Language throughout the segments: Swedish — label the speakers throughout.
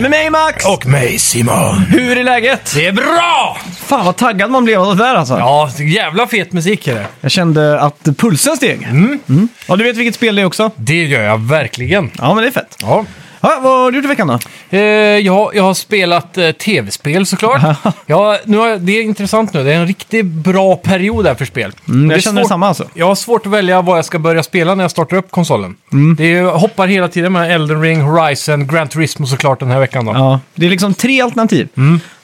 Speaker 1: mig Max!
Speaker 2: Och mig Simon.
Speaker 1: Hur är läget?
Speaker 2: Det är bra!
Speaker 1: Fan vad taggad man blev av det där alltså.
Speaker 2: Ja, jävla fet musik är det.
Speaker 1: Jag kände att pulsen steg. Mm. Ja, du vet vilket spel det är också?
Speaker 2: Det gör jag verkligen.
Speaker 1: Ja, men det är fett.
Speaker 2: Ja.
Speaker 1: Ja, vad har du gjort i veckan då?
Speaker 2: Eh, jag, jag har spelat eh, tv-spel såklart. ja, nu har, jag- det är intressant nu. Det är en riktigt bra period här för spel.
Speaker 1: jag
Speaker 2: det är
Speaker 1: känner
Speaker 2: svårt-
Speaker 1: detsamma alltså.
Speaker 2: Jag har svårt att välja vad jag ska börja spela när jag startar upp konsolen. Det är, jag hoppar hela tiden med Elden Ring, Horizon, Gran Turismo såklart den här veckan. Då.
Speaker 1: Ja, det är liksom tre alternativ.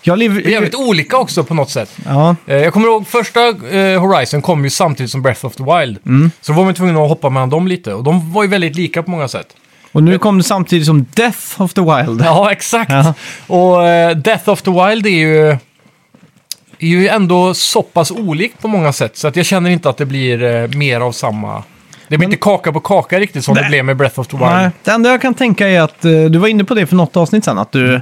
Speaker 1: Jag lever...
Speaker 2: Mm. Det är jävligt olika också på något sätt.
Speaker 1: Ja,
Speaker 2: Eh, Jag kommer ihåg första eh, Horizon kom ju samtidigt som Breath of the Wild.
Speaker 1: Mm.
Speaker 2: Så då var man tvungen att hoppa mellan dem lite. Och de var ju väldigt lika på många sätt.
Speaker 1: och nu kom det samtidigt som Death of the Wild.
Speaker 2: Ja, exakt.
Speaker 1: Ja.
Speaker 2: Och eh, Death of the Wild är ju, är ju ändå så pass olikt på många sätt. Så att jag känner inte att det blir eh, mer av samma. Det blir inte kaka på kaka riktigt som det
Speaker 1: Nej.
Speaker 2: blev med Breath of the Wild.
Speaker 1: Nej, det enda jag kan tänka är att, eh, du var inne på det för något avsnitt sen, att du,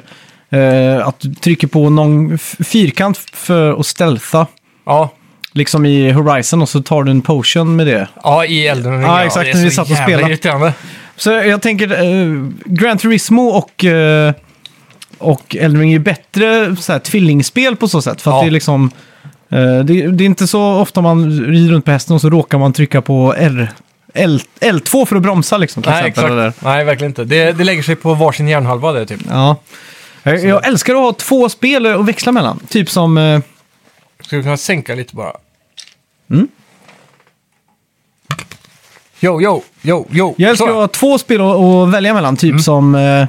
Speaker 1: eh, att du trycker på någon f- fyrkant för att stealtha.
Speaker 2: Ja,
Speaker 1: Liksom i Horizon och så tar du en potion med det.
Speaker 2: ja, i Elden Ring.
Speaker 1: Ja, exakt,
Speaker 2: Det är
Speaker 1: när vi
Speaker 2: så
Speaker 1: satt och
Speaker 2: jävla
Speaker 1: spelade.
Speaker 2: irriterande.
Speaker 1: Så jag tänker, eh, Gran Turismo och, eh, och Elden Ring är bättre så här, tvillingspel på så sätt. För att
Speaker 2: Ja.
Speaker 1: det är liksom, eh, det, det är inte så ofta man rider runt på hästen och så råkar man trycka på R, L, L2 för att bromsa liksom. Till
Speaker 2: Nej,
Speaker 1: exempel,
Speaker 2: exakt.
Speaker 1: Eller,
Speaker 2: Nej, verkligen inte. Det, det lägger sig på varsin hjärnhalva det typ.
Speaker 1: ja. jag, jag älskar att ha två spel att växla mellan. Typ som, eh,
Speaker 2: Skulle kunna sänka lite bara.
Speaker 1: Mm.
Speaker 2: Yo, yo, yo, yo.
Speaker 1: jag älskar
Speaker 2: Så. Mm.
Speaker 1: att ha två spel att, att välja mellan. Typ som... Eh,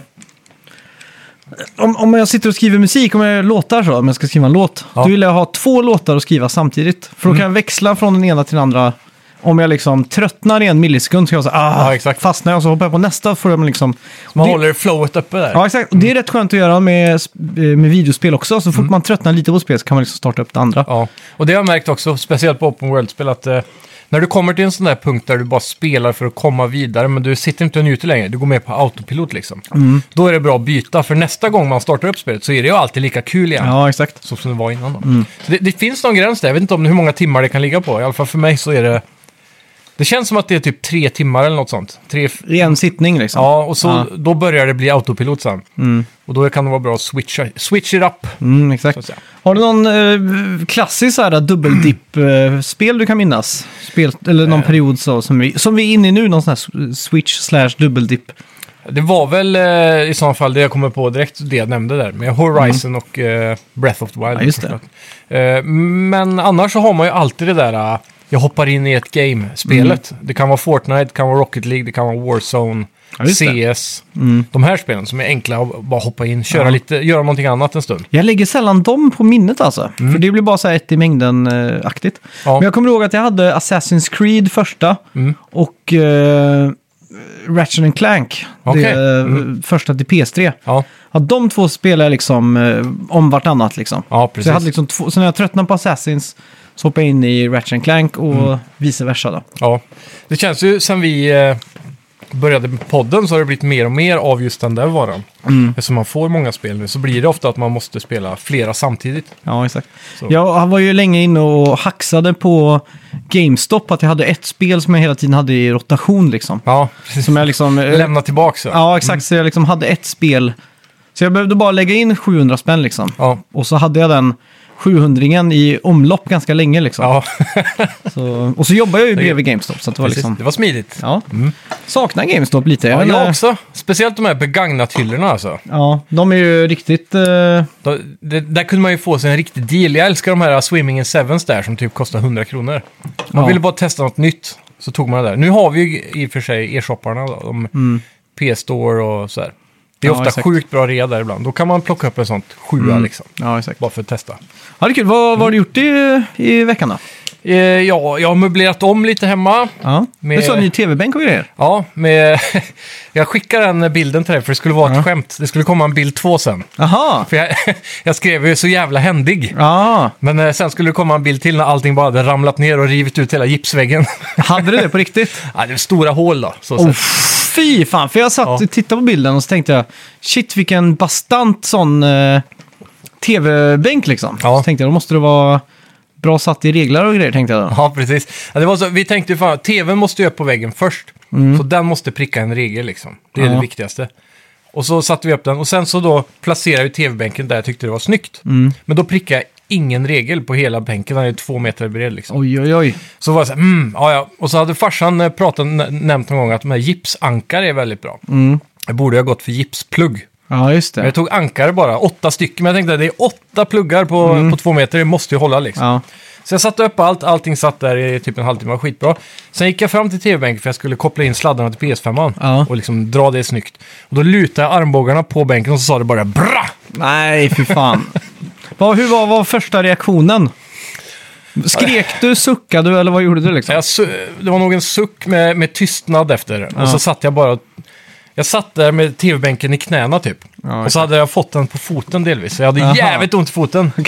Speaker 1: om, om jag sitter och skriver musik, om jag gör låtar så, om jag ska skriva en låt,
Speaker 2: Ja. Mm.
Speaker 1: då vill jag ha två låtar att skriva samtidigt. För då kan jag växla från den ena till den andra. Om jag liksom tröttnar i en millisekund så kan jag säga ah,
Speaker 2: Ja, exakt.
Speaker 1: fastnar jag och så hoppar jag på nästa. För man liksom,
Speaker 2: Man
Speaker 1: det,
Speaker 2: håller Mm. flowet uppe där.
Speaker 1: ja, exakt. Och det är rätt skönt att göra med, eh, med videospel också. Så fort man tröttnar lite på spel så kan man liksom starta upp det andra.
Speaker 2: Mm. Ja, och det har jag märkt också, speciellt på Open World-spel, att eh, när du kommer till en sån där punkt där du bara spelar för att komma vidare, men du sitter inte och njuter längre, du går med på autopilot liksom.
Speaker 1: Mm.
Speaker 2: Då är det bra att byta, för nästa gång man startar upp spelet så är det ju alltid lika kul igen.
Speaker 1: Ja, Mm. exakt.
Speaker 2: Så som det var innan då. Så det, det finns någon gräns där, jag vet inte om hur många timmar det kan ligga på. I alla fall för mig så är det... Det känns som att det är typ tre timmar eller något sånt. Tre, f-
Speaker 1: I en sittning liksom.
Speaker 2: ja, och så,
Speaker 1: Ja.
Speaker 2: då börjar det bli autopilot sen. Och då kan det vara bra att switcha, switch it up.
Speaker 1: Mm,
Speaker 2: Så att
Speaker 1: exakt.
Speaker 2: säga.
Speaker 1: Har du någon eh, klassisk så här dubbeldipp-spel du kan minnas? Spel, eller
Speaker 2: Eh.
Speaker 1: någon period så, som, vi, som vi är inne i nu, någon sån här s- switch slash dubbeldipp.
Speaker 2: Det var väl eh, i så fall det jag kommer på direkt, det jag nämnde där. Med Horizon och eh, Breath of the Wild.
Speaker 1: Mm. Ja, just det.
Speaker 2: Eh, men annars så har man ju alltid det där, eh, jag hoppar in i ett game-spelet. Det kan vara Fortnite, det kan vara Rocket League, det kan vara Warzone,
Speaker 1: Mm. Ja, just det. Mm.
Speaker 2: CS. De här spelen som är enkla att bara hoppa in, köra
Speaker 1: Ja.
Speaker 2: lite, göra någonting annat en stund.
Speaker 1: Jag lägger sällan dem på minnet alltså. För det blir bara så här ett i mängden-aktigt.
Speaker 2: Mm. Ja. Mm.
Speaker 1: Men jag kommer ihåg att jag hade Assassin's Creed första och eh, Ratchet and Clank. Det
Speaker 2: Okej. Mm.
Speaker 1: eh, första till PS3.
Speaker 2: Ja,
Speaker 1: Ja, de två spelar jag liksom eh, om vartannat liksom.
Speaker 2: ja
Speaker 1: Så, jag
Speaker 2: precis.
Speaker 1: hade liksom två, så när jag tröttnade på Assassins så hoppade jag in i Ratchet Clank och
Speaker 2: Mm.
Speaker 1: vice versa. Då.
Speaker 2: ja. Det känns ju sen vi eh, började med podden så har det blivit mer och mer av just den där varan.
Speaker 1: Mm.
Speaker 2: Eftersom man får många spel nu så blir det ofta att man måste spela flera samtidigt.
Speaker 1: Ja, exakt.
Speaker 2: Så.
Speaker 1: Jag han var ju länge inne och hacksade på GameStop att jag hade ett spel som jag hela tiden hade i rotation. Liksom.
Speaker 2: Ja, precis.
Speaker 1: Som jag liksom, eh,
Speaker 2: Lämna tillbaka så.
Speaker 1: ja, exakt. Så jag liksom hade ett spel. Så jag behövde bara lägga in 700 spänn liksom.
Speaker 2: Ja.
Speaker 1: Och så hade jag den 700-ringen i omlopp ganska länge liksom.
Speaker 2: Ja,
Speaker 1: Så, och så jobbar jag ju bredvid GameStop. Så att det var
Speaker 2: precis.
Speaker 1: liksom,
Speaker 2: Det var smidigt.
Speaker 1: ja. Saknar GameStop lite.
Speaker 2: Ja,
Speaker 1: vet
Speaker 2: jag
Speaker 1: inte-
Speaker 2: också. Speciellt de här begagnat-hyllorna alltså.
Speaker 1: Ja, de är ju riktigt... eh,
Speaker 2: De- det- där kunde man ju få sig en riktig deal. Jag älskar de här Swimming in Sevens där som typ kostar 100 kronor. Man
Speaker 1: Ja.
Speaker 2: ville bara testa något nytt, så tog man det där. Nu har vi ju i och för sig e-shopparna, då, de P-store och så här. Det är
Speaker 1: Mm. Ja,
Speaker 2: ofta
Speaker 1: exakt. Mm.
Speaker 2: sjukt bra rea där ibland. Då kan man plocka upp en sånt sjua liksom,
Speaker 1: Ja, exakt.
Speaker 2: bara för att testa.
Speaker 1: Ja, det är kul. Vad, vad har du gjort i, i veckan då?
Speaker 2: Eh, ja, jag har möblerat om lite hemma.
Speaker 1: Ja.
Speaker 2: Med-
Speaker 1: Du sa ny tv-bänk och grejer.
Speaker 2: Ja, med... jag skickar den bilden till dig för det skulle vara ett skämt. Det skulle komma en bild två sen.
Speaker 1: Jaha!
Speaker 2: För jag, jag skrev ju så jävla händig.
Speaker 1: Ja,
Speaker 2: Men eh, sen skulle det komma en bild till när allting bara hade ramlat ner och rivit ut hela gipsväggen.
Speaker 1: hade du det på riktigt?
Speaker 2: ja, det var stora hål då. Så
Speaker 1: Oh,
Speaker 2: sett.
Speaker 1: fy fan, för jag satt
Speaker 2: Ja.
Speaker 1: och tittade på bilden och så tänkte jag shit vilken bastant sån eh, tv-bänk liksom.
Speaker 2: Ja.
Speaker 1: Så tänkte jag då måste det vara bra satt i reglar och grejer tänkte jag då.
Speaker 2: Ja, precis. Ja, det var så, vi tänkte ju Mm. fan, tvn måste ju upp på väggen först. Så den måste pricka en regel liksom. Det är
Speaker 1: Ja.
Speaker 2: det viktigaste. Och så satte vi upp den och sen så då placerade vi tv-bänken där jag tyckte det var snyggt. Men då prickade jag ingen regel på hela bänken, den är två meter bred liksom.
Speaker 1: Oj, oj, oj.
Speaker 2: Så var jag så här, mm, ja, ja. Och så hade farsan eh, pratat, nä- nämnt någon gång att de här gipsankare är väldigt bra. Jag borde ju ha gått för gipsplugg.
Speaker 1: Ja, just
Speaker 2: Men
Speaker 1: det.
Speaker 2: jag tog ankare bara, åtta stycken. Men jag tänkte att det är åtta pluggar på, på två meter, det måste ju hålla liksom.
Speaker 1: Mm. Ja.
Speaker 2: Så jag satte upp allt, allting satt där i typ en halvtimme, var skitbra. Sen gick jag fram till tv-bänken för jag skulle koppla in sladdarna till PS5
Speaker 1: Ja.
Speaker 2: och liksom dra det snyggt. Och då lutade jag armbågarna på bänken och så sa det bara bra!
Speaker 1: Nej, fy fan. vad, hur var, var första reaktionen? Skrek du, suckade du eller vad gjorde du
Speaker 2: Så
Speaker 1: liksom?
Speaker 2: jag, su- det var nog en suck med, med tystnad efter. Och så satt jag bara... Jag satt där med tv-bänken i knäna typ.
Speaker 1: Ja,
Speaker 2: och så hade jag fått den på foten delvis. Så jag hade
Speaker 1: Aha.
Speaker 2: jävligt ont i foten.
Speaker 1: Nej,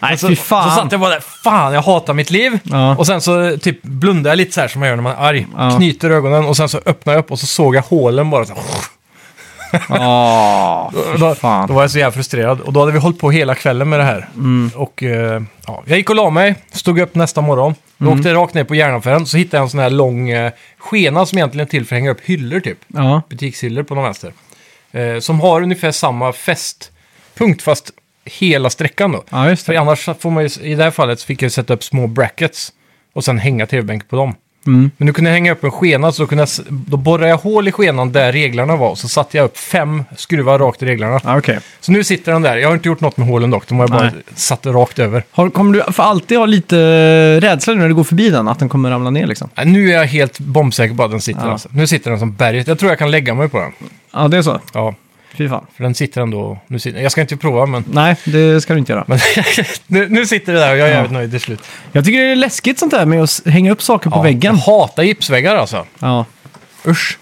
Speaker 2: alltså, Så,
Speaker 1: fy fan.
Speaker 2: så satt jag bara där, fan jag hatar mitt liv.
Speaker 1: Ja.
Speaker 2: Och sen så typ blundade jag lite så här som man gör när man är arg.
Speaker 1: Ja.
Speaker 2: Knyter ögonen och sen så öppnar jag upp och så såg jag hålen bara. Så, här.
Speaker 1: Ja, fy
Speaker 2: då,
Speaker 1: fan.
Speaker 2: då var jag så jävla frustrerad. Och då hade vi hållit på hela kvällen med det här.
Speaker 1: Mm.
Speaker 2: Och eh, ja, jag gick och la mig, stod upp nästa morgon. Då
Speaker 1: Mm.
Speaker 2: åkte jag rakt ner på järnaffären så hittade jag en sån här lång eh, skena som egentligen är till för att hänga upp hyllor typ.
Speaker 1: Ja,
Speaker 2: Butikshyllor på någon vänster. Eh, som har ungefär samma fästpunkt fast hela sträckan då.
Speaker 1: ja just
Speaker 2: För
Speaker 1: det.
Speaker 2: annars får man ju, i det här fallet så fick jag sätta upp små brackets och sen hänga tv-bänken på dem.
Speaker 1: Mm.
Speaker 2: Men nu kunde jag hänga upp en skena, så då, kunde jag, s- då borrade jag hål i skenan där reglarna var och så satte jag upp fem skruvar rakt i reglarna.
Speaker 1: Ja, okej.
Speaker 2: Så nu sitter den där. Jag har inte gjort något med hålen dock, de har jag bara
Speaker 1: Nej.
Speaker 2: satt det rakt över.
Speaker 1: Har, kommer du för alltid ha lite rädsla när du går förbi den, att den kommer ramla ner liksom?
Speaker 2: Äh, Nu är jag helt bombsäker på att den sitter.
Speaker 1: Ja.
Speaker 2: Alltså. Nu sitter den som berget. Jag tror jag kan lägga mig på den.
Speaker 1: Ja, det är så.
Speaker 2: Ja,
Speaker 1: Fy fan.
Speaker 2: för den sitter ändå... Nu sitter, jag ska inte prova, men...
Speaker 1: Nej, det ska du inte göra.
Speaker 2: men nu, nu sitter det där och jag är
Speaker 1: Ja.
Speaker 2: jävligt nöjd till slut.
Speaker 1: Jag tycker det är läskigt sånt där med att s- hänga upp saker på
Speaker 2: Ja,
Speaker 1: väggen.
Speaker 2: Jag hatar gipsväggar alltså.
Speaker 1: Ja.
Speaker 2: Usch.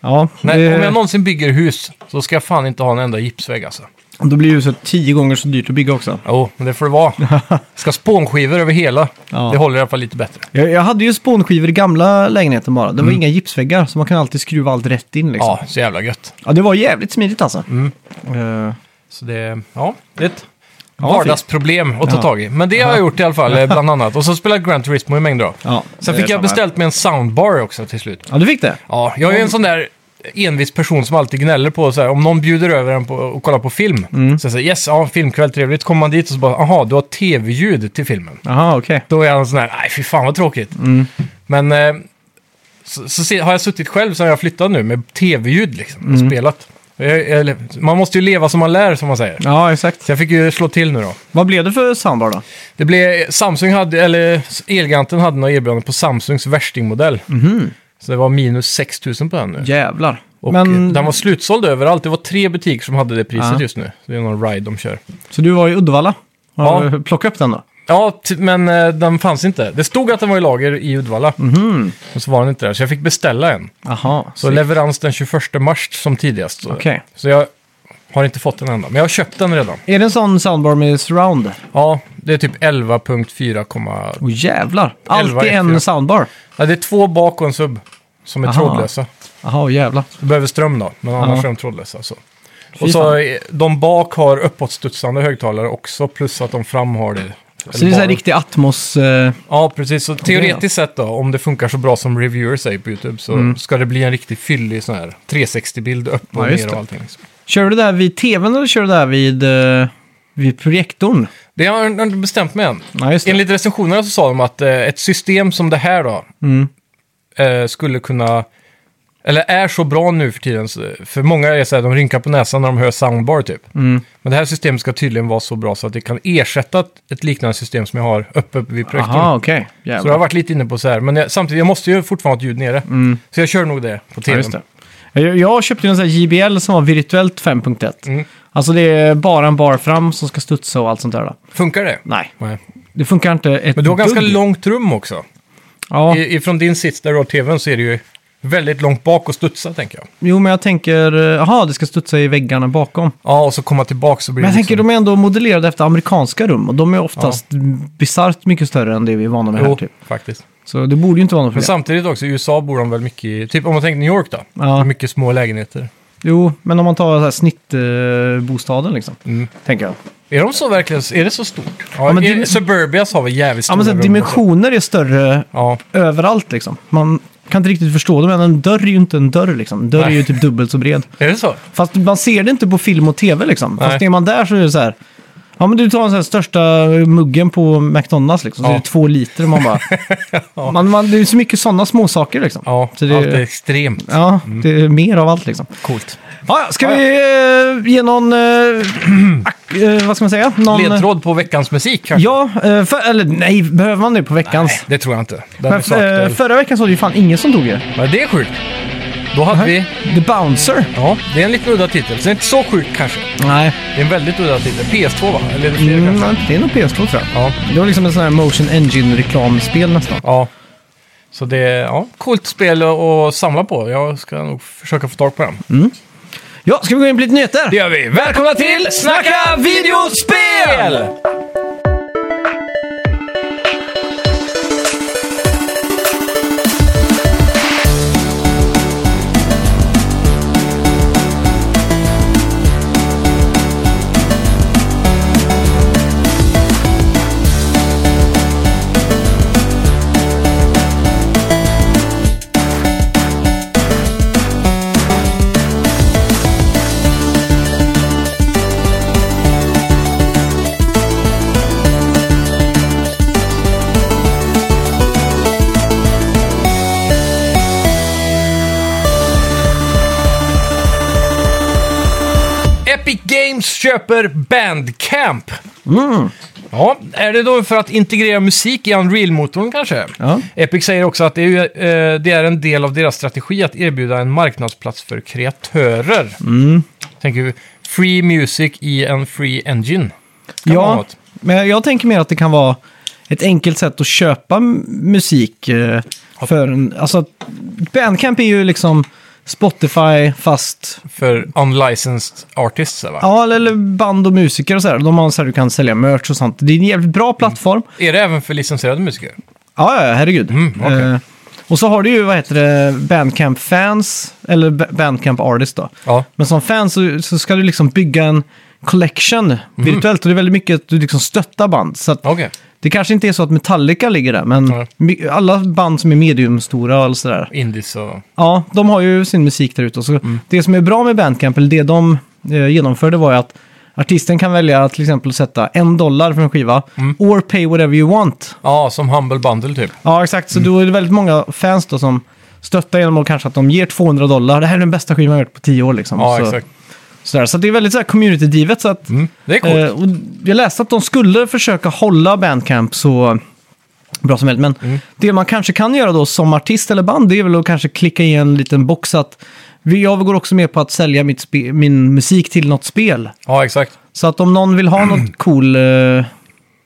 Speaker 1: Ja,
Speaker 2: Nej,
Speaker 1: det,
Speaker 2: om jag någonsin bygger hus så ska jag fan inte ha en enda gipsvägg alltså.
Speaker 1: då blir det så tio gånger så dyrt att bygga också.
Speaker 2: Jo, men det får det vara. Jag ska ha spånskivor över hela.
Speaker 1: Ja.
Speaker 2: Det håller i alla fall lite bättre.
Speaker 1: Jag, jag hade ju spånskivor i gamla lägenheten bara. Det var inga gipsväggar, så man kan alltid skruva allt rätt in liksom. Mm. Ja,
Speaker 2: Ja, så jävla gött.
Speaker 1: det var jävligt smidigt alltså. Eh,
Speaker 2: Så det, ja, det är ett
Speaker 1: Ja,
Speaker 2: vardagsproblem att ta
Speaker 1: Ja.
Speaker 2: tag i. Men det har jag gjort i alla fall, eh, bland annat. Och så spelar jag Gran Turismo i mängder av.
Speaker 1: ja,
Speaker 2: Sen
Speaker 1: det är
Speaker 2: fick jag
Speaker 1: samma.
Speaker 2: beställt mig en soundbar också till slut.
Speaker 1: Ja, du fick det?
Speaker 2: Ja, jag är ju en sån där envis person som alltid gnäller på så här, om någon bjuder över en på, och kollar på film.
Speaker 1: Mm.
Speaker 2: Så jag säger yes, ja, filmkväll, trevligt. Kommer man dit och så bara, aha, du har tv-ljud till filmen.
Speaker 1: Jaha, okej.
Speaker 2: Då är han sån här, nej fy fan vad tråkigt.
Speaker 1: Mm.
Speaker 2: Men eh, så, så se- har jag suttit själv sen jag flyttade nu med tv-ljud liksom och
Speaker 1: Mm.
Speaker 2: spelat. Jag, eller, man måste ju leva som man lär som man säger.
Speaker 1: Ja, exakt.
Speaker 2: Så jag fick ju slå till nu då.
Speaker 1: Vad blev det för soundbar då?
Speaker 2: Det blev, Samsung hade, eller Elganten hade något erbjudande på Samsungs värstingmodell.
Speaker 1: Mhm.
Speaker 2: Så det var minus 6 000 på den nu.
Speaker 1: Jävlar.
Speaker 2: Och
Speaker 1: Men,
Speaker 2: eh, den var slutsåld överallt. Det var tre butiker som hade det priset
Speaker 1: Ja.
Speaker 2: just nu. Det är någon ride de kör.
Speaker 1: Så du var i Uddevalla?
Speaker 2: Ja.
Speaker 1: Ja. Plocka upp den då?
Speaker 2: Ja, t- men eh, den fanns inte. Det stod att den var i lager i Uddevalla.
Speaker 1: Mhm.
Speaker 2: Men så var den inte där, så jag fick beställa en.
Speaker 1: Jaha.
Speaker 2: Så leverans den 21 mars som tidigast. Så-
Speaker 1: Okej.
Speaker 2: Så jag har inte fått den än då, men jag har köpt den redan.
Speaker 1: Är det en sån soundbar med surround?
Speaker 2: Ja, det är typ 11.4, komma-
Speaker 1: Åh jävlar.
Speaker 2: 11
Speaker 1: Alltid
Speaker 2: F4.
Speaker 1: en soundbar.
Speaker 2: ja, det är två bak och en sub som är
Speaker 1: Aha.
Speaker 2: trådlösa.
Speaker 1: Jaha, jävlar.
Speaker 2: Du behöver ström då, men annars
Speaker 1: Ja.
Speaker 2: är de trådlösa. Så.
Speaker 1: Fy
Speaker 2: Och så
Speaker 1: fan.
Speaker 2: är- de bak har uppåtstudsande högtalare också, plus att de fram har det.
Speaker 1: Så det är
Speaker 2: Eller
Speaker 1: så
Speaker 2: bara-
Speaker 1: här riktig Atmos... eh,
Speaker 2: Ja, precis. Så teoretiskt sett då, om det funkar så bra som reviewer säger på YouTube, så ska det bli en riktigt fyllig sån här 360-bild upp och
Speaker 1: Mm. Ja, just
Speaker 2: ner och
Speaker 1: det.
Speaker 2: allting.
Speaker 1: Kör du det här vid tvn eller kör du det här vid, eh, vid projektorn?
Speaker 2: Det har jag inte bestämt mig än.
Speaker 1: Nej, just det.
Speaker 2: Enligt recensionerna så sa de att eh, ett system som det här då
Speaker 1: Mm.
Speaker 2: eh, skulle kunna, eller är så bra nu för tiden, så- för många är så här, de rynkar på näsan när de hör soundbar typ.
Speaker 1: Mm.
Speaker 2: Men det här systemet ska tydligen vara så bra så att det kan ersätta ett- ett liknande system som jag har uppe vid projektorn.
Speaker 1: Aha, okej.
Speaker 2: Så jag har
Speaker 1: Jävlar.
Speaker 2: varit lite inne på så här, men jag, samtidigt, jag måste ju fortfarande ha ett ljud nere. Så jag kör nog det på
Speaker 1: Mm. Ja,
Speaker 2: tvn.
Speaker 1: just det. Jag, jag köpte ju en sån här JBL som var virtuellt 5.1.
Speaker 2: Mm.
Speaker 1: Alltså det är bara en bar fram som ska studsa och allt sånt där. Då.
Speaker 2: Funkar det?
Speaker 1: Nej,
Speaker 2: Nej.
Speaker 1: det funkar inte ett
Speaker 2: Men du har ganska
Speaker 1: dugg.
Speaker 2: långt rum också.
Speaker 1: Ja,
Speaker 2: I, ifrån din sits där du har tvn så är det ju väldigt långt bak och studsa tänker jag.
Speaker 1: jo men jag tänker, eh, jaha, det ska studsa i väggarna bakom.
Speaker 2: Ja, och så komma tillbaka så blir
Speaker 1: Men jag
Speaker 2: det
Speaker 1: tänker,
Speaker 2: liksom...
Speaker 1: de är ändå modellerade efter amerikanska rum och de är oftast bisarrt mycket större än det vi är vana med här
Speaker 2: Jo,
Speaker 1: typ.
Speaker 2: faktiskt.
Speaker 1: Så det borde ju inte vara något
Speaker 2: Men
Speaker 1: problem.
Speaker 2: samtidigt också, i USA bor de väl mycket i... Typ om man tänker New York då.
Speaker 1: Ja.
Speaker 2: Det är Mycket små lägenheter.
Speaker 1: Jo, men om man tar så här snittbostaden liksom,
Speaker 2: Mm.
Speaker 1: tänker jag.
Speaker 2: Är de så verkligen... Är det så stort? Ja,
Speaker 1: men
Speaker 2: är,
Speaker 1: dim-
Speaker 2: Suburbias har väl jävligt
Speaker 1: Ja,
Speaker 2: stora
Speaker 1: men så här,
Speaker 2: rum också.
Speaker 1: dimensioner är större
Speaker 2: Ja,
Speaker 1: överallt liksom. Man kan inte riktigt förstå det, men en dörr är ju inte en dörr liksom. En dörr är
Speaker 2: Nej.
Speaker 1: ju typ dubbelt så bred.
Speaker 2: Är det så?
Speaker 1: Fast man ser det inte på film och tv liksom. Fast
Speaker 2: Nej.
Speaker 1: är man där så är det så här. Ja men du tar den så här största muggen på McDonalds liksom. Så
Speaker 2: Ja.
Speaker 1: är det två liter och man bara... man, man, det är ju så mycket sådana små saker liksom.
Speaker 2: Ja,
Speaker 1: så det,
Speaker 2: allt är extremt
Speaker 1: ja det är mer av allt liksom.
Speaker 2: coolt.
Speaker 1: Ja, ja, ska
Speaker 2: Ja, ja.
Speaker 1: vi eh, ge någon... eh, ak- eh, vad ska man säga? Någon,
Speaker 2: Ledtråd på veckans musik kanske?
Speaker 1: Ja, eh, för, eller nej, behöver man det på veckans?
Speaker 2: Nej, det tror jag inte. Den är
Speaker 1: Men,
Speaker 2: så
Speaker 1: eh,
Speaker 2: aktuell.
Speaker 1: förra veckan så var det ju fan ingen som tog det.
Speaker 2: Men det är sjukt. Då hade vi...
Speaker 1: The Bouncer.
Speaker 2: Ja, det är en lite udda titel. Så det är inte så sjukt kanske.
Speaker 1: Nej,
Speaker 2: Det är en väldigt udda titel. PS2 va? Eller är det fler
Speaker 1: mm,
Speaker 2: kanske?
Speaker 1: det är nog PS2 tror jag.
Speaker 2: Ja.
Speaker 1: Det var liksom en sån här Motion Engine-reklamspel nästan.
Speaker 2: ja. Så det är ja, coolt spel att- att samla på. Jag ska nog försöka få tag på den.
Speaker 1: Ja, ska vi gå in på lite nyheter?
Speaker 2: Det gör vi. Välkomna till Snacka videospel! Epic Games köper Bandcamp.
Speaker 1: Mm.
Speaker 2: Ja, är det då för att integrera musik i Unreal-motorn kanske?
Speaker 1: Ja.
Speaker 2: Epic säger också att det är, ju, eh, det är en del av deras strategi att erbjuda en marknadsplats för kreatörer.
Speaker 1: Mm.
Speaker 2: Tänker vi, free music i en free engine. Kan vara
Speaker 1: ja
Speaker 2: något.
Speaker 1: men jag tänker mer att det kan vara ett enkelt sätt att köpa m- musik. eh, För en, alltså, Bandcamp är ju liksom Spotify fast...
Speaker 2: För unlicensed artists, va?
Speaker 1: Ja, eller- eller band och musiker och sådär. De har så här du kan sälja merch och sånt. Det är en jävligt
Speaker 2: Mm.
Speaker 1: bra plattform.
Speaker 2: Är det även för licensierade musiker?
Speaker 1: Ja, ja, herregud.
Speaker 2: Mm, okej.
Speaker 1: Eh, och så har du ju, vad heter det, Bandcamp-fans, eller Ba- Bandcamp-artist då.
Speaker 2: Ja.
Speaker 1: Men som fan så, så ska du liksom bygga en collection
Speaker 2: Mm.
Speaker 1: virtuellt. Och det är väldigt mycket att du liksom stöttar band. Så att
Speaker 2: Okej.
Speaker 1: det kanske inte är så att Metallica ligger där, men
Speaker 2: Nej.
Speaker 1: my- alla band som är mediumstora och allt sådär.
Speaker 2: Indies och...
Speaker 1: Ja, de har ju sin musik där ute. Och Så
Speaker 2: Mm.
Speaker 1: Det som är bra med Bandcamp, eller det de eh, genomförde var ju att artisten kan välja att till exempel att sätta en dollar för en skiva,
Speaker 2: Mm.
Speaker 1: or pay whatever you want.
Speaker 2: Ja, som Humble Bundle typ.
Speaker 1: Ja, exakt. Så då är det väldigt många fans då som stöttar genom att kanske att de ger 200 dollar. Det här är den bästa skivan jag har gjort på 10 år liksom.
Speaker 2: Ja,
Speaker 1: så,
Speaker 2: exakt.
Speaker 1: Sådär. Så det är väldigt så här community-drivet. Så att,
Speaker 2: Mm. Det är coolt.
Speaker 1: eh, och jag läste att de skulle försöka hålla Bandcamp så bra som möjligt. Men
Speaker 2: Mm.
Speaker 1: det man kanske kan göra då som artist eller band det är väl att kanske klicka i en liten box att vi- jag går också med på att sälja mitt spe- min musik till något spel.
Speaker 2: Ja, exakt.
Speaker 1: Så att om någon vill ha något cool eh,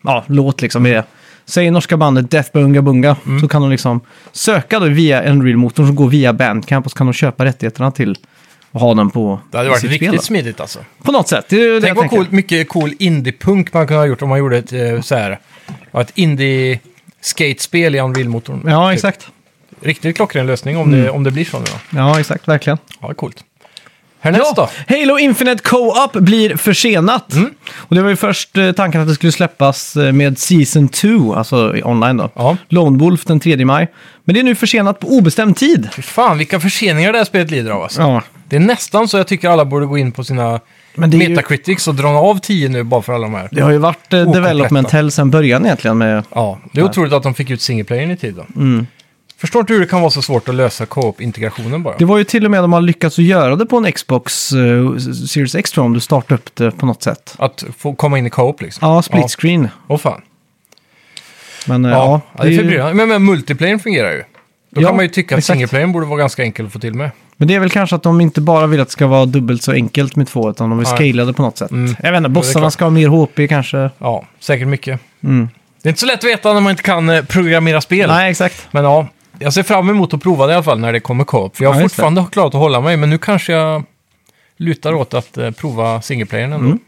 Speaker 1: ja, låt liksom med Säg norska bandet Death Bunga Bunga
Speaker 2: Mm.
Speaker 1: så kan de liksom söka då via Unreal-motorn som går via Bandcamp och så kan de köpa rättigheterna till och ha den på
Speaker 2: Det hade varit
Speaker 1: sitt
Speaker 2: riktigt
Speaker 1: spel då.
Speaker 2: smidigt alltså.
Speaker 1: På något sätt, det är det
Speaker 2: Tänk
Speaker 1: jag
Speaker 2: vad
Speaker 1: tänker.
Speaker 2: cool, mycket cool indie-punk man kunde ha gjort om man gjorde ett, eh, så här, ja, ett indie-skatespel i Unreal-motorn.
Speaker 1: Ja,
Speaker 2: Typ.
Speaker 1: exakt. Mm.
Speaker 2: Riktigt klockren lösning om, det, om det blir så nu då.
Speaker 1: Ja, exakt, verkligen.
Speaker 2: Ja, coolt. Härnäst då?
Speaker 1: Halo Infinite Co-op blir försenat. Och det var ju först eh, tanken att det skulle släppas eh, med Season 2, alltså i- online då.
Speaker 2: Ja.
Speaker 1: Lone Wolf den 3 maj. Men det är nu försenat på obestämd tid.
Speaker 2: Fy fan, vilka förseningar det här spelet lider av alltså.
Speaker 1: Ja.
Speaker 2: Det är nästan så jag tycker alla borde gå in på sina
Speaker 1: Men det är ju-
Speaker 2: Metacritics och dra av 10 nu bara för alla de här.
Speaker 1: Det har ju varit eh,
Speaker 2: Okompletta.
Speaker 1: development hell sedan början egentligen med...
Speaker 2: Ja, det är otroligt att de fick ut singleplayern i tid då.
Speaker 1: Mm.
Speaker 2: Förstår inte hur det kan vara så svårt att lösa co-op-integrationen bara.
Speaker 1: Det var ju till och med de har lyckats att göra det på en Xbox eh, Series X tror jag, om du startar upp det på något sätt.
Speaker 2: Att få komma in i co-op liksom.
Speaker 1: Ja, split screen.
Speaker 2: Åh fan.
Speaker 1: Men eh,
Speaker 2: Ja,
Speaker 1: ja,
Speaker 2: det är
Speaker 1: ju-
Speaker 2: förbryllande. Men, men multiplayern fungerar ju. Då
Speaker 1: Ja,
Speaker 2: kan man ju tycka att
Speaker 1: exakt.
Speaker 2: singleplayern borde vara ganska enkel att få till med.
Speaker 1: Men det är väl kanske att de inte bara vill att det ska vara dubbelt så enkelt med två, utan de vill
Speaker 2: Nej.
Speaker 1: scalade på något sätt.
Speaker 2: Mm.
Speaker 1: Jag vet inte, bossarna
Speaker 2: klart.
Speaker 1: ska ha mer HP kanske.
Speaker 2: Ja, säkert mycket. Det är inte så lätt att veta när man inte kan eh, programmera spel.
Speaker 1: Mm. Nej, exakt.
Speaker 2: Men ja, jag ser fram emot att prova det i alla fall när det kommer co-op. För jag har
Speaker 1: Ja, just det.
Speaker 2: fortfarande klarat att hålla mig, men nu kanske jag lutar åt att eh, prova singleplayern ändå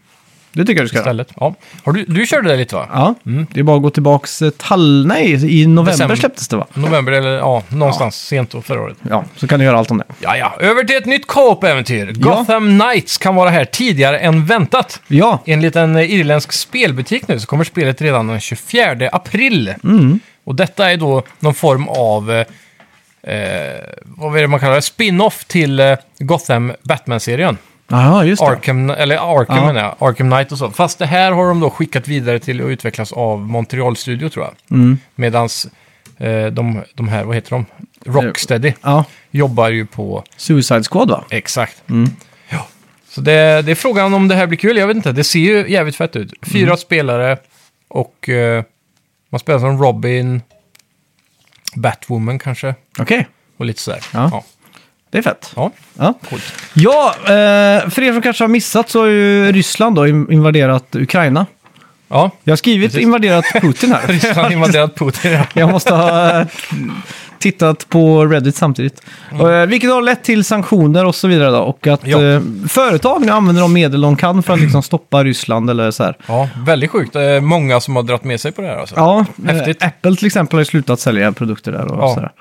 Speaker 1: Det tycker jag du Mm, ska göra.
Speaker 2: istället. Ja. Har du, du körde det lite va?
Speaker 1: Ja, det är bara att gå tillbaks eh, tall... Nej, i november
Speaker 2: December.
Speaker 1: släpptes det va?
Speaker 2: November eller ja, någonstans sent då förra året.
Speaker 1: Ja, så kan du göra allt om det.
Speaker 2: Ja, ja. Över till ett nytt co-op-äventyr. Gotham Knights kan vara här tidigare än väntat.
Speaker 1: Ja,
Speaker 2: Enligt en eh, irländsk spelbutik nu så kommer spelet
Speaker 1: Mm.
Speaker 2: redan den 24 april. Och detta är då någon form av eh, eh, vad är det man kallar det, spin-off till eh, Gotham Batman-serien.
Speaker 1: Ja, just det.
Speaker 2: Arkham, eller Arkham
Speaker 1: Ja.
Speaker 2: menar jag, Arkham Knight och så. Fast det här har de då skickat vidare till och utvecklas av Montreal Studio tror jag.
Speaker 1: Mm.
Speaker 2: Medans eh, de, de här, vad heter de? Rocksteady
Speaker 1: Ja,
Speaker 2: jobbar ju på,
Speaker 1: Suicide Squad va?
Speaker 2: exakt.
Speaker 1: Mm.
Speaker 2: Ja. Så det, det är frågan om det här blir kul, jag vet inte. Det ser ju jävligt fett ut. Fyra
Speaker 1: Mm.
Speaker 2: spelare och eh, man spelar som Robin, Batwoman kanske
Speaker 1: Okej,
Speaker 2: och lite sådär.
Speaker 1: Ja.
Speaker 2: ja.
Speaker 1: det är fett.
Speaker 2: ja.
Speaker 1: Ja,
Speaker 2: Coolt.
Speaker 1: ja eh, för er som kanske har missat så har ju Ryssland då in- invaderat Ukraina.
Speaker 2: Ja,
Speaker 1: Jag har skrivit
Speaker 2: Precis.
Speaker 1: invaderat Putin här.
Speaker 2: Ryssland invaderat Putin. ja.
Speaker 1: Jag måste ha eh, tittat på Reddit samtidigt. Eh, vilket har lett till sanktioner och så vidare. Då. Och att
Speaker 2: Mm. Ja.
Speaker 1: eh, företag nu använder de medel de kan för att liksom stoppa Ryssland eller så här.
Speaker 2: Ja, väldigt sjukt. Det är många som har dragit med sig på det här alltså.
Speaker 1: Ja,
Speaker 2: Häftigt.
Speaker 1: eh, Apple till exempel har ju slutat sälja produkter där och
Speaker 2: Ja.
Speaker 1: sådär.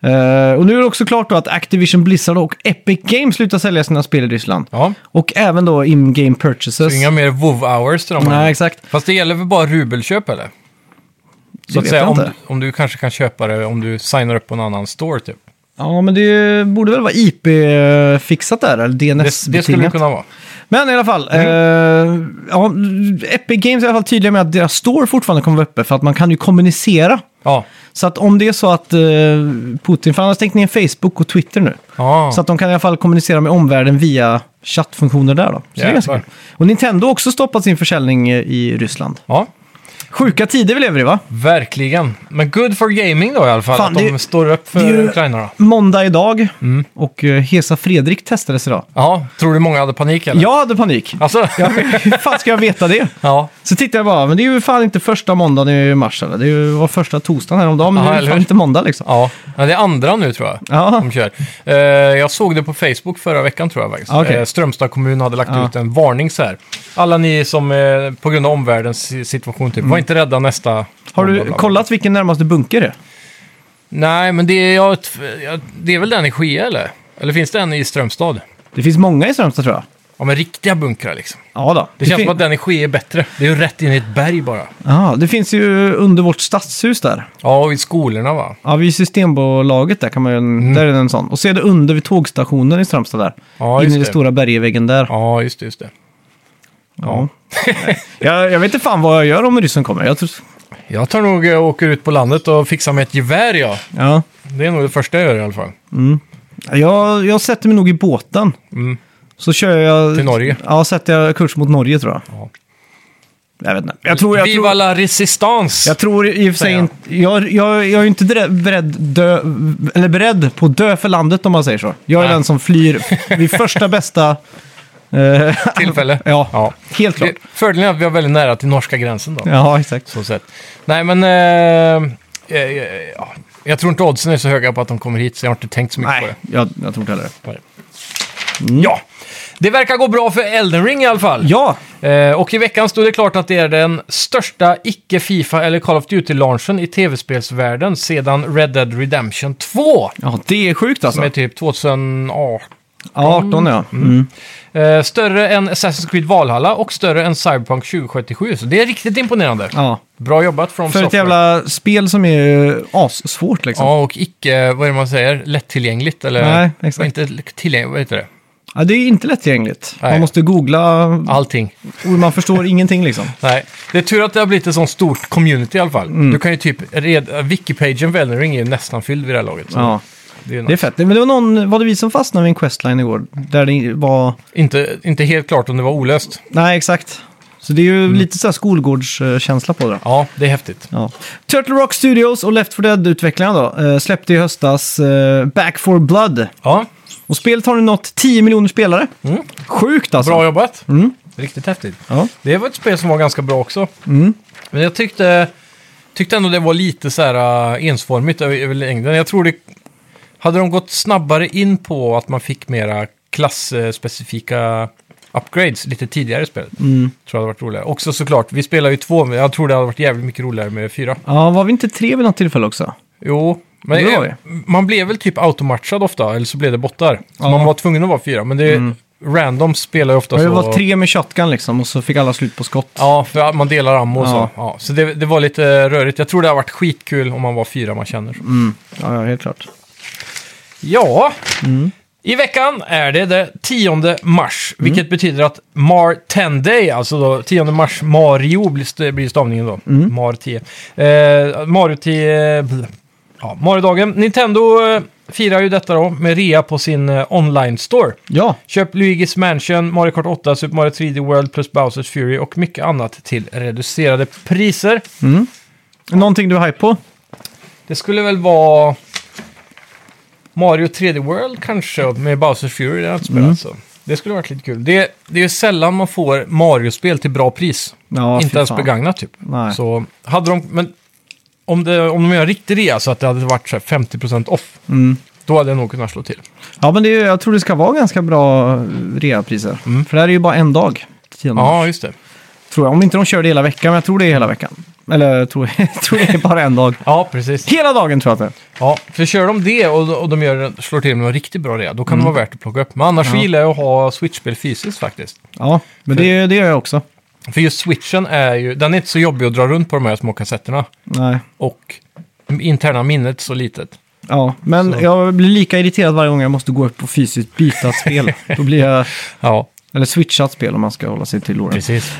Speaker 1: Eh, och nu är det också klart då att Activision Blizzard och Epic Games slutar sälja sina spel i Ryssland.
Speaker 2: Ja,
Speaker 1: Och även då in-game purchases.
Speaker 2: så inga mer WoW hours till dem.
Speaker 1: Nej, exakt.
Speaker 2: Fast det gäller väl bara rubelköp eller?
Speaker 1: Det
Speaker 2: Så att
Speaker 1: vet
Speaker 2: säga,
Speaker 1: jag
Speaker 2: om,
Speaker 1: inte.
Speaker 2: du- om du kanske kan köpa det om du signar upp på en annan store typ.
Speaker 1: Ja, men det borde väl vara IP-fixat där, eller
Speaker 2: Det, det skulle det
Speaker 1: DNS-betingat.
Speaker 2: kunna vara.
Speaker 1: Men i alla fall,
Speaker 2: Mm.
Speaker 1: eh, ja, Epic Games är i alla fall tydliga med att deras store fortfarande kommer vara öppen, för att man kan ju kommunicera.
Speaker 2: Ja.
Speaker 1: Så att om det är så att eh, Putin, för han har stängt ner Facebook och Twitter nu,
Speaker 2: ja.
Speaker 1: så att de kan i alla fall kommunicera med omvärlden via chattfunktioner där då. Så det är ganska
Speaker 2: Jäklar.
Speaker 1: kul. Och Nintendo har också stoppat sin försäljning eh, i Ryssland.
Speaker 2: ja,
Speaker 1: Sjuka tider vi lever i va?
Speaker 2: verkligen. Men good for gaming då i alla fall.
Speaker 1: Fan,
Speaker 2: att de
Speaker 1: det-
Speaker 2: står upp för
Speaker 1: det är ju-
Speaker 2: Ukraina då.
Speaker 1: Måndag idag
Speaker 2: Mm.
Speaker 1: och eh, Hesa Fredrik testades idag.
Speaker 2: Ja, tror du många hade panik eller?
Speaker 1: Jag hade panik.
Speaker 2: Alltså,
Speaker 1: Ja, hur fan ska jag veta det?
Speaker 2: ja.
Speaker 1: Så tittade jag bara, men det är ju fan inte första måndagen i mars eller? Det är ju- var första torsdagen häromdagen, men
Speaker 2: Ja,
Speaker 1: det är ju
Speaker 2: eller
Speaker 1: fan
Speaker 2: hur?
Speaker 1: inte måndag liksom.
Speaker 2: Ja, men det är andra nu tror jag.
Speaker 1: Ja,
Speaker 2: De kör. Eh, jag såg det på Facebook förra veckan tror jag faktiskt.
Speaker 1: Ah, okej.
Speaker 2: Eh, Strömstad kommun hade lagt
Speaker 1: Ja.
Speaker 2: ut en varning så här. Alla ni som eh, på grund av omvärldens si- situation typ, var inte rädda nästa...
Speaker 1: Mm. har
Speaker 2: bla, bla,
Speaker 1: du
Speaker 2: bla.
Speaker 1: kollat vilken närmaste bunker är?
Speaker 2: Nej, men det är, jag, jag, det är väl den i Skia eller? Eller finns det en i Strömstad?
Speaker 1: Det finns många i Strömstad tror jag.
Speaker 2: Ja, men riktiga bunkrar liksom.
Speaker 1: Ja då.
Speaker 2: Det, känns
Speaker 1: fin-
Speaker 2: som att den i Skia är bättre. Det är ju rätt in i ett berg bara.
Speaker 1: Ja, det finns ju under vårt stadshus där.
Speaker 2: Ja, och i skolorna va?
Speaker 1: Ja, vid Systembolaget där kan man ju,
Speaker 2: Mm.
Speaker 1: där är det en sån. Och så är det under vid tågstationen i Strömstad där.
Speaker 2: Ja,
Speaker 1: In
Speaker 2: just
Speaker 1: i den
Speaker 2: det.
Speaker 1: stora bergväggen där.
Speaker 2: Ja, just det, just det.
Speaker 1: Ja. jag, jag vet inte fan vad jag gör om ryssen kommer. Jag tror...
Speaker 2: Jag tar nog eh, och åker ut på landet och fixar mig ett gevär ja.
Speaker 1: Ja.
Speaker 2: Det är nog det första jag gör i alla fall.
Speaker 1: Jag, jag sätter mig nog i båten.
Speaker 2: Mm.
Speaker 1: Så kör jag...
Speaker 2: Till Norge.
Speaker 1: Ja, sätter jag kurs mot Norge tror jag.
Speaker 2: Ja.
Speaker 1: Jag vet inte. Jag tror... Jag
Speaker 2: Viva
Speaker 1: tror...
Speaker 2: la resistance!
Speaker 1: Jag tror i och för sig
Speaker 2: Säger
Speaker 1: inte... Jag, jag, jag är ju inte dre- beredd, dö, eller beredd på att dö för landet om man säger så. Jag är
Speaker 2: Nej.
Speaker 1: den som flyr vid första bästa... eh,
Speaker 2: Tillfälle.
Speaker 1: ja, helt klart.
Speaker 2: Vi- Fördelen är att vi har väldigt nära till norska gränsen då.
Speaker 1: Ja, exakt.
Speaker 2: Så sett. Nej, men... Eh, eh, eh, ja. Jag tror inte oddsen är så höga på att de kommer hit, så jag har inte tänkt så mycket på
Speaker 1: Nej,
Speaker 2: det.
Speaker 1: jag, jag tror inte heller det.
Speaker 2: Ja, det verkar gå bra för Elden Ring i alla fall.
Speaker 1: Ja,
Speaker 2: Eh, och i veckan stod det klart att det är den största icke-Fifa eller Call of Duty-launchen i tv-spelsvärlden sedan Red Dead Redemption 2.
Speaker 1: ja det är sjukt alltså.
Speaker 2: Som är typ 2018.
Speaker 1: Ja, 18 ja. Mm.
Speaker 2: Eh, större än Assassin's Creed Valhalla och större än Cyberpunk 2077. Så det är riktigt imponerande.
Speaker 1: ja.
Speaker 2: Bra jobbat från
Speaker 1: För ett
Speaker 2: Software.
Speaker 1: jävla spel som är assvårt liksom. Ja.
Speaker 2: Ja, och icke, vad är det man säger, lättillgängligt eller?
Speaker 1: Nej, exakt.
Speaker 2: Inte tillgängligt, vad heter det?
Speaker 1: det är inte lättillgängligt. Man
Speaker 2: Nej.
Speaker 1: måste googla
Speaker 2: Allting.
Speaker 1: och man förstår ingenting liksom.
Speaker 2: Nej, det är tur att det har blivit ett sånt stort community i alla fall.
Speaker 1: Mm.
Speaker 2: Du kan ju typ, red, Wikipagen för Elden Ring är ju nästan fylld vid det här laget. Så
Speaker 1: Ja,
Speaker 2: det är
Speaker 1: det är
Speaker 2: nice.
Speaker 1: fett. Men det var någon, var det vi som fastnade vid en questline igår? Där det var...
Speaker 2: inte, inte helt klart om det var olöst.
Speaker 1: Nej, exakt. Så det är ju
Speaker 2: Mm.
Speaker 1: lite så här skolgårdskänsla på det.
Speaker 2: Ja, det är häftigt.
Speaker 1: Ja. Turtle Rock Studios och Left 4 Dead-utvecklarna då eh, släppte i höstas eh, Back 4 Blood.
Speaker 2: Ja,
Speaker 1: Och spelet har nu nått 10 miljoner spelare.
Speaker 2: Mm.
Speaker 1: Sjukt alltså.
Speaker 2: bra jobbat.
Speaker 1: Mm.
Speaker 2: Riktigt häftigt.
Speaker 1: Ja.
Speaker 2: Det var ett spel som var ganska bra också.
Speaker 1: Mm.
Speaker 2: Men jag tyckte, tyckte ändå det var lite så här äh, ensformigt över, över längden. Jag tror det... Hade de gått snabbare in på att man fick mera klassspecifika upgrades lite tidigare i spelet,
Speaker 1: Mm.
Speaker 2: tror jag hade varit roligare. Också såklart, vi spelar ju två, men jag tror det hade varit jävligt mycket roligare med fyra.
Speaker 1: Ja, var vi inte tre vid något tillfälle också?
Speaker 2: Jo, men
Speaker 1: Det var vi.
Speaker 2: man blev väl typ automatchad ofta, eller så blev det bottar. Så
Speaker 1: Ja. Mm.
Speaker 2: man var tvungen att vara fyra, men det... Random spelar ju ofta
Speaker 1: Det
Speaker 2: så.
Speaker 1: var tre med shotgun liksom och så fick alla slut på skott.
Speaker 2: Ja, för man delar ammo och
Speaker 1: Ja.
Speaker 2: så. Ja, så det, det var lite rörigt. Jag tror det har varit skitkul om man var fyra man känner.
Speaker 1: ja, ja helt klart.
Speaker 2: Ja, i veckan är det den 10 mars, vilket betyder att Mar 10 Day, alltså då 10 mars Mario blir st- blir stavningen då. Mar 10. Eh, Mario 10... bl- Ja, Mario-dagen. Nintendo eh, firar ju detta då med rea på sin eh, online-store.
Speaker 1: Ja,
Speaker 2: Köp Luigi's Mansion, Mario Kart 8, Super Mario 3D World plus Bowsers Fury och mycket annat till reducerade priser.
Speaker 1: någonting du är hype på?
Speaker 2: Det skulle väl vara Mario 3D World kanske med Bowsers Fury. Det har jag inte spelat
Speaker 1: Mm.
Speaker 2: så. alltså. Det skulle varit lite kul. Det, det är ju sällan man får Mario-spel till bra pris.
Speaker 1: Ja,
Speaker 2: inte
Speaker 1: fy
Speaker 2: ens
Speaker 1: fan.
Speaker 2: begagnat typ.
Speaker 1: Nej.
Speaker 2: Så hade de... Men om, det, om de gör en riktig rea så att det hade varit så här 50% off. Då hade jag nog kunnat slå till.
Speaker 1: Mm. Ja, men det är, jag tror det ska vara ganska bra eh, reapriser. För det här är ju bara en dag. 10
Speaker 2: Mm. Ja, just det.
Speaker 1: Tror jag. Om inte de kör det hela veckan, men jag tror det är hela veckan. Eller jag tror, jag tror det är bara en dag.
Speaker 2: Ja, precis.
Speaker 1: Hela dagen tror jag att det är.
Speaker 2: Ja, för kör de det och, och de gör, en- slår till med en riktigt bra rea, då kan
Speaker 1: Mm.
Speaker 2: det vara värt att plocka upp. Men annars gillar jag att ha Switch-spel fysiskt faktiskt.
Speaker 1: Ja, men det, det gör jag också.
Speaker 2: För just Switchen är ju, den är inte så jobbig att dra runt på de här små kassetterna.
Speaker 1: Nej.
Speaker 2: Och interna minnet så litet.
Speaker 1: Ja, men
Speaker 2: Så.
Speaker 1: jag blir lika irriterad varje gång jag måste gå upp och fysiskt byta ett spel. Då blir jag...
Speaker 2: Ja,
Speaker 1: Eller switchat spel om man ska hålla sig till Loren.
Speaker 2: precis.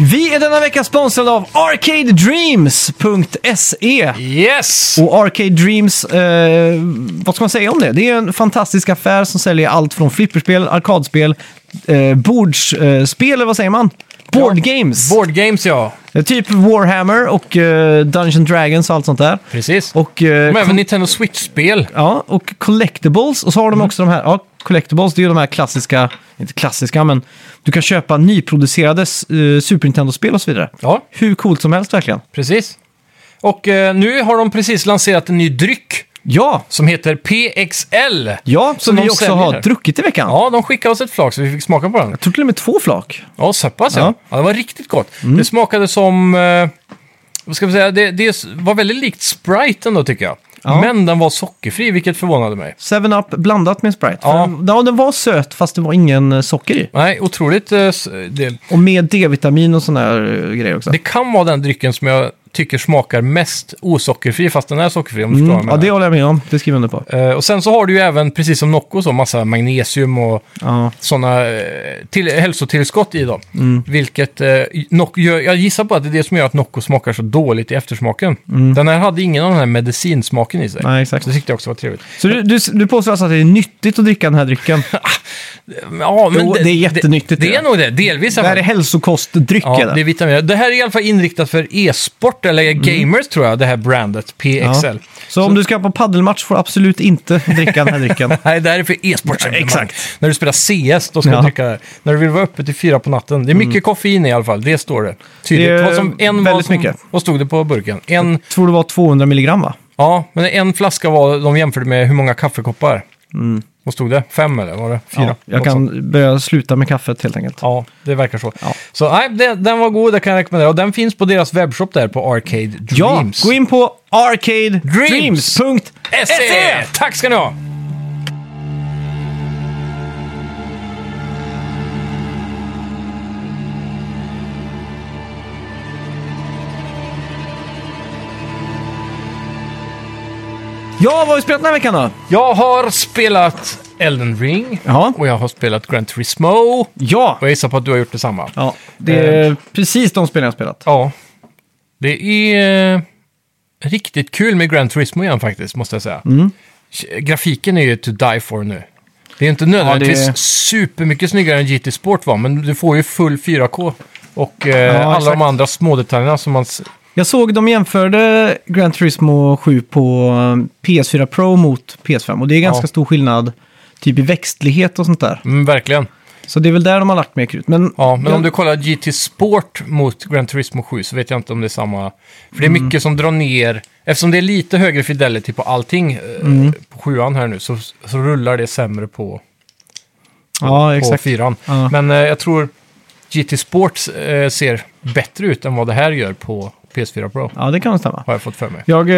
Speaker 1: Vi är denna vecka sponsrade av ArcadeDreams.se.
Speaker 2: Yes!
Speaker 1: Och Arcade Dreams, eh, vad ska man säga om det? Det är en fantastisk affär som säljer allt från flipperspel, arkadspel, eh, bordsspel, eh, spel, eller vad säger man? Board games!
Speaker 2: Board games ja,
Speaker 1: Eh, typ Warhammer och eh, Dungeon Dragons och allt sånt där.
Speaker 2: precis. Och,
Speaker 1: Och, eh,
Speaker 2: Men
Speaker 1: kom-
Speaker 2: även Nintendo Switch-spel.
Speaker 1: ja, och collectibles. Och så
Speaker 2: Mm.
Speaker 1: har de också de här, ja, collectibles, det är ju de här klassiska, inte klassiska, men du kan köpa nyproducerade eh, Super Nintendo-spel och så vidare.
Speaker 2: Ja,
Speaker 1: Hur coolt som helst verkligen.
Speaker 2: precis. Och eh, nu har de precis lanserat en ny dryck
Speaker 1: Ja,
Speaker 2: som heter PXL.
Speaker 1: ja som
Speaker 2: Som de
Speaker 1: vi också
Speaker 2: säljer
Speaker 1: har
Speaker 2: här.
Speaker 1: druckit i veckan.
Speaker 2: Ja, de skickade oss ett flak så vi fick smaka på den.
Speaker 1: Jag tror till och med två flak.
Speaker 2: Ja, så pass
Speaker 1: Ja. Mm.
Speaker 2: ja. ja. Det var riktigt gott. Det smakade som... Eh, vad ska man säga? Det, det s- var väldigt likt Sprite ändå tycker jag.
Speaker 1: Ja.
Speaker 2: Men den var sockerfri, vilket förvånade mig.
Speaker 1: 7-Up blandat med Sprite.
Speaker 2: Ja.
Speaker 1: Ja. ja, den var söt fast det var ingen eh, socker i.
Speaker 2: Nej, otroligt eh, s- del.
Speaker 1: Och med D-vitamin och sådana här eh, grejer också.
Speaker 2: Det kan vara den drycken som jag tycker smakar mest osockerfri, fast den är sockerfri om du förstår
Speaker 1: mm.
Speaker 2: vad
Speaker 1: Ja,
Speaker 2: jag
Speaker 1: det
Speaker 2: menar.
Speaker 1: håller jag med om. Det skriver jag under på.
Speaker 2: Eh, Och sen så har du ju även, precis som Nocco, så massa magnesium och
Speaker 1: Ja.
Speaker 2: sådana eh, till, hälsotillskott i dem.
Speaker 1: Mm.
Speaker 2: Vilket eh, Noc- gör, jag gissar på att det är det som gör att Nocco smakar så dåligt i eftersmaken. Den här hade ingen av den här medicinsmaken i sig.
Speaker 1: Mm. Nej, exakt.
Speaker 2: Så det tyckte jag också var trevligt.
Speaker 1: Så du, du, du påstår alltså att det är nyttigt att dricka den här drycken?
Speaker 2: Ja, men
Speaker 1: Jo, det är jättenyttigt,
Speaker 2: Det, det
Speaker 1: ja.
Speaker 2: är nog det, delvis. i
Speaker 1: det
Speaker 2: alla
Speaker 1: här är
Speaker 2: fall.
Speaker 1: hälsokostdryck. är
Speaker 2: Ja,
Speaker 1: det.
Speaker 2: det, är vitaminer. det här är i alla fall inriktat för e-sport, eller gamers tror jag, det här brandet, PXL.
Speaker 1: Mm. Ja. Så, om du ska på paddelmatch får du absolut inte dricka den här drycken.
Speaker 2: Nej, det här är för e-sport.
Speaker 1: Ja, exakt.
Speaker 2: När du spelar CS, då ska
Speaker 1: Ja. Mm.
Speaker 2: du dricka det här. När du vill vara uppe till fyra på natten. Det är mycket koffein i alla fall, det står det. Tydligt.
Speaker 1: Det är
Speaker 2: Vad som, en vad
Speaker 1: väldigt
Speaker 2: som,
Speaker 1: mycket.
Speaker 2: Vad stod det på burken? En,
Speaker 1: Tror det var 200 milligram va?
Speaker 2: ja, men en flaska var, de jämförde med hur många kaffekoppar. Vad stod det? Fem eller var det? Fyra?
Speaker 1: Mm. Ja, jag
Speaker 2: Något sånt.
Speaker 1: kan börja sluta med kaffet helt enkelt.
Speaker 2: Ja, det verkar så.
Speaker 1: Ja.
Speaker 2: Så nej, det, den var god, det kan jag rekommendera. Och den finns på deras webbshop där på Arcade
Speaker 1: Ja,
Speaker 2: Dreams.
Speaker 1: gå in på arcadedreams.se! E.
Speaker 2: SE! Tack ska ni ha!
Speaker 1: Ja, vad har vi spelat den här veckan då?
Speaker 2: Jag har spelat Elden Ring
Speaker 1: Ja.
Speaker 2: och jag har spelat Gran Turismo.
Speaker 1: Ja!
Speaker 2: Och jag gissar på att du har gjort detsamma.
Speaker 1: Ja, det
Speaker 2: Eh.
Speaker 1: är precis de spelen jag har spelat.
Speaker 2: Ja. Det är eh, riktigt kul med Gran Turismo igen faktiskt, måste jag säga.
Speaker 1: Mm.
Speaker 2: Grafiken är ju to die for nu. Det är inte nödvändigtvis
Speaker 1: Ja, det är-
Speaker 2: supermycket snyggare än GT Sport var, men du får ju full 4K. Och eh, alla
Speaker 1: exakt.
Speaker 2: de andra små detaljerna som man... s-
Speaker 1: Jag såg de jämförde Gran Turismo 7 på eh, PS4 Pro mot PS5 och det är ganska
Speaker 2: Ja.
Speaker 1: stor skillnad typ i växtlighet och sånt där.
Speaker 2: Mm, verkligen.
Speaker 1: Så det är väl där de har lagt mer krut. Men,
Speaker 2: Ja, men
Speaker 1: jag-
Speaker 2: om du kollar GT Sport mot Gran Turismo 7 så vet jag inte om det är samma. För det
Speaker 1: Mm.
Speaker 2: är mycket som drar ner. Eftersom det är lite högre fidelity på allting eh,
Speaker 1: Mm.
Speaker 2: på 7 här nu så, så rullar det sämre på
Speaker 1: ja,
Speaker 2: på
Speaker 1: exakt.
Speaker 2: fyran.
Speaker 1: Ja.
Speaker 2: Men eh, jag tror GT Sports eh, ser bättre ut än vad det här gör på PS4 Pro.
Speaker 1: Ja, det kan nog stämma.
Speaker 2: Har jag fått för mig.
Speaker 1: Jag, eh,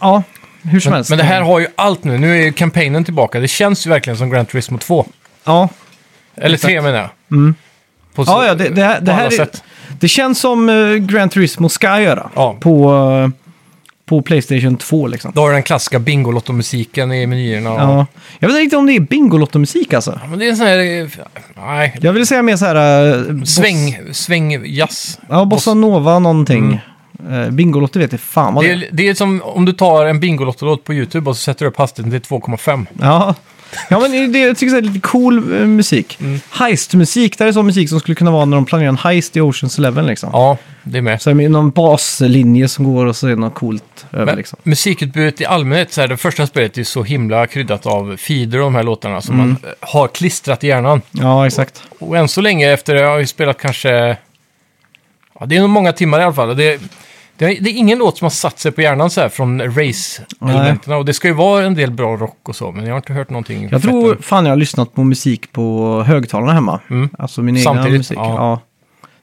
Speaker 1: ja, hur som
Speaker 2: Men,
Speaker 1: helst.
Speaker 2: men det här har ju allt nu. Nu är ju kampanjen tillbaka. Det känns ju verkligen som Gran Turismo 2.
Speaker 1: Ja,
Speaker 2: Eller 3 menar jag. På så-
Speaker 1: Mm. ja, ja det, det, här- det
Speaker 2: på alla
Speaker 1: här är,
Speaker 2: sätt.
Speaker 1: det känns som eh, Gran Turismo ska göra
Speaker 2: Ja.
Speaker 1: på, eh, på Playstation 2 liksom.
Speaker 2: Då har du den klassiska Bingolotto-musiken i menyerna. Och...
Speaker 1: Ja. Jag vet inte om det är Bingolotto-musik alltså.
Speaker 2: Men det är en sån här... eh, Nej.
Speaker 1: Jag vill säga mer så här... eh, boss-
Speaker 2: Sväng, sväng, jazz.
Speaker 1: Ja, bossa nova någonting. Eh, Bingolotto vet jag fan vad
Speaker 2: Mm. Det
Speaker 1: det är.
Speaker 2: är, det är som om du tar en Bingolotto-låt på YouTube och så sätter du upp hastigheten till 2,5.
Speaker 1: Ja. ja, men det- det, jag tycker det är lite cool eh, musik.
Speaker 2: Mm.
Speaker 1: Heist-musik, där är sån musik som skulle kunna vara när de planerar en heist i Oceans Eleven liksom.
Speaker 2: Ja, det är med.
Speaker 1: Så är det någon baslinje som går och så är det något coolt över
Speaker 2: Men
Speaker 1: liksom.
Speaker 2: musikutbudet i allmänhet, så här, det första spelet är så himla kryddat av feeder och de här låtarna
Speaker 1: Mm.
Speaker 2: som man eh, har klistrat i hjärnan.
Speaker 1: Ja, exakt.
Speaker 2: Och än så länge efter, jag har ju spelat kanske... Ja, det är nog många timmar i alla fall. Det, det, är- det är ingen låt som har satt sig på hjärnan så här från race-elementen. Och det ska ju vara en del bra rock och så, men jag har inte hört någonting.
Speaker 1: Jag
Speaker 2: fett
Speaker 1: tror
Speaker 2: än.
Speaker 1: fan jag har lyssnat på musik på högtalarna hemma. Alltså min egna
Speaker 2: Mm. Samtidigt,
Speaker 1: musik.
Speaker 2: ja.
Speaker 1: Ja.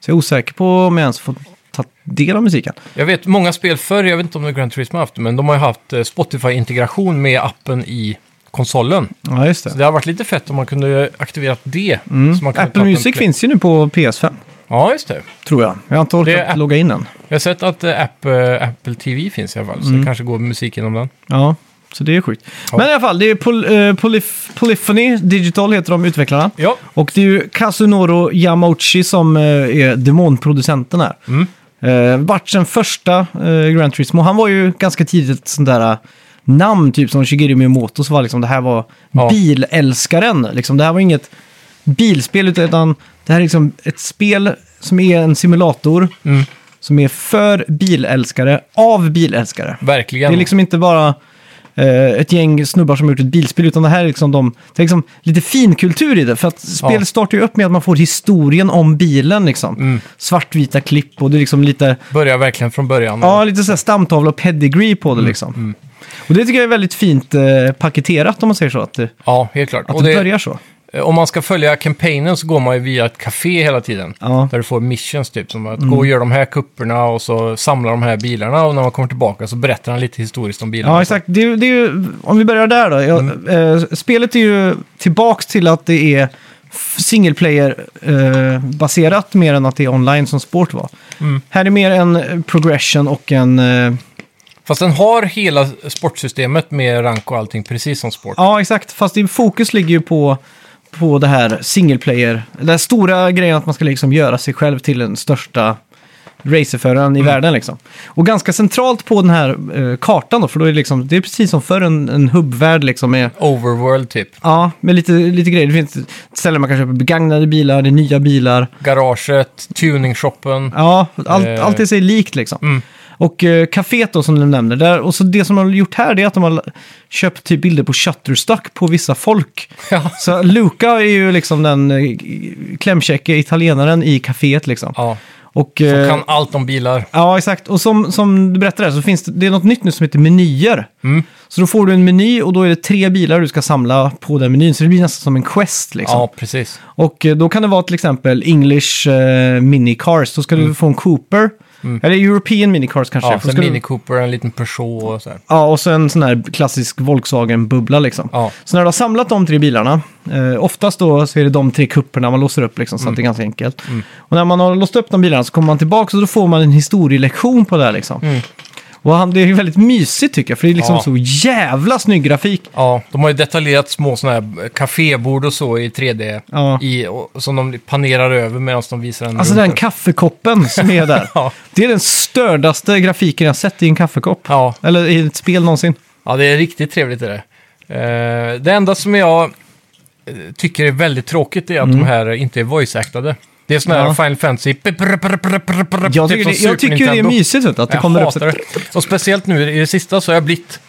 Speaker 1: Så jag är osäker på om jag ens fått ta del av musiken.
Speaker 2: Jag vet många spel förr, jag vet inte om det är Grand Turismo har haft det, men de har ju haft eh, Spotify-integration med appen i konsolen.
Speaker 1: Ja, just det.
Speaker 2: Så det har varit lite fett om man kunde aktiverat det. Så man kunde
Speaker 1: Mm. Apple
Speaker 2: tagit en
Speaker 1: Music
Speaker 2: play-
Speaker 1: finns ju nu på PS5,
Speaker 2: Ja, just det.
Speaker 1: tror jag. Jag har inte
Speaker 2: Det är
Speaker 1: orkat
Speaker 2: app-
Speaker 1: logga in än.
Speaker 2: Jag har sett att eh, app, eh, Apple TV finns i alla fall, så
Speaker 1: Mm.
Speaker 2: det kanske går musik inom den.
Speaker 1: Ja, så det är sjukt. Men i alla fall, det är Pol- eh, Polyf- Polyphony Digital heter de utvecklarna.
Speaker 2: Ja,
Speaker 1: Och det är ju Kazunoro Yamauchi som eh, är demonproducenten här.
Speaker 2: Mm.
Speaker 1: Eh, vart sen första eh, Grand Turismo. Han var ju ganska tidigt ett sånt där eh, namn, typ som Shigeru Miyamoto, så var liksom det här var
Speaker 2: Ja.
Speaker 1: bilälskaren. Liksom, det här var inget bilspel, utan det här är liksom ett spel som är en simulator
Speaker 2: Mm.
Speaker 1: som är för bilälskare, av bilälskare.
Speaker 2: verkligen.
Speaker 1: Det är liksom inte bara eh, ett gäng snubbar som har gjort ett bilspel, utan det här är liksom, de, det är liksom lite finkultur i det. För att spelet
Speaker 2: Ja. Mm.
Speaker 1: startar ju upp med att man får historien om bilen. Liksom. Svartvita klipp och det är liksom lite,
Speaker 2: Börja verkligen från början.
Speaker 1: ja, lite så här stamtavla och pedigree på
Speaker 2: Mm,
Speaker 1: det. Liksom. Och det tycker jag är väldigt fint eh, paketerat om man säger så. Att, det-
Speaker 2: Ja, helt klart.
Speaker 1: att
Speaker 2: Och
Speaker 1: det,
Speaker 2: det-
Speaker 1: börjar så.
Speaker 2: Eh, Om man ska följa kampanjen så går man ju via ett café hela tiden.
Speaker 1: Ja. Mm.
Speaker 2: Där du får missions typ, som att gå och göra de här kupperna och så samla de här bilarna och när man kommer tillbaka så berättar han lite historiskt om bilarna.
Speaker 1: Ja, exakt. Det, är- det är ju, om vi börjar där då. Jag, eh, spelet är ju tillbaks till att det är f- single player-baserat mer än att det är online som sport var. Här är mer en eh, progression och en... Eh,
Speaker 2: Fast den har hela sportsystemet med rank och allting, precis som sport.
Speaker 1: ja, exakt. Fast det- fokus ligger ju på, på det här single player. Den här stora grejen att man ska liksom göra sig själv till den största racerföraren i världen. Liksom. Och ganska centralt på den här eh, kartan då, för då är det, liksom, det är precis som förr en, en hubbvärld liksom med
Speaker 2: Overworld typ.
Speaker 1: Ja, med lite, lite grejer. Det finns ställen man kan köpa begagnade bilar, det är nya bilar.
Speaker 2: Garaget, tuningshoppen.
Speaker 1: Ja, allt,
Speaker 2: Eh.
Speaker 1: allt är sig likt liksom.
Speaker 2: Mm.
Speaker 1: Och eh, kaféet då som du nämnde, där, och så det som de har gjort här det är att de har köpt typ bilder på Shutterstock på vissa folk.
Speaker 2: Ja.
Speaker 1: Så Luca är ju liksom den eh, klämkäcke italienaren i kaféet liksom.
Speaker 2: ja.
Speaker 1: Och,
Speaker 2: Som
Speaker 1: eh,
Speaker 2: kan allt om bilar.
Speaker 1: Ja, exakt. Och som, som du berättade här, så finns det, det är något nytt nu som heter menyer.
Speaker 2: Mm.
Speaker 1: Så då får du en meny och då är det tre bilar du ska samla på den menyn. Så det blir nästan som en quest liksom.
Speaker 2: Ja, precis.
Speaker 1: Och eh, då kan det vara till exempel English eh, Mini Cars. Då ska du få en Cooper. Eller European Mini Cars kanske.
Speaker 2: Mm. Ja,
Speaker 1: Då
Speaker 2: sen
Speaker 1: ska du-
Speaker 2: Mini Cooper, en liten Peugeot och så här.
Speaker 1: ja, och så en sån här klassisk Volkswagen-bubbla liksom.
Speaker 2: Ja.
Speaker 1: Så när du har samlat de tre bilarna, eh, oftast då så är det de tre kupperna man låser upp
Speaker 2: Mm.
Speaker 1: liksom, så att det är ganska enkelt. Och när man har låst upp de bilarna så kommer man tillbaka och då får man en historielektion på det här liksom. Och han, det är ju väldigt mysigt tycker jag, för det är liksom
Speaker 2: Mm. Ja.
Speaker 1: så jävla snygg grafik.
Speaker 2: Ja, de har ju detaljerat små sådana här kafébord och så i 3D.
Speaker 1: Ja.
Speaker 2: I, och, som de panerar över medan de visar en
Speaker 1: Alltså
Speaker 2: runt
Speaker 1: den
Speaker 2: där.
Speaker 1: kaffekoppen som är där.
Speaker 2: Ja.
Speaker 1: Det är den stördaste grafiken jag sett i en kaffekopp.
Speaker 2: Ja,
Speaker 1: Eller i ett spel någonsin.
Speaker 2: ja, det är riktigt trevligt är det. Eh, det enda som jag eh, tycker är väldigt tråkigt är att de här inte är voice-actade. Det är sådana här
Speaker 1: Mm. Ja.
Speaker 2: Final Fantasy... typ
Speaker 1: Jag tycker, det, jag tycker det är mysigt vet du, att det
Speaker 2: Jag
Speaker 1: kommer upp.
Speaker 2: hatar det. Och speciellt nu i det sista så har jag blivit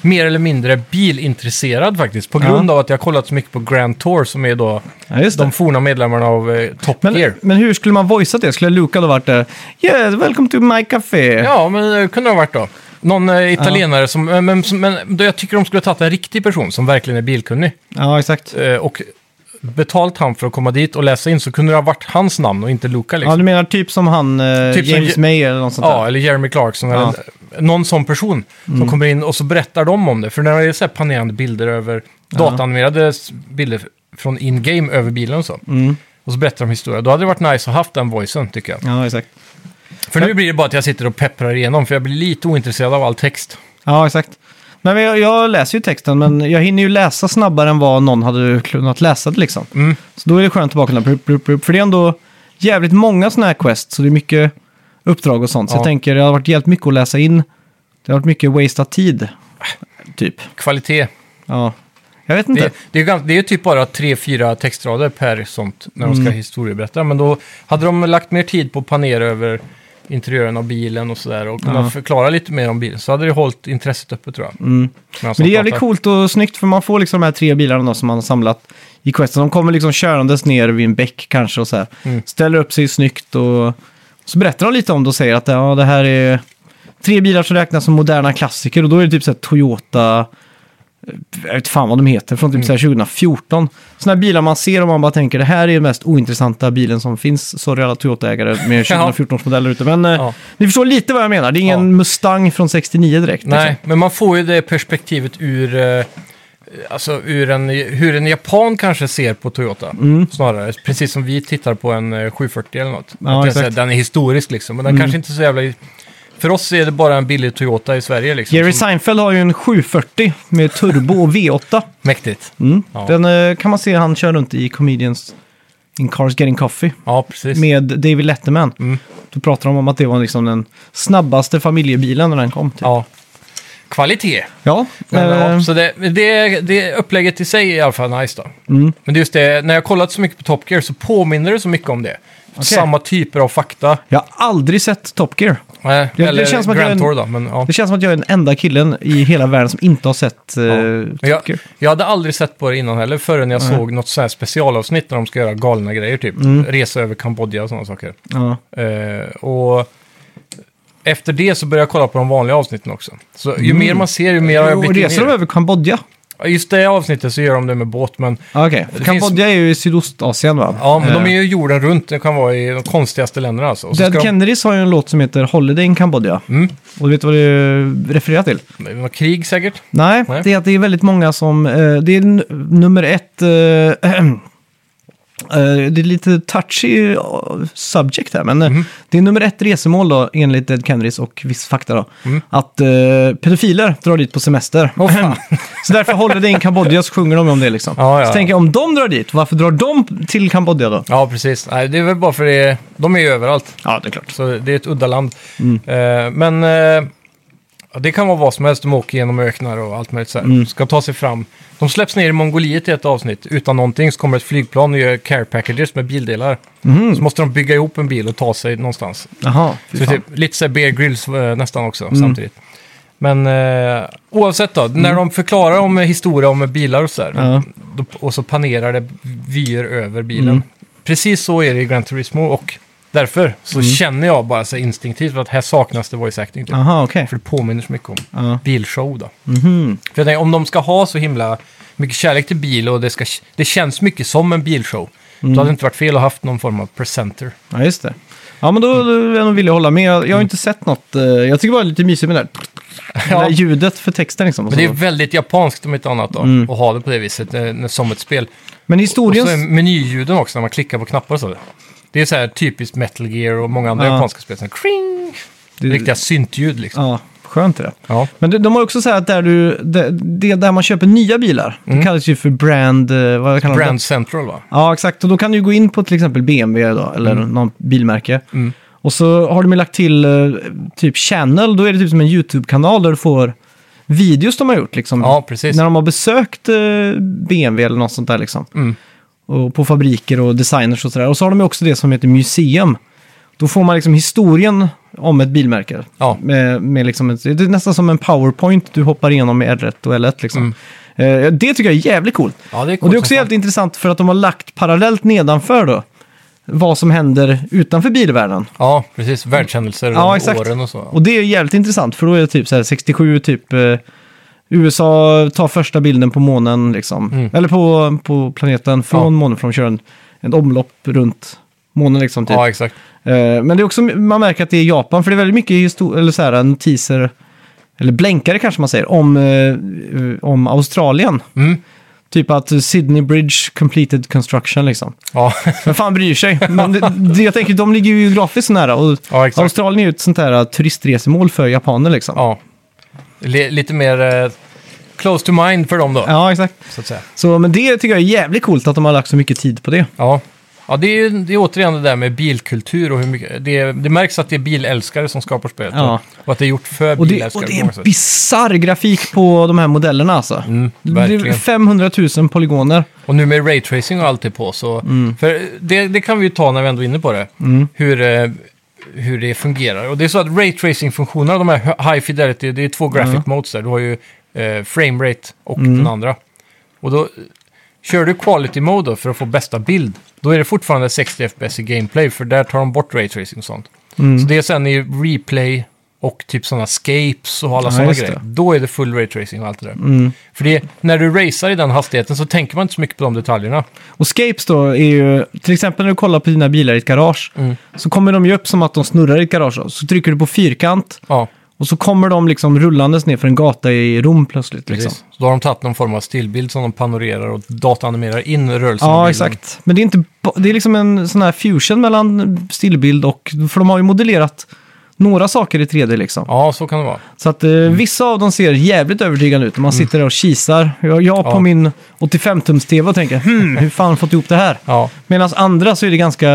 Speaker 2: mer eller mindre bilintresserad faktiskt. På
Speaker 1: Ja.
Speaker 2: grund av att jag har kollat så mycket på Grand Tour som är då
Speaker 1: Ja, just
Speaker 2: de
Speaker 1: det.
Speaker 2: forna medlemmarna av eh, Top
Speaker 1: Men,
Speaker 2: Gear.
Speaker 1: men hur skulle man voicea det? Skulle Luca då varit där? Yeah, welcome to my café.
Speaker 2: Ja, men det kunde det ha varit då. Någon eh, italienare som... Men, men, som- men då jag tycker de skulle ha tagit en riktig person som verkligen är bilkunnig.
Speaker 1: Ja, exakt.
Speaker 2: eh, och betalt han för att komma dit och läsa in så kunde det ha varit hans namn och inte Luca
Speaker 1: Ja,
Speaker 2: liksom.
Speaker 1: du menar typ som han, eh,
Speaker 2: Typ som
Speaker 1: James
Speaker 2: Je-
Speaker 1: May eller något
Speaker 2: Ja,
Speaker 1: sånt där?
Speaker 2: eller Jeremy Clarkson
Speaker 1: Ja. Mm.
Speaker 2: eller någon sån person som kommer in och så berättar de om det. För när det är så här panerande bilder över, dataanimerade s- bilder från in-game över bilen och så.
Speaker 1: Mm.
Speaker 2: Och så berättar de historia. Då hade det varit nice att haft den voicen tycker jag.
Speaker 1: Ja, exakt.
Speaker 2: För nu blir det bara att jag sitter och pepprar igenom, för jag blir lite ointresserad av all text.
Speaker 1: Ja, exakt. Nej, men jag, jag läser ju texten, men jag hinner ju läsa snabbare än vad någon hade kunnat läsa det liksom.
Speaker 2: Mm.
Speaker 1: Så då är det skönt att bara kunna plup, plup, plup. För det är ändå jävligt många sådana här quest, så det är mycket uppdrag och sånt. Så
Speaker 2: Ja.
Speaker 1: jag tänker, det har varit jävligt mycket att läsa in. Det har varit mycket wasted tid, typ.
Speaker 2: Kvalitet.
Speaker 1: Ja. Jag vet inte.
Speaker 2: Det, det, är, ju gans- det är ju typ bara tre, fyra textrader per sånt när de ska
Speaker 1: Mm.
Speaker 2: historieberätta. Men då hade de lagt mer tid på att panera över interiören av bilen och sådär och kunna
Speaker 1: Ja.
Speaker 2: förklara lite mer om bilen. Så hade det hållit intresset uppe tror jag.
Speaker 1: Mm.
Speaker 2: Medan
Speaker 1: Men det
Speaker 2: de
Speaker 1: är jävligt
Speaker 2: pratar.
Speaker 1: coolt och snyggt för man får liksom de här tre bilarna då, som man har samlat i questen. De kommer liksom körandes ner vid en bäck kanske och så här.
Speaker 2: Mm.
Speaker 1: Ställer upp sig snyggt och så berättar de lite om det och säger att ja, det här är tre bilar som räknas som moderna klassiker och då är det typ så här Toyota, eh, jag vet fan vad de heter, från typ
Speaker 2: Mm.
Speaker 1: så här 2014. Sådana här bilar man ser och man bara tänker det här är den mest ointressanta bilen som finns. Sorry alla Toyota-ägare med 2014-modeller ute, men eh,
Speaker 2: Ja.
Speaker 1: ni förstår lite vad jag menar. Det är ingen
Speaker 2: Ja.
Speaker 1: Mustang från 69 direkt.
Speaker 2: Nej,
Speaker 1: liksom.
Speaker 2: men man får ju det perspektivet ur, eh, alltså ur en, hur en japan kanske ser på Toyota.
Speaker 1: Mm.
Speaker 2: Snarare, precis som vi tittar på en eh, 740 eller något.
Speaker 1: Ja,
Speaker 2: Att den,
Speaker 1: exakt. Mm.
Speaker 2: så här, den är historisk liksom, men den kanske inte är så jävla... i- För oss är det bara en billig Toyota i Sverige liksom.
Speaker 1: Jerry
Speaker 2: som-
Speaker 1: Seinfeld har ju en 740 med turbo och V8.
Speaker 2: Mäktigt.
Speaker 1: Mm.
Speaker 2: Ja.
Speaker 1: Den eh, kan man se han kör runt i Comedians in Cars Getting Coffee
Speaker 2: Ja, precis.
Speaker 1: med David Letterman.
Speaker 2: Mm.
Speaker 1: Då pratar de om att det var liksom den snabbaste familjebilen när den kom. Typ.
Speaker 2: Ja. Kvalitet.
Speaker 1: Ja,
Speaker 2: Men,
Speaker 1: eh,
Speaker 2: ja, så det, det, det upplägget i sig är i alla fall nice då.
Speaker 1: Mm.
Speaker 2: Men det är just det, när jag kollat så mycket på Top Gear så påminner det så mycket om det. Samma typer av fakta.
Speaker 1: jag har aldrig sett Top Gear.
Speaker 2: Eh,
Speaker 1: det
Speaker 2: eller
Speaker 1: känns som att jag är en-
Speaker 2: Grand Tour då, men ja.
Speaker 1: Det känns som att jag är den enda killen i hela världen som inte har sett eh,
Speaker 2: Men
Speaker 1: Top
Speaker 2: jag,
Speaker 1: Gear.
Speaker 2: jag hade aldrig sett på det innan heller förrän jag såg något så här specialavsnitt när de ska göra galna grejer, typ
Speaker 1: Mm.
Speaker 2: resa över Kambodja och sådana saker.
Speaker 1: Ja.
Speaker 2: Eh, och efter det så började jag kolla på de vanliga avsnitten också. Så ju mer man ser, ju mer har jag
Speaker 1: och
Speaker 2: blivit
Speaker 1: Mm. reser de över Kambodja?
Speaker 2: Just det avsnittet så gör de det med båt, men
Speaker 1: Ah, Okej, För
Speaker 2: Det
Speaker 1: Kambodja
Speaker 2: finns-
Speaker 1: är ju i Sydostasien va?
Speaker 2: Ja, men de
Speaker 1: Eh,
Speaker 2: är ju jorden runt. Det kan vara i de konstigaste länderna alltså. Och så
Speaker 1: Dead
Speaker 2: ska de,
Speaker 1: Kennedys har ju en låt som heter Holiday in Kambodja.
Speaker 2: Mm.
Speaker 1: Och du vet vad det refererar till?
Speaker 2: det var krig säkert.
Speaker 1: Nej,
Speaker 2: Nej.
Speaker 1: det är att det är väldigt många som... eh, det är n- nummer ett... eh, eh, det är lite touchy eh, subject här, men eh,
Speaker 2: Mhm.
Speaker 1: det är nummer ett resemål då, enligt Dead Kennedys och viss fakta då.
Speaker 2: Mm.
Speaker 1: Att eh, pedofiler drar dit på semester. så därför håller det in Kambodja så sjunger de om det liksom.
Speaker 2: Ja, ja,
Speaker 1: så
Speaker 2: ja.
Speaker 1: tänker jag, om de drar dit, varför drar de till Kambodja då?
Speaker 2: Ja, precis. Nej, det är väl bara för det, de är ju överallt.
Speaker 1: Ja, det är klart.
Speaker 2: Så det är ett udda land. Eh, men eh, ja, det kan vara vad som helst. De åker genom öknar och allt möjligt så här. Ska ta sig fram. De släpps ner i Mongoliet i ett avsnitt. Utan någonting så kommer ett flygplan och gör care packages med bildelar. Så måste de bygga ihop en bil och ta sig någonstans.
Speaker 1: Jaha, fy
Speaker 2: Så det är
Speaker 1: fan. Mm.
Speaker 2: typ, lite så här Bear Grylls eh, nästan också samtidigt. Men eh, oavsett då, när de förklarar om eh, historia om bilar och sådär.
Speaker 1: Ja. Mm.
Speaker 2: då- Och så panerar det vyer över bilen. Precis så är det i Gran Turismo och därför så
Speaker 1: Mm.
Speaker 2: känner jag bara så här instinktivt att här saknas det voice acting. Typ.
Speaker 1: Jaha, okej.
Speaker 2: För det påminner så mycket om
Speaker 1: Ja. Mm. mhm.
Speaker 2: bilshow då. För jag tänker, om de ska ha så himla mycket kärlek till bil och det, ska, det känns mycket som en bilshow.
Speaker 1: Mm.
Speaker 2: Då hade det inte varit fel att haft någon form av presenter.
Speaker 1: Ja, just det. Ja, men då då är jag nog villig att hålla med. Jag,
Speaker 2: Mm.
Speaker 1: jag har inte sett något. eh, Jag tycker bara det är lite mysigt med det där, det där ljudet för texten. Liksom, och
Speaker 2: Men det är
Speaker 1: så. Mm.
Speaker 2: väldigt japanskt om inte annat då, att ha det på det viset eh, när- som ett spel.
Speaker 1: men
Speaker 2: Och
Speaker 1: historien...
Speaker 2: så är menyljuden också när man klickar på knappar och så. Det är så här typiskt Metal Gear och många andra
Speaker 1: Ja.
Speaker 2: japanska spel. Som kring,
Speaker 1: det-
Speaker 2: riktiga syntljud liksom.
Speaker 1: Ja, skönt det.
Speaker 2: Ja.
Speaker 1: Men de, de har också så här att där, du, det, det där man köper nya bilar,
Speaker 2: Mm.
Speaker 1: det kallas ju för brand... eh, Vad kallar man
Speaker 2: Brand
Speaker 1: det?
Speaker 2: Central va?
Speaker 1: Ja, exakt. Och då kan du gå in på till exempel BMW då, eller
Speaker 2: Mm.
Speaker 1: någon bilmärke. Och så har de ju lagt till eh, typ channel, då är det typ som en YouTube-kanal där du får videos de har gjort. Liksom,
Speaker 2: Ja, precis.
Speaker 1: När de har besökt eh, BMW eller något sånt där liksom.
Speaker 2: Mm.
Speaker 1: Och på fabriker och designers och sådär. Och så har de ju också det som heter museum. Då får man liksom historien om ett bilmärke.
Speaker 2: Ja.
Speaker 1: Med, med liksom ett, det är nästan som en powerpoint du hoppar igenom med R1 och L1 liksom. Eh, det tycker jag är jävligt coolt.
Speaker 2: Ja, Mm. det är coolt
Speaker 1: och det är
Speaker 2: som
Speaker 1: också
Speaker 2: fan.
Speaker 1: jävligt intressant för att de har lagt parallellt nedanför då vad som händer utanför bilvärlden.
Speaker 2: Ja, precis. Världshändelser och
Speaker 1: Ja, exakt.
Speaker 2: åren och så.
Speaker 1: Och det är jävligt intressant, för då är det typ så här 67, typ eh, USA tar första bilden på månen, liksom. Eller på, på planeten från
Speaker 2: Mm. Ja.
Speaker 1: månen, för de kör en, en omlopp runt månen, liksom. Typ.
Speaker 2: Ja, exakt.
Speaker 1: Eh, men det är också, man märker att det är Japan, för det är väldigt mycket histor- eller så här, en teaser eller blänkare kanske man säger, om, eh, om Australien.
Speaker 2: Mm.
Speaker 1: Typ att Sydney Bridge completed construction liksom.
Speaker 2: Ja,
Speaker 1: Men fan bryr sig? Men det, det, jag tänker, de ligger ju geografiskt nära. Och
Speaker 2: ja exakt.
Speaker 1: Australien är ju ett sånt där turistresemål för japaner liksom.
Speaker 2: Ja. Li- lite mer eh, close to mind för dem då,
Speaker 1: Ja, exakt.
Speaker 2: så att säga.
Speaker 1: Så, men det tycker jag är jävligt coolt att de har lagt så mycket tid på det.
Speaker 2: Ja. Ja, det är ju det är återigen det där med bilkultur och hur mycket... Det, det märks att det är bilälskare som skapar spelet.
Speaker 1: Ja.
Speaker 2: Och, och att det är gjort för
Speaker 1: Och det, och
Speaker 2: bilälskare
Speaker 1: det är
Speaker 2: på många
Speaker 1: en
Speaker 2: sätt.
Speaker 1: bisarr grafik på de här modellerna alltså.
Speaker 2: Mm,
Speaker 1: det är
Speaker 2: verkligen.
Speaker 1: 500 000 polygoner.
Speaker 2: Och nu med raytracing och allt det på så...
Speaker 1: Mm.
Speaker 2: För det, det kan vi ju ta när vi ändå är inne på det. Hur, eh, hur det fungerar. Och det är så att raytracing-funktionerna, de här high fidelity, det är två graphic
Speaker 1: Mm.
Speaker 2: modes där. Du har ju eh, frame rate och den andra. Och då eh, kör du quality mode då för att få bästa bild. Då är det fortfarande 60 FPS i gameplay, för där tar de bort raytracing och sånt.
Speaker 1: Mm.
Speaker 2: Så det är sen i replay och typ sådana scapes och alla
Speaker 1: Ja,
Speaker 2: sådana
Speaker 1: just
Speaker 2: grejer.
Speaker 1: det. Mm.
Speaker 2: Då är det full raytracing och allt det där. För det, när du racear i den hastigheten så tänker man inte så mycket på de detaljerna.
Speaker 1: Och scapes då är ju, till exempel när du kollar på dina bilar i ett garage,
Speaker 2: Mm.
Speaker 1: så kommer de ju upp som att de snurrar i ett garage. Så trycker du på fyrkant
Speaker 2: Ja,
Speaker 1: och så kommer de liksom rullandes ner för en gata i Rom plötsligt.
Speaker 2: precis.
Speaker 1: Liksom.
Speaker 2: Så då har de tagit någon form av stillbild som de panorerar och datanimerar in rörelsen. i
Speaker 1: Ja,
Speaker 2: bilden.
Speaker 1: exakt. Men det är, inte, ba- det är liksom en sån här fusion mellan stillbild och... För de har ju modellerat några saker i 3D liksom.
Speaker 2: Ja, Mm. så kan det vara.
Speaker 1: Så att eh, vissa av dem ser jävligt övertygande ut. Man sitter där och kisar. Jag, jag på
Speaker 2: Mm. Ja.
Speaker 1: min 85-tums-tv och tänker hmm, hur fan fått ihop det här?
Speaker 2: Ja,
Speaker 1: Medan andra så är det ganska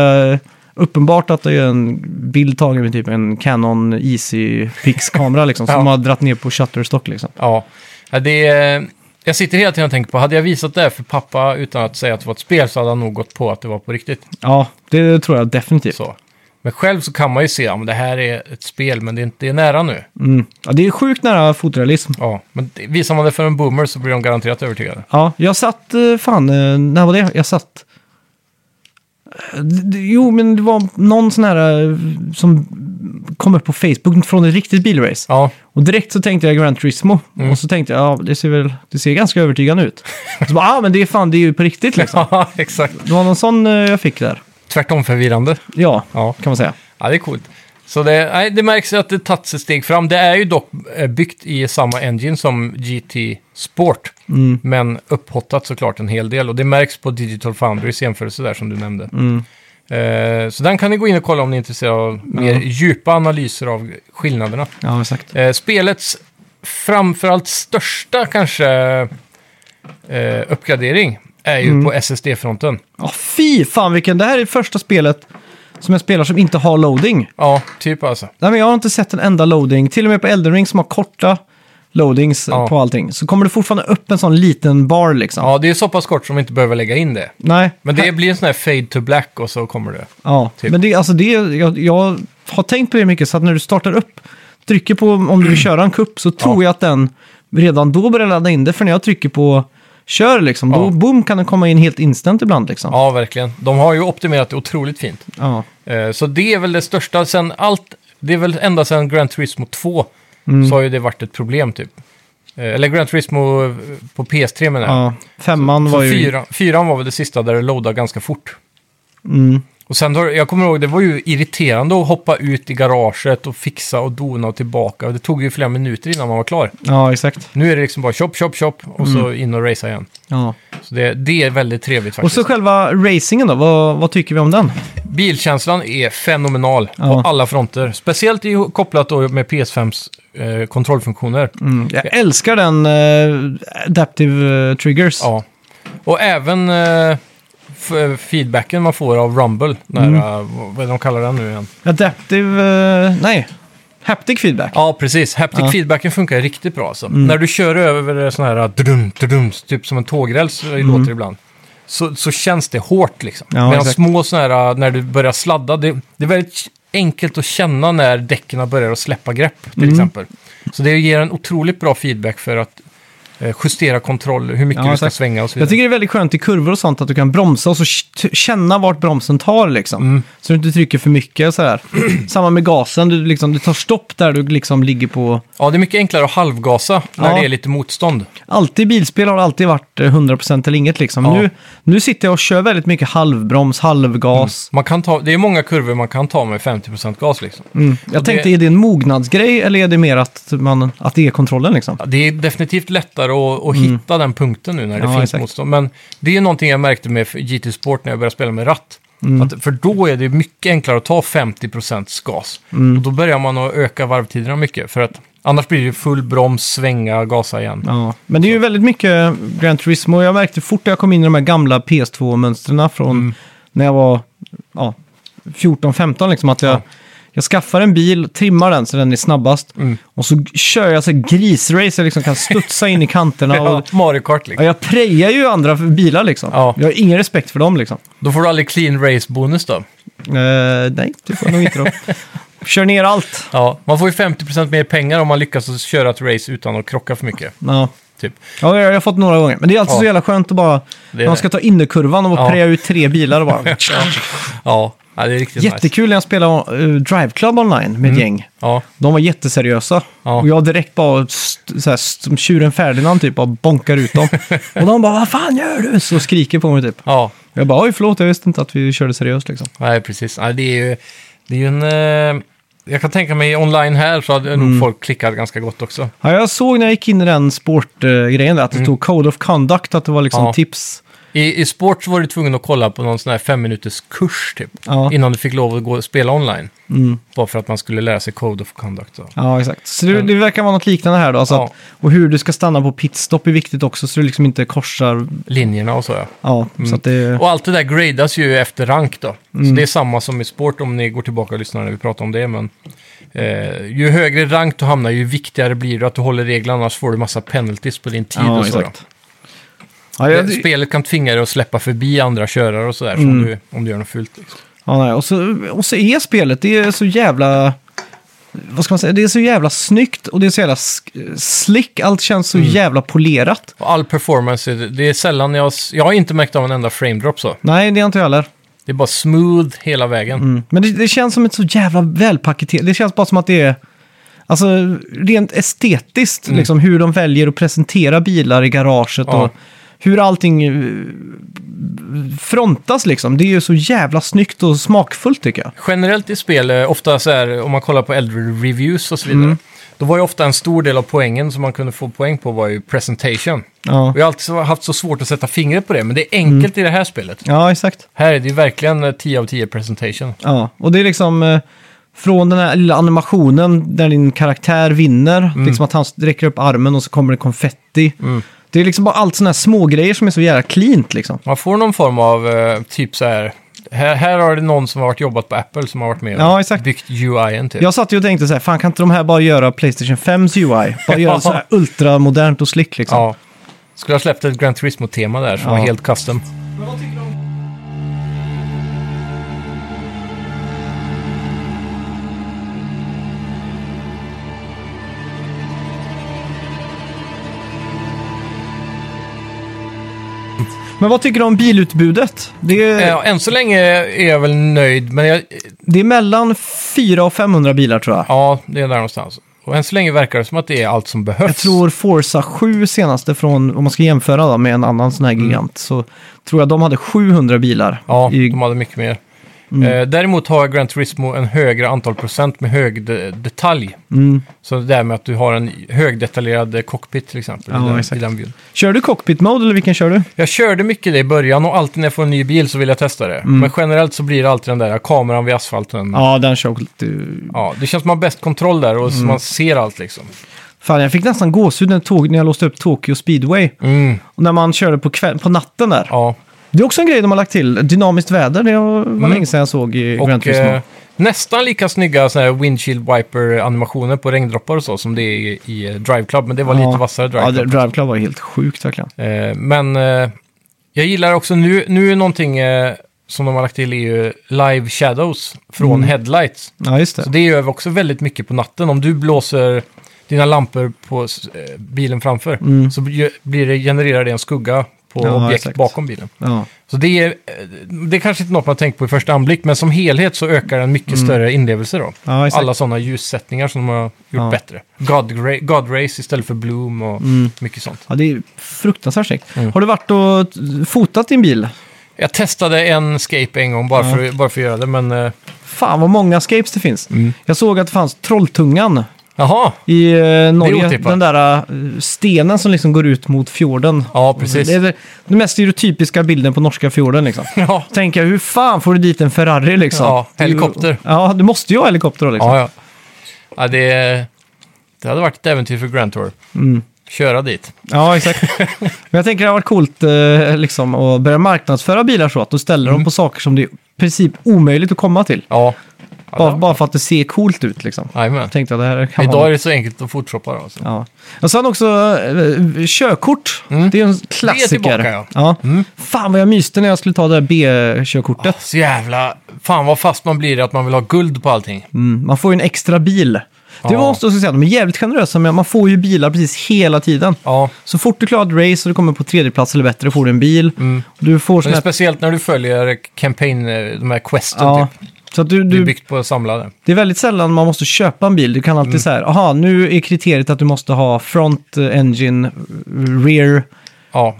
Speaker 1: uppenbart att det är en bild tagen med typ en Canon Easy-Pix-kamera liksom. Som
Speaker 2: Ja.
Speaker 1: har dratt ner på Shutterstock liksom.
Speaker 2: ja. ja det är, jag sitter hela tiden och tänker på, hade jag visat det här för pappa utan att säga att det var ett spel så hade han nog gått på att det var på riktigt.
Speaker 1: Ja, det tror jag definitivt.
Speaker 2: Så. Men själv så kan man ju se, ja men det här är ett spel men det är, inte, det är nära nu.
Speaker 1: Mm. Ja, det är sjukt nära fotorealism.
Speaker 2: Ja, men det, visar man det för en boomer så blir de garanterat övertygade.
Speaker 1: Ja, jag satt, eh, fan, eh, när var det? Jag satt... Eh, d- d- Jo, men det var någon sån här eh, som kom upp på Facebook från ett riktigt bilrace.
Speaker 2: Ja,
Speaker 1: Och direkt så tänkte jag Gran Turismo. Och så tänkte jag, ja, det ser väl, det ser ganska övertygande ut. Och så bara, ah, men det är fan, det är ju på riktigt liksom.
Speaker 2: ja exakt.
Speaker 1: Det var någon sån eh, jag fick där.
Speaker 2: Tvärtom förvirrande.
Speaker 1: Ja,
Speaker 2: Ja.
Speaker 1: kan man säga.
Speaker 2: Ja, det är coolt. Så det, nej, det märks ju att det tagits ett steg fram. Det är ju dock eh, byggt i samma engine som GT Sport, men upphottat såklart en hel del. Och det märks på Digital Foundries jämförelse där som du nämnde. Eh, så den kan ni gå in och kolla om ni är intresserade av mer djupa analyser av skillnaderna.
Speaker 1: Ja, exakt.
Speaker 2: Eh, spelets framförallt största kanske eh, uppgradering är ju på SSD-fronten.
Speaker 1: Ja, fy fan vilken, det här är första spelet som jag spelar som inte har loading.
Speaker 2: Ja, typ alltså.
Speaker 1: Nej, men jag har inte sett en enda loading. Till och med på Elden Ring som har korta loadings
Speaker 2: Ja.
Speaker 1: på allting. Så kommer det fortfarande upp en sån liten bar liksom.
Speaker 2: Ja, det är så pass kort som vi inte behöver lägga in det.
Speaker 1: Nej,
Speaker 2: Men det blir en sån här fade to black och så kommer det.
Speaker 1: ja.
Speaker 2: typ.
Speaker 1: men det, alltså det, jag, jag har tänkt på det mycket så att när du startar upp, trycker på om du vill köra en kupp så tror jag att den redan då börjar ladda in det. För när jag trycker på kör liksom,
Speaker 2: Ja.
Speaker 1: då boom kan den komma in helt instant ibland liksom.
Speaker 2: Ja, verkligen. De har ju optimerat det otroligt fint.
Speaker 1: Ja.
Speaker 2: Eh, Så det är väl det största. Sen allt, det är väl ända sedan Gran Turismo 2
Speaker 1: Mm.
Speaker 2: så har ju det varit ett problem typ. Eh, Eller Gran Turismo eh, på PS3 menar jag.
Speaker 1: ja. Femman
Speaker 2: Så
Speaker 1: var ju...
Speaker 2: fyra, fyran var väl det sista där det loadade ganska fort.
Speaker 1: Mm.
Speaker 2: Och sen, då, jag kommer ihåg, det var ju irriterande att hoppa ut i garaget och fixa och dona och tillbaka. Det tog ju flera minuter innan man var klar.
Speaker 1: Ja, exakt.
Speaker 2: Nu är det liksom bara chop, chop, chop och så in och racea igen.
Speaker 1: Ja.
Speaker 2: Så det, det är väldigt trevligt faktiskt.
Speaker 1: Mm. Och så själva racingen då, vad, vad tycker vi om den?
Speaker 2: Bilkänslan är fenomenal
Speaker 1: Ja.
Speaker 2: på alla fronter. Speciellt i, kopplat då med PS5s eh, kontrollfunktioner.
Speaker 1: Mm, Jag älskar den eh, Adaptive eh, Triggers.
Speaker 2: Ja. Och även eh, f- feedbacken man får av Rumble. När, eh, vad är det de kallar den nu igen?
Speaker 1: Adaptive... eh, nej. Haptic feedback.
Speaker 2: Ja, precis. Haptic
Speaker 1: Ja. Mm.
Speaker 2: feedbacken funkar riktigt bra alltså. När du kör över sån här äh, drum, drum, typ som en tågräls eh, låter det ibland. Så, så känns det hårt liksom.
Speaker 1: Mm. Ja,
Speaker 2: Medan
Speaker 1: exakt.
Speaker 2: små såna här, äh, när du börjar sladda, det, det är väldigt enkelt att känna när
Speaker 1: Mm.
Speaker 2: däcken börjar att släppa grepp till exempel. Så det ger en otroligt bra feedback för att eh, justera kontroll, hur mycket
Speaker 1: Ja,
Speaker 2: du ska
Speaker 1: exakt.
Speaker 2: svänga och så
Speaker 1: Jag
Speaker 2: vidare.
Speaker 1: tycker det är väldigt skönt i kurvor och sånt att du kan bromsa och så t- känna vart bromsen tar liksom.
Speaker 2: Mm.
Speaker 1: Så du inte trycker för mycket och sådär. Samma med gasen, du, liksom, du tar stopp där du liksom ligger på...
Speaker 2: Ja, det är mycket enklare att halvgasa när
Speaker 1: Ja.
Speaker 2: det är lite motstånd.
Speaker 1: Alltid bilspel har alltid varit eh, 100% eller inget liksom.
Speaker 2: Ja.
Speaker 1: Nu, nu sitter jag och kör väldigt mycket halvbroms, halvgas.
Speaker 2: Man kan ta, det är många kurvor man kan ta med 50% gas liksom.
Speaker 1: Mm. Jag
Speaker 2: Och
Speaker 1: tänkte,
Speaker 2: det-
Speaker 1: är det en mognadsgrej eller är det mer att, man, att det är kontrollen liksom?
Speaker 2: Ja, Det är definitivt lättare att, att hitta den punkten nu när det
Speaker 1: Mm. Ja,
Speaker 2: finns
Speaker 1: exakt.
Speaker 2: motstånd. Men det är någonting jag märkte med GT Sport när jag började spela med ratt.
Speaker 1: Mm.
Speaker 2: Att, för då är det mycket enklare att ta 50% gas.
Speaker 1: Mm.
Speaker 2: Och då börjar man att öka varvtiderna mycket. För att annars blir det full broms, svänga, gasa igen.
Speaker 1: Ja, men det är ju väldigt mycket Gran Turismo. Jag märkte fort när jag kom in i de här gamla PS2-mönstren från
Speaker 2: Mm.
Speaker 1: när jag var ja, 14-15, liksom, att jag,
Speaker 2: Ja.
Speaker 1: jag skaffar en bil, trimmar den så den är snabbast
Speaker 2: Mm.
Speaker 1: och så kör jag så här grisrace, jag liksom kan studsa in i kanterna.
Speaker 2: Ja,
Speaker 1: Och,
Speaker 2: Mario Kart
Speaker 1: ja,
Speaker 2: liksom.
Speaker 1: jag prejar ju andra för bilar liksom.
Speaker 2: Ja.
Speaker 1: Jag har ingen respekt för dem liksom.
Speaker 2: Då får du aldrig clean race-bonus då.
Speaker 1: Eh, nej, det får jag nog inte då. Kör ner allt.
Speaker 2: Ja, man får ju 50% mer pengar om man lyckas att köra ett race utan att krocka för mycket.
Speaker 1: Ja.
Speaker 2: Typ.
Speaker 1: Ja, jag jag har fått några gånger. Men det är alltid
Speaker 2: Ja.
Speaker 1: så jävla skönt att bara... När man ska ta innerkurvan och
Speaker 2: Ja.
Speaker 1: preja ut tre bilar och bara...
Speaker 2: Ja, ja det är riktigt nice.
Speaker 1: Jättekul när jag spelade eh, Drive Club online med ett gäng.
Speaker 2: Ja,
Speaker 1: De var jätteseriösa.
Speaker 2: Ja.
Speaker 1: Och jag direkt bara, st- såhär, st- som tjuren Ferdinand typ, bara bonkar ut dem. och de bara, vad fan gör du? Så skriker på mig typ.
Speaker 2: ja.
Speaker 1: Jag bara, oj förlåt, jag visste inte att vi körde seriöst liksom.
Speaker 2: Nej, precis. Nej, det är ju, det är ju en... Eh, jag kan tänka mig online här så hade nog folk klickat ganska gott också.
Speaker 1: Ja, jag såg när jag gick in i den sportgrejen där att det stod Code of Conduct, att det var liksom
Speaker 2: Mm. Ja.
Speaker 1: tips.
Speaker 2: I, I sport så var du tvungen att kolla på någon sån här fem minuters kurs typ.
Speaker 1: Ja.
Speaker 2: Innan du fick lov att gå och spela online. Bara för att man skulle lära sig Code of Conduct. Så.
Speaker 1: Ja, exakt. Så det, det verkar vara något liknande här då. Alltså
Speaker 2: Ja.
Speaker 1: att, och hur du ska stanna på pitstop är viktigt också, så du liksom inte korsar.
Speaker 2: Linjerna och så ja.
Speaker 1: Ja, så att det...
Speaker 2: Mm. Och allt det där gradas ju efter rank då. Så det är samma som i sport om ni går tillbaka och lyssnar när vi pratar om det. Men eh, ju högre rank du hamnar ju viktigare blir det att du håller reglerna annars får du massa penalties på din tid och så. då.
Speaker 1: Ja, jag,
Speaker 2: Det- Spelet kan tvinga dig att släppa förbi andra körare och sådär,
Speaker 1: Mm.
Speaker 2: om, du, om du gör något fult. Liksom.
Speaker 1: Ja, nej. Och, så, och så är spelet, det är så jävla... Vad ska man säga? Det är så jävla snyggt och det är så jävla sk- slick. Allt känns så jävla polerat.
Speaker 2: Och all performance, är det, det är sällan jag... s- Jag har inte märkt av en enda frame drop så.
Speaker 1: Nej, det är inte jag heller.
Speaker 2: Det är bara smooth hela vägen.
Speaker 1: Mm. Men det, det känns som ett så jävla välpaketerat... Det känns bara som att det är... Alltså, rent estetiskt, liksom hur de väljer att presentera bilar i garaget
Speaker 2: Ja.
Speaker 1: och hur allting eh, frontas liksom. Det är ju så jävla snyggt och smakfullt tycker jag.
Speaker 2: Generellt i spel, eh, ofta så här, om man kollar på äldre reviews och så
Speaker 1: Mm.
Speaker 2: vidare, då var ju ofta en stor del av poängen som man kunde få poäng på var ju presentation.
Speaker 1: Ja,
Speaker 2: Och jag har alltid så- haft så svårt att sätta fingret på det, men det är enkelt
Speaker 1: Mm.
Speaker 2: i det här spelet.
Speaker 1: ja exakt.
Speaker 2: Här är det ju verkligen eh, 10 av 10 presentation.
Speaker 1: Ja, och det är liksom eh, från den här lilla animationen där din karaktär vinner, liksom att han räcker upp armen och så kommer det konfetti. Det är liksom bara allt sådana här små grejer som är så jävla cleant liksom.
Speaker 2: Man får någon form av eh, typ så här, här, här har det någon som har varit jobbat på Apple som har varit med och
Speaker 1: Ja, exakt.
Speaker 2: byggt UI'n typ.
Speaker 1: Jag satt ju och tänkte så här, fan kan inte de här bara göra Playstation 5s UI? Bara göra så här ultramodernt och slick liksom.
Speaker 2: Ja. Skulle ha släppt ett Gran Turismo-tema där som
Speaker 1: Ja.
Speaker 2: var helt custom.
Speaker 1: Men vad tycker du om bilutbudet? Det är,
Speaker 2: Ja, Eh, än så länge är jag väl nöjd, men jag,
Speaker 1: det är mellan 400 och 500 bilar tror jag.
Speaker 2: ja, det är där någonstans. Och än så länge verkar det som att det är allt som behövs.
Speaker 1: Jag tror Forza 7 senaste från, om man ska jämföra då, med en annan sån här gigant, så tror jag de hade 700 bilar.
Speaker 2: Ja,
Speaker 1: i, Mm.
Speaker 2: de hade mycket mer. Eh, däremot har Gran Turismo en högre antal procent med hög de- detalj.
Speaker 1: mm.
Speaker 2: Så det där med att du har en högdetaljerad eh, cockpit till exempel.
Speaker 1: Ja,
Speaker 2: i den,
Speaker 1: exakt.
Speaker 2: i den bilen.
Speaker 1: Kör du cockpit mode eller vilken kör du?
Speaker 2: Jag körde mycket det i början och alltid när jag får en ny bil så vill jag testa det. Men generellt så blir det alltid den där kameran vid asfalten. Ja.
Speaker 1: Mm. Ja, den kör jag lite...
Speaker 2: det känns som man har bäst kontroll där
Speaker 1: Mm.
Speaker 2: och så man ser allt liksom.
Speaker 1: Fan, jag fick nästan gåshud när, tåg, när jag låste upp Tokyo Speedway.
Speaker 2: Mm.
Speaker 1: Och när man körde på, kväll, på natten där.
Speaker 2: Ja.
Speaker 1: Det är också en grej de har lagt till. Dynamiskt väder, det var länge sedan jag såg i Gran
Speaker 2: Mm. Och
Speaker 1: Turismo.
Speaker 2: eh, nästan lika snygga såna här windshield wiper-animationer på regndroppar och så som det är i, i eh, Drive Club. Men det var lite vassare Drive
Speaker 1: Ja,
Speaker 2: Club.
Speaker 1: det- Drive Club var helt sjukt verkligen.
Speaker 2: Eh, men eh, jag gillar också nu, nu är någonting eh, som de har lagt till är ju live
Speaker 1: Mm.
Speaker 2: shadows från headlights.
Speaker 1: Ja, just
Speaker 2: Så
Speaker 1: det.
Speaker 2: det gör vi också väldigt mycket på natten. Om du blåser dina lampor på eh, bilen framför så blir blir det, genererar det en skugga på
Speaker 1: Mm. Ja,
Speaker 2: objekt
Speaker 1: exakt.
Speaker 2: bakom bilen.
Speaker 1: Ja.
Speaker 2: Så det är, eh, det är kanske inte något man tänker på i första anblick, men som helhet så ökar den mycket större inlevelse då.
Speaker 1: Ja, Mm. exakt.
Speaker 2: Alla sådana ljussättningar som de har gjort
Speaker 1: Ja. Mm.
Speaker 2: bättre. God, Ra- God Race istället för Bloom och mycket sånt.
Speaker 1: ja, det är fruktansvärt snyggt.
Speaker 2: Mm.
Speaker 1: Har du varit och t- fotat din bil?
Speaker 2: Jag testade en Scape en gång bara, för, bara för att göra det, men... eh,
Speaker 1: Fan vad många escapes det finns.
Speaker 2: Mm.
Speaker 1: Jag såg att det fanns Trolltungan
Speaker 2: Jaha!
Speaker 1: i eh, Norge.
Speaker 2: otippat.
Speaker 1: Den där eh, stenen som liksom går ut mot fjorden.
Speaker 2: Ja, precis.
Speaker 1: Det är väl den mest stereotypiska bilden på norska fjorden liksom.
Speaker 2: Ja,
Speaker 1: Tänker jag, hur fan får du dit en Ferrari liksom?
Speaker 2: Ja,
Speaker 1: Det är ju-
Speaker 2: helikopter.
Speaker 1: Ja, du måste ju ha helikopter då liksom.
Speaker 2: ja. ja. ja det, det hade varit ett äventyr för Grand Tour.
Speaker 1: Mm.
Speaker 2: Köra dit.
Speaker 1: Ja, exakt. Men jag tänker det har varit coolt eh, liksom, att börja marknadsföra bilar så att du ställer
Speaker 2: Mm.
Speaker 1: dem på saker som det är i princip omöjligt att komma till.
Speaker 2: Ja.
Speaker 1: Bara, bara för att det ser coolt ut liksom.
Speaker 2: Jajamän.
Speaker 1: Jag tänkte att det här kan
Speaker 2: Idag
Speaker 1: vara...
Speaker 2: är det så enkelt att fotshoppa då. alltså. Så.
Speaker 1: Ja. Och sen också eh, körkort. Det är ju en klassiker.
Speaker 2: Mm. tillbaka, ja. Mm.
Speaker 1: Fan vad jag myste när jag skulle ta det där B-körkortet.
Speaker 2: Så jävla... Fan vad fast man blir i att man vill ha guld på allting.
Speaker 1: Mm, man får ju en extra bil. Det
Speaker 2: Ja.
Speaker 1: var också, så att säga, de är jävligt generösa, men man får ju bilar precis hela tiden.
Speaker 2: Ja.
Speaker 1: Så fort du klarar ett race och du kommer på tredje plats eller bättre får du en bil.
Speaker 2: Mm.
Speaker 1: Du får
Speaker 2: Men
Speaker 1: sån här...
Speaker 2: speciellt när du följer campaign, eh, de här questen
Speaker 1: Ja.
Speaker 2: typ.
Speaker 1: Så att du,
Speaker 2: Det är
Speaker 1: du,
Speaker 2: byggt på att samla det.
Speaker 1: det är väldigt sällan man måste köpa en bil. Du kan
Speaker 2: Mm.
Speaker 1: alltid säga, aha, nu är kriteriet att du måste ha front eh, engine, eh, rear,
Speaker 2: Ja,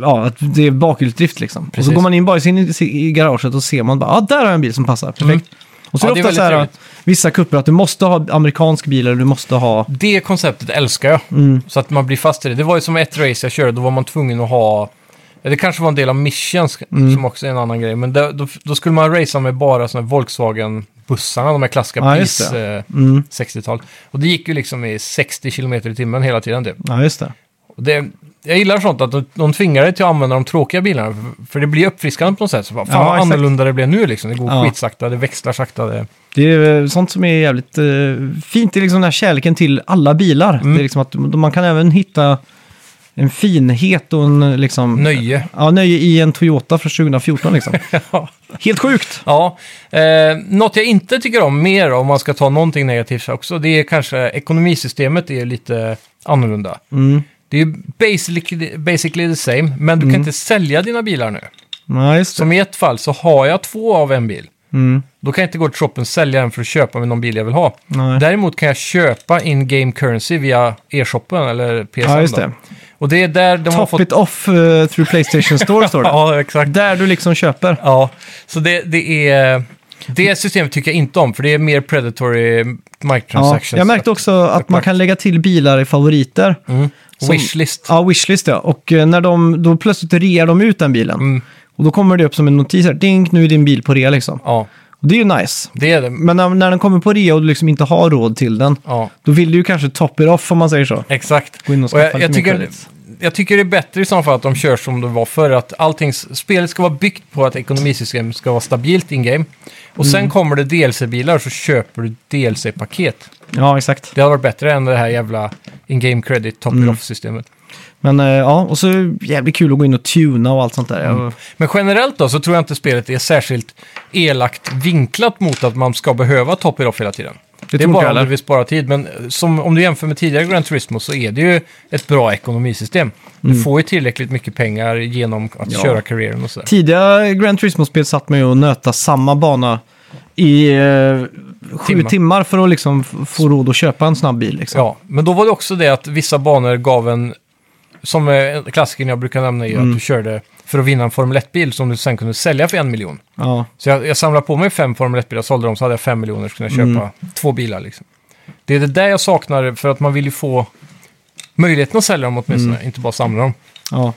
Speaker 1: ja, att det är bakhjulsdrift liksom. Och så
Speaker 2: Precis.
Speaker 1: går man in bara i, sin, i garaget och ser man bara, ah, där har jag en bil som passar, perfekt. Och så
Speaker 2: Mm. Ja,
Speaker 1: är det
Speaker 2: det är
Speaker 1: ofta så här,
Speaker 2: väldigt
Speaker 1: vissa kupper att du måste ha amerikansk bil eller du måste ha,
Speaker 2: det konceptet älskar jag.
Speaker 1: Mm.
Speaker 2: Så att man blir fast i det. Det var ju som ett race jag körde, då var man tvungen att ha... ja, Det kanske var en del av missions,
Speaker 1: Mm.
Speaker 2: som också är en annan grej. Men där, då, då skulle man racea med bara såna här Volkswagen-bussarna, de här klassiska
Speaker 1: Ja, just
Speaker 2: PIS eh,
Speaker 1: Mm.
Speaker 2: 60-tal. Och det gick ju liksom i 60 km i timmen hela tiden typ.
Speaker 1: ja just det.
Speaker 2: Och det, jag gillar sånt att de, de tvingar dig till att använda de tråkiga bilarna. för- För det blir uppfriskande på något sätt. Så bara, fan
Speaker 1: Ja,
Speaker 2: vad
Speaker 1: exakt.
Speaker 2: annorlunda det blev nu liksom. Det går
Speaker 1: Ja.
Speaker 2: skitsakta, det växlar sakta. Det...
Speaker 1: Det är eh, sånt som är jävligt eh, fint, det är liksom den här kärleken till alla bilar.
Speaker 2: Mm.
Speaker 1: Det är liksom att man kan även hitta en finhet och en eh, liksom...
Speaker 2: Nöje.
Speaker 1: Ja, nöje i en Toyota från 2014 liksom. Helt sjukt!
Speaker 2: Ja, eh, något jag inte tycker om mer om man ska ta någonting negativt också, det är kanske ekonomisystemet är lite annorlunda.
Speaker 1: Mm.
Speaker 2: Det är ju basically, basically the same, men du kan inte sälja dina bilar nu.
Speaker 1: Ja, just det.
Speaker 2: Som i ett fall så har jag två av en bil.
Speaker 1: Mm.
Speaker 2: Då kan jag inte gå till shoppen och sälja den för att köpa med någon bil jag vill ha.
Speaker 1: Nej.
Speaker 2: Däremot kan jag köpa in-game currency via e-shoppen eller PSN.
Speaker 1: Ja, just
Speaker 2: då.
Speaker 1: det.
Speaker 2: Och det är där de har
Speaker 1: Top
Speaker 2: fått...
Speaker 1: it off eh, through Playstation Store står det.
Speaker 2: Ja, exakt.
Speaker 1: Där du liksom köper.
Speaker 2: Ja, så det, det är... Det systemet tycker jag inte om, för det är mer predatory
Speaker 1: Ja,
Speaker 2: microtransactions.
Speaker 1: jag märkte också att man kan lägga till bilar i favoriter.
Speaker 2: Mm.
Speaker 1: Som-
Speaker 2: Wishlist.
Speaker 1: Ja, wishlist ja. Och eh, när de, då plötsligt rear de ut den bilen.
Speaker 2: Mm.
Speaker 1: Och då kommer det upp som en notis här. Dink, nu är din bil på rea liksom.
Speaker 2: Ja,
Speaker 1: Och det är ju nice.
Speaker 2: det är det.
Speaker 1: Men när, när den kommer på rea och du liksom inte har råd till den,
Speaker 2: Ja,
Speaker 1: då vill du ju kanske top it off om man säger så.
Speaker 2: exakt.
Speaker 1: Gå in och
Speaker 2: Och
Speaker 1: skaffa
Speaker 2: jag,
Speaker 1: lite
Speaker 2: jag,
Speaker 1: mer
Speaker 2: tycker,
Speaker 1: credits.
Speaker 2: jag tycker det är bättre i så fall att de kör som det var förr, att allting, spelet ska vara byggt på att ekonomisystemet ska vara stabilt in-game. Och
Speaker 1: Mm.
Speaker 2: sen kommer det DLC-bilar så köper du DLC-paket.
Speaker 1: Ja, exakt.
Speaker 2: Det hade varit bättre än det här jävla in-game credit top off systemet
Speaker 1: Men eh, ja, och så jävligt kul att gå in och tuna och allt sånt där. Jag-
Speaker 2: Men generellt då så tror jag inte spelet är särskilt elakt vinklat mot att man ska behöva top it off hela tiden. Det,
Speaker 1: tror
Speaker 2: är
Speaker 1: inte jag
Speaker 2: bara om
Speaker 1: heller.
Speaker 2: du vill spara tid, men eh, som, om du jämför med tidigare Gran Turismo så är det ju ett bra ekonomisystem. Du får ju tillräckligt mycket pengar genom att
Speaker 1: Mm. Ja.
Speaker 2: köra karriären och sådär.
Speaker 1: Tidiga Grand Turismo-spel satt man ju och nöta samma bana i eh, sju
Speaker 2: Timmar.
Speaker 1: timmar. för att liksom f- få råd att köpa en snabb bil. Liksom.
Speaker 2: Ja, men då var det också det att vissa banor gav en, som eh, klassikern jag brukar nämna är
Speaker 1: Mm.
Speaker 2: att du körde för att vinna en Formel 1-bil som du sen kunde sälja för en miljon.
Speaker 1: Ja.
Speaker 2: Så jag, jag samlade på mig fem Formel 1-bilar, sålde dem, så hade jag fem miljoner så kunde jag köpa
Speaker 1: Mm.
Speaker 2: två bilar. Liksom. Det är det där jag saknar, för att man vill ju få möjligheten att sälja dem åtminstone,
Speaker 1: Mm.
Speaker 2: inte bara samla dem.
Speaker 1: ja.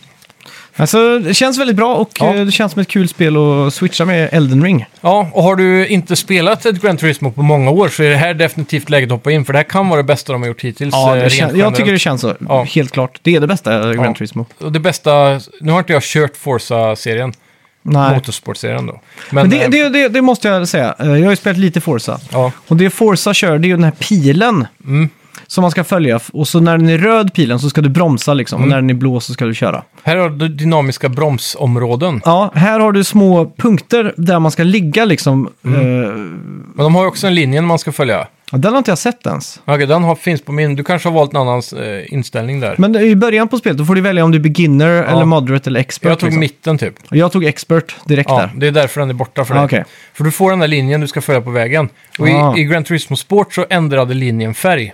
Speaker 1: Alltså, det känns väldigt bra och
Speaker 2: Ja.
Speaker 1: eh, det känns som ett kul spel att switcha med Elden Ring.
Speaker 2: Ja, och har du inte spelat ett Gran Turismo på många år så är det här definitivt läget att hoppa in, för det här kan vara det bästa de har gjort hittills. eh,
Speaker 1: det
Speaker 2: rent
Speaker 1: kän- jag
Speaker 2: generellt.
Speaker 1: tycker det känns så,
Speaker 2: Ja.
Speaker 1: helt klart. Det är det bästa eh, Gran
Speaker 2: Ja.
Speaker 1: Turismo.
Speaker 2: Och det bästa, nu har inte jag kört Forza-serien,
Speaker 1: Nej.
Speaker 2: Motorsport-serien då.
Speaker 1: Men det,
Speaker 2: eh,
Speaker 1: det, det, det måste jag säga. Eh, Jag har ju spelat lite Forza.
Speaker 2: Ja,
Speaker 1: Och det Forza kör, det är ju den här pilen
Speaker 2: Mm.
Speaker 1: som man ska följa. Och så när den är röd pilen så ska du bromsa liksom.
Speaker 2: Mm.
Speaker 1: Och när den är blå så ska du köra.
Speaker 2: här har du dynamiska bromsområden.
Speaker 1: Ja, här har du
Speaker 2: Mm.
Speaker 1: små punkter där man ska ligga liksom. eh,
Speaker 2: Men de har ju också en linje man ska följa.
Speaker 1: Ja, den har inte jag sett ens.
Speaker 2: Okej, den har, finns på min. Du kanske har valt en annans eh, inställning där.
Speaker 1: Men i början på spelet, då får du välja om du är beginner eller moderate eller expert.
Speaker 2: jag tog
Speaker 1: liksom.
Speaker 2: mitten typ.
Speaker 1: jag tog expert direkt
Speaker 2: Ja,
Speaker 1: där.
Speaker 2: det är därför den är borta för
Speaker 1: Ah,
Speaker 2: dig.
Speaker 1: okej.
Speaker 2: För du får den där linjen du ska följa på vägen. Och
Speaker 1: Ah. Mm.
Speaker 2: i, i Gran Turismo Sport så ändrade linjen färg.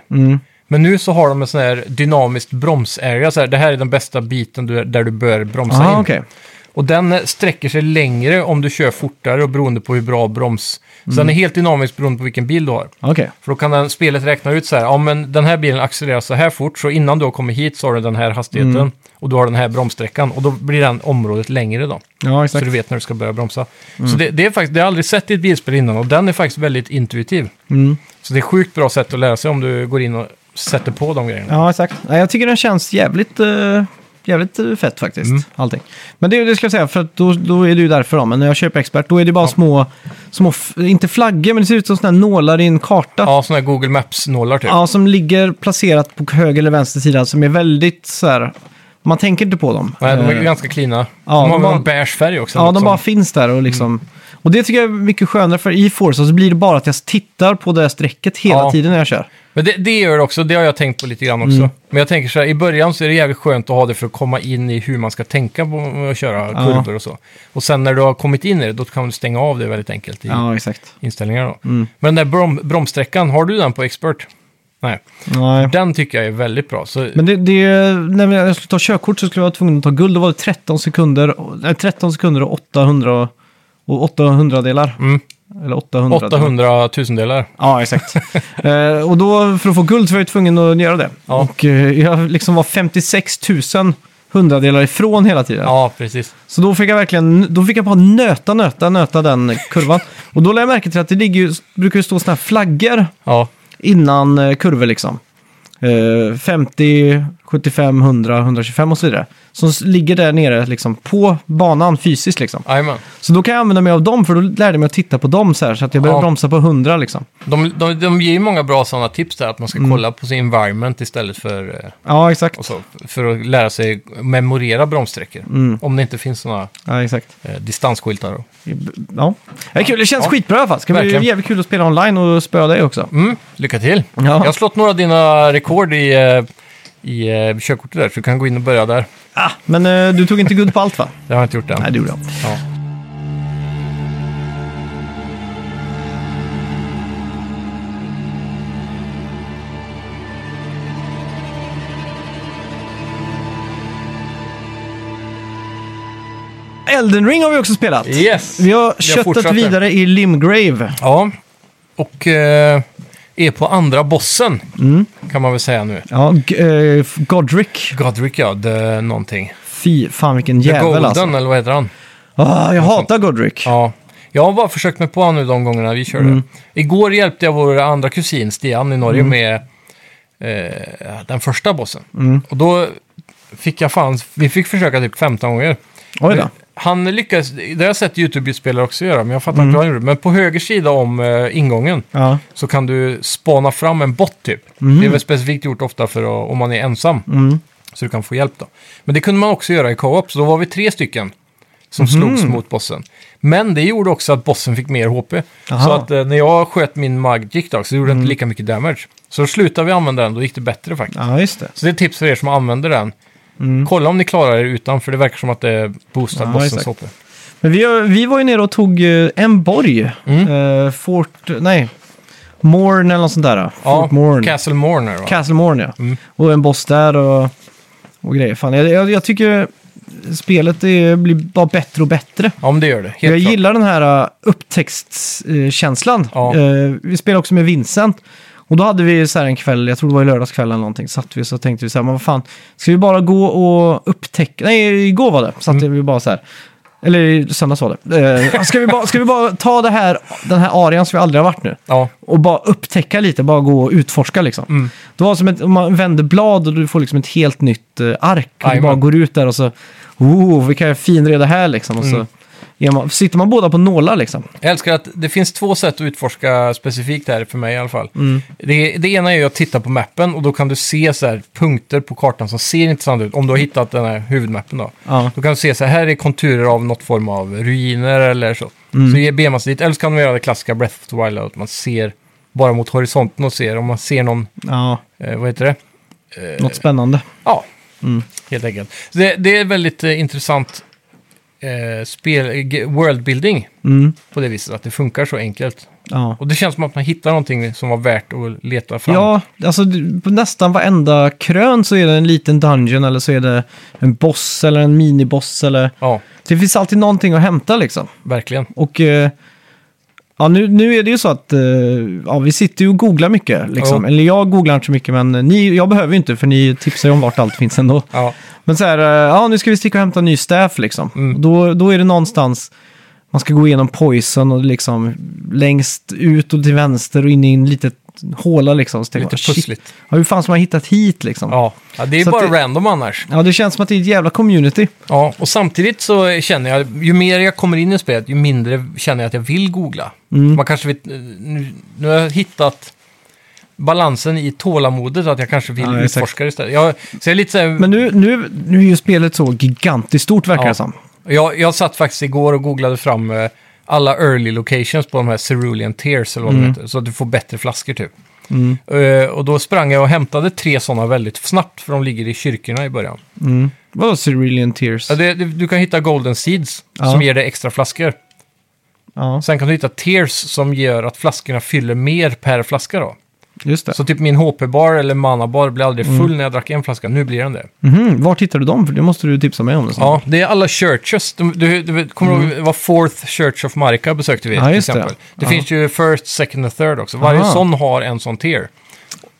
Speaker 2: Men nu så har de en sån här dynamiskt bromsarea. Så här, det här är den bästa biten du, där du bör bromsa in.
Speaker 1: Ah, okej.
Speaker 2: Och den eh, sträcker sig längre om du kör fortare och beroende på hur bra broms.
Speaker 1: Mm.
Speaker 2: Så den är helt dynamisk beroende på vilken bil du har.
Speaker 1: Okej.
Speaker 2: För då kan den, spelet räkna ut så här, ja men den här bilen accelererar så här fort, så innan du har kommit hit så har du den här hastigheten
Speaker 1: Mm.
Speaker 2: och du har den här bromssträckan. Och då blir den området längre då.
Speaker 1: Ja,
Speaker 2: Så
Speaker 1: exakt.
Speaker 2: du vet när du ska börja bromsa.
Speaker 1: Mm.
Speaker 2: Så det, det är faktiskt, det har jag aldrig sett i ett bilspel innan och den är faktiskt väldigt intuitiv.
Speaker 1: Mm.
Speaker 2: Så det är sjukt bra sätt att lära sig om du går in och sätter på de grejerna.
Speaker 1: Ja, exakt. Nej, jag tycker den känns jävligt, eh, jävligt eh, fett faktiskt,
Speaker 2: Mm.
Speaker 1: allting. Men det, det ska jag säga, för att då, då är det ju därför då. Men när jag köper expert, då är det bara små, små, f- inte flaggor, men det ser ut som sådana här nålar i en karta.
Speaker 2: Ja, sådana här Google Maps-nålar typ.
Speaker 1: Ja, som ligger placerat på höger eller vänster sida, som är väldigt så här, man tänker inte på dem.
Speaker 2: Nej, de är
Speaker 1: Eh,
Speaker 2: ganska cleana.
Speaker 1: ja,
Speaker 2: de
Speaker 1: de
Speaker 2: har väl
Speaker 1: bara-
Speaker 2: en beige färg också.
Speaker 1: Ja,
Speaker 2: något
Speaker 1: de
Speaker 2: som-
Speaker 1: bara finns där och liksom...
Speaker 2: Mm.
Speaker 1: Och det tycker jag är mycket skönare, för i Forza så blir det bara att jag tittar på det här strecket hela
Speaker 2: Ja.
Speaker 1: tiden när jag kör.
Speaker 2: Men det, det gör det också, det har jag tänkt på lite grann
Speaker 1: Mm.
Speaker 2: också. Men jag tänker så här, i början så är det jävligt skönt att ha det för att komma in i hur man ska tänka på att köra
Speaker 1: Ja.
Speaker 2: kurvor och så. Och sen när du har kommit in i det, då kan du stänga av det väldigt enkelt i
Speaker 1: Ja, Mm. exakt.
Speaker 2: inställningarna då. Men den där brom, bromssträckan, har du den på expert? Nej,
Speaker 1: Nej.
Speaker 2: den tycker jag är väldigt bra. Så,
Speaker 1: Men det, det, är- när jag skulle ta körkort så skulle jag vara tvungen att ta guld. Då var det 13 sekunder, och- nej, 13 sekunder och 800, och 800 delar.
Speaker 2: Mm.
Speaker 1: Eller 800.
Speaker 2: 800 tusendelar.
Speaker 1: Ja, exakt. eh, och då, för att få guld så var jag tvungen att göra det.
Speaker 2: Ja.
Speaker 1: Och eh, jag liksom var 56 000 hundradelar ifrån hela tiden.
Speaker 2: Ja, precis.
Speaker 1: Så då fick jag verkligen, då fick jag bara nöta, nöta, nöta den kurvan. och då lade jag märke till att det ligger, ju- brukar ju stå sådana här flaggor
Speaker 2: Ja,
Speaker 1: innan eh, kurvor liksom. Eh, 50, 75, 100, 125 och så vidare. Som s- ligger där nere liksom på banan fysiskt liksom.
Speaker 2: jajamän.
Speaker 1: Så då kan jag använda mig av dem för då lärde jag mig att titta på dem så här så att jag började
Speaker 2: Ja.
Speaker 1: bromsa på 100 liksom.
Speaker 2: De, de, de ger ju många bra sådana tips där, att man ska
Speaker 1: Mm.
Speaker 2: kolla på sin environment istället för, eh,
Speaker 1: Ja, exakt.
Speaker 2: och så, för att lära sig memorera bromssträckor.
Speaker 1: Mm.
Speaker 2: Om det inte finns sådana
Speaker 1: Ja, exakt.
Speaker 2: eh, distansskyltar. Då.
Speaker 1: Ja. Det, är kul. det känns
Speaker 2: Ja.
Speaker 1: skitbra i alla fall. Det ska
Speaker 2: Verkligen.
Speaker 1: bli jävligt kul att spela online och spöa dig också.
Speaker 2: Mm, lycka till!
Speaker 1: Ja.
Speaker 2: Jag har slått några av dina rekord i, eh, i eh, körkortet där, så du kan gå in och börja där.
Speaker 1: Ah, men eh, du tog inte guld på allt va?
Speaker 2: Det har jag inte gjort än.
Speaker 1: Nej, det gjorde jag.
Speaker 2: Ja.
Speaker 1: Elden Ring har vi också spelat.
Speaker 2: Yes!
Speaker 1: Vi har
Speaker 2: fortsatt
Speaker 1: köttat
Speaker 2: där.
Speaker 1: vidare i Limgrave.
Speaker 2: Ja, och eh, är på andra bossen,
Speaker 1: Mm.
Speaker 2: kan man väl säga nu.
Speaker 1: Ja, G- eh, Godric.
Speaker 2: Godric, ja, the, någonting.
Speaker 1: Fy fan vilken
Speaker 2: The Golden,
Speaker 1: jävel alltså.
Speaker 2: eller vad heter han?
Speaker 1: Ah, jag hatar Godric.
Speaker 2: Ja. Jag har bara försökt mig på honom nu de gångerna vi körde.
Speaker 1: Mm.
Speaker 2: Igår hjälpte jag vår andra kusin Stian i Norge med eh, den första bossen.
Speaker 1: Mm.
Speaker 2: Och då fick jag fan, vi fick försöka typ 15 gånger.
Speaker 1: Oj då.
Speaker 2: Han lyckades, det har jag sett YouTube-spelare också göra, men jag fattar
Speaker 1: Mm.
Speaker 2: inte hur han gjorde. Men på höger sida om eh, ingången
Speaker 1: Ja.
Speaker 2: så kan du spana fram en bot typ.
Speaker 1: Mm.
Speaker 2: Det är väl specifikt gjort ofta för att, om man är ensam. Så du kan få hjälp då. Men det kunde man också göra i co-op, så då var vi tre stycken som
Speaker 1: Mhm.
Speaker 2: slogs mot bossen. Men det gjorde också att bossen fick mer HP. Så
Speaker 1: Aha. Mm.
Speaker 2: att eh, när jag sköt min magic då, så gjorde det inte lika mycket damage. Så då slutade vi använda den, då gick det bättre faktiskt.
Speaker 1: ja, just det. Mm.
Speaker 2: Så det är ett tips för er som använder den. Kolla om ni klarar er utan, för det verkar som att det boostar
Speaker 1: Ja,
Speaker 2: bossens
Speaker 1: exakt.
Speaker 2: HP.
Speaker 1: Men vi, har- vi var ju nere och tog eh, en borg.
Speaker 2: Mm.
Speaker 1: Eh, Fort... Nej. Morn eller något sånt där.
Speaker 2: Ja, Mm.
Speaker 1: Fort Morn.
Speaker 2: Castle Mourner va?
Speaker 1: Castle Morn, ja. Och en boss där och, och grejer. Fan, jag, jag, jag tycker spelet är, blir bara bättre och bättre.
Speaker 2: ja, men det gör det. Helt
Speaker 1: jag
Speaker 2: klart.
Speaker 1: gillar den här äh, upptäcktskänslan.
Speaker 2: Ja.
Speaker 1: Äh, vi spelade också med Vincent. Och då hade vi så här en kväll, jag tror det var i lördagskväll eller någonting, satt vi så tänkte vi så här, men vad fan, ska vi bara gå och upptäcka, nej igår var det, satt
Speaker 2: Mm.
Speaker 1: vi bara så här, eller i söndags var det. Eh, ska, vi bara, ska vi bara ta det här, den här arean som vi aldrig har varit nu?
Speaker 2: Ja,
Speaker 1: och bara upptäcka lite, bara gå och utforska liksom. Det var som ett, om man vänder blad och du får liksom ett helt nytt eh, ark. Och du
Speaker 2: Jajamän.
Speaker 1: bara går ut där och så, oh, vilka finreda här liksom. Och
Speaker 2: Mm.
Speaker 1: så är man, sitter man båda på nålar liksom.
Speaker 2: Jag älskar att det finns två sätt att utforska specifikt här för mig i alla fall. Det, det ena är ju att titta på mappen och då kan du se så här punkter på kartan som ser intressant ut. Om du har hittat den här huvudmappen då.
Speaker 1: Ja.
Speaker 2: Då kan du se så här, här är konturer av något form av ruiner eller så. Så ger- beger man sig dit. Eller så kan man göra det klassiska Breath of the Wild, att man ser bara mot horisonten och ser om man ser någon,
Speaker 1: Ja,
Speaker 2: eh, vad heter det?
Speaker 1: något spännande.
Speaker 2: Ja, helt enkelt. Så det, det är väldigt eh, intressant eh, spel, g- worldbuilding
Speaker 1: Mm.
Speaker 2: på det viset, att det funkar så enkelt.
Speaker 1: Ja.
Speaker 2: Och det känns som att man hittar någonting som var värt att leta fram.
Speaker 1: ja, alltså du- på nästan varenda krön så är det en liten dungeon eller så är det en boss eller en miniboss eller...
Speaker 2: Ja,
Speaker 1: Det finns alltid någonting att hämta liksom.
Speaker 2: verkligen.
Speaker 1: Och eh, ja, nu, nu är det ju så att eh, ja, vi sitter ju och googlar mycket. Liksom.
Speaker 2: Ja.
Speaker 1: Eller jag googlar inte så mycket, men ni, jag behöver ju inte för ni tipsar ju om vart allt finns ändå.
Speaker 2: Ja,
Speaker 1: Men så här, eh, ja nu ska vi sticka och hämta ny staff liksom.
Speaker 2: Mm.
Speaker 1: Och Då, då är det någonstans man ska gå igenom poison och liksom längst ut och till vänster och in i en litet håla liksom. Så tänker
Speaker 2: lite
Speaker 1: man, shit,
Speaker 2: pussligt.
Speaker 1: Ja, hur fan ska man ha hittat hit liksom? Ja.
Speaker 2: Ja. ja, det är
Speaker 1: Så att
Speaker 2: bara
Speaker 1: det-
Speaker 2: random annars.
Speaker 1: det känns som att det är ett jävla community.
Speaker 2: Ja, och samtidigt så känner jag, ju mer jag kommer in i spelet, ju mindre känner jag att jag vill googla.
Speaker 1: Mm.
Speaker 2: Man kanske vill, eh, nu, nu har jag hittat balansen i tålamodet, att jag kanske vill
Speaker 1: Ja, exakt.
Speaker 2: utforska det istället. Jag, så jag är lite så här,
Speaker 1: Men nu, nu, nu är ju spelet så gigantiskt stort verkar
Speaker 2: Ja.
Speaker 1: det som.
Speaker 2: jag, jag satt faktiskt igår och googlade fram eh, alla early locations på de här Cerulean Tears, eller vad de heter, så att du får bättre flaskor typ. Eh, och då sprang jag och hämtade tre sådana väldigt snabbt, för de ligger i kyrkorna i början.
Speaker 1: Mm. Vadå Cerulean Tears?
Speaker 2: Ja, det, det, du kan hitta Golden Seeds,
Speaker 1: Ja.
Speaker 2: som ger dig extra flaskor.
Speaker 1: Ja,
Speaker 2: Sen kan du hitta tears som gör att flaskorna fyller mer per flaska då.
Speaker 1: just det.
Speaker 2: Så typ min HP-bar eller mana-bar blir aldrig full när jag drack en flaska. Nu blir den det.
Speaker 1: Mhm, vart hittar du dem? För det måste du tipsa mig om. Det
Speaker 2: Ja, det är alla churches. Du, du, du vet, kommer du ihåg vad Fourth Church of Marika besökte vi
Speaker 1: Mm. Ja,
Speaker 2: till
Speaker 1: just det.
Speaker 2: exempel. Det,
Speaker 1: Ja.
Speaker 2: finns ju First, Second och Third också. Varje
Speaker 1: Aha.
Speaker 2: sån har en sån tier.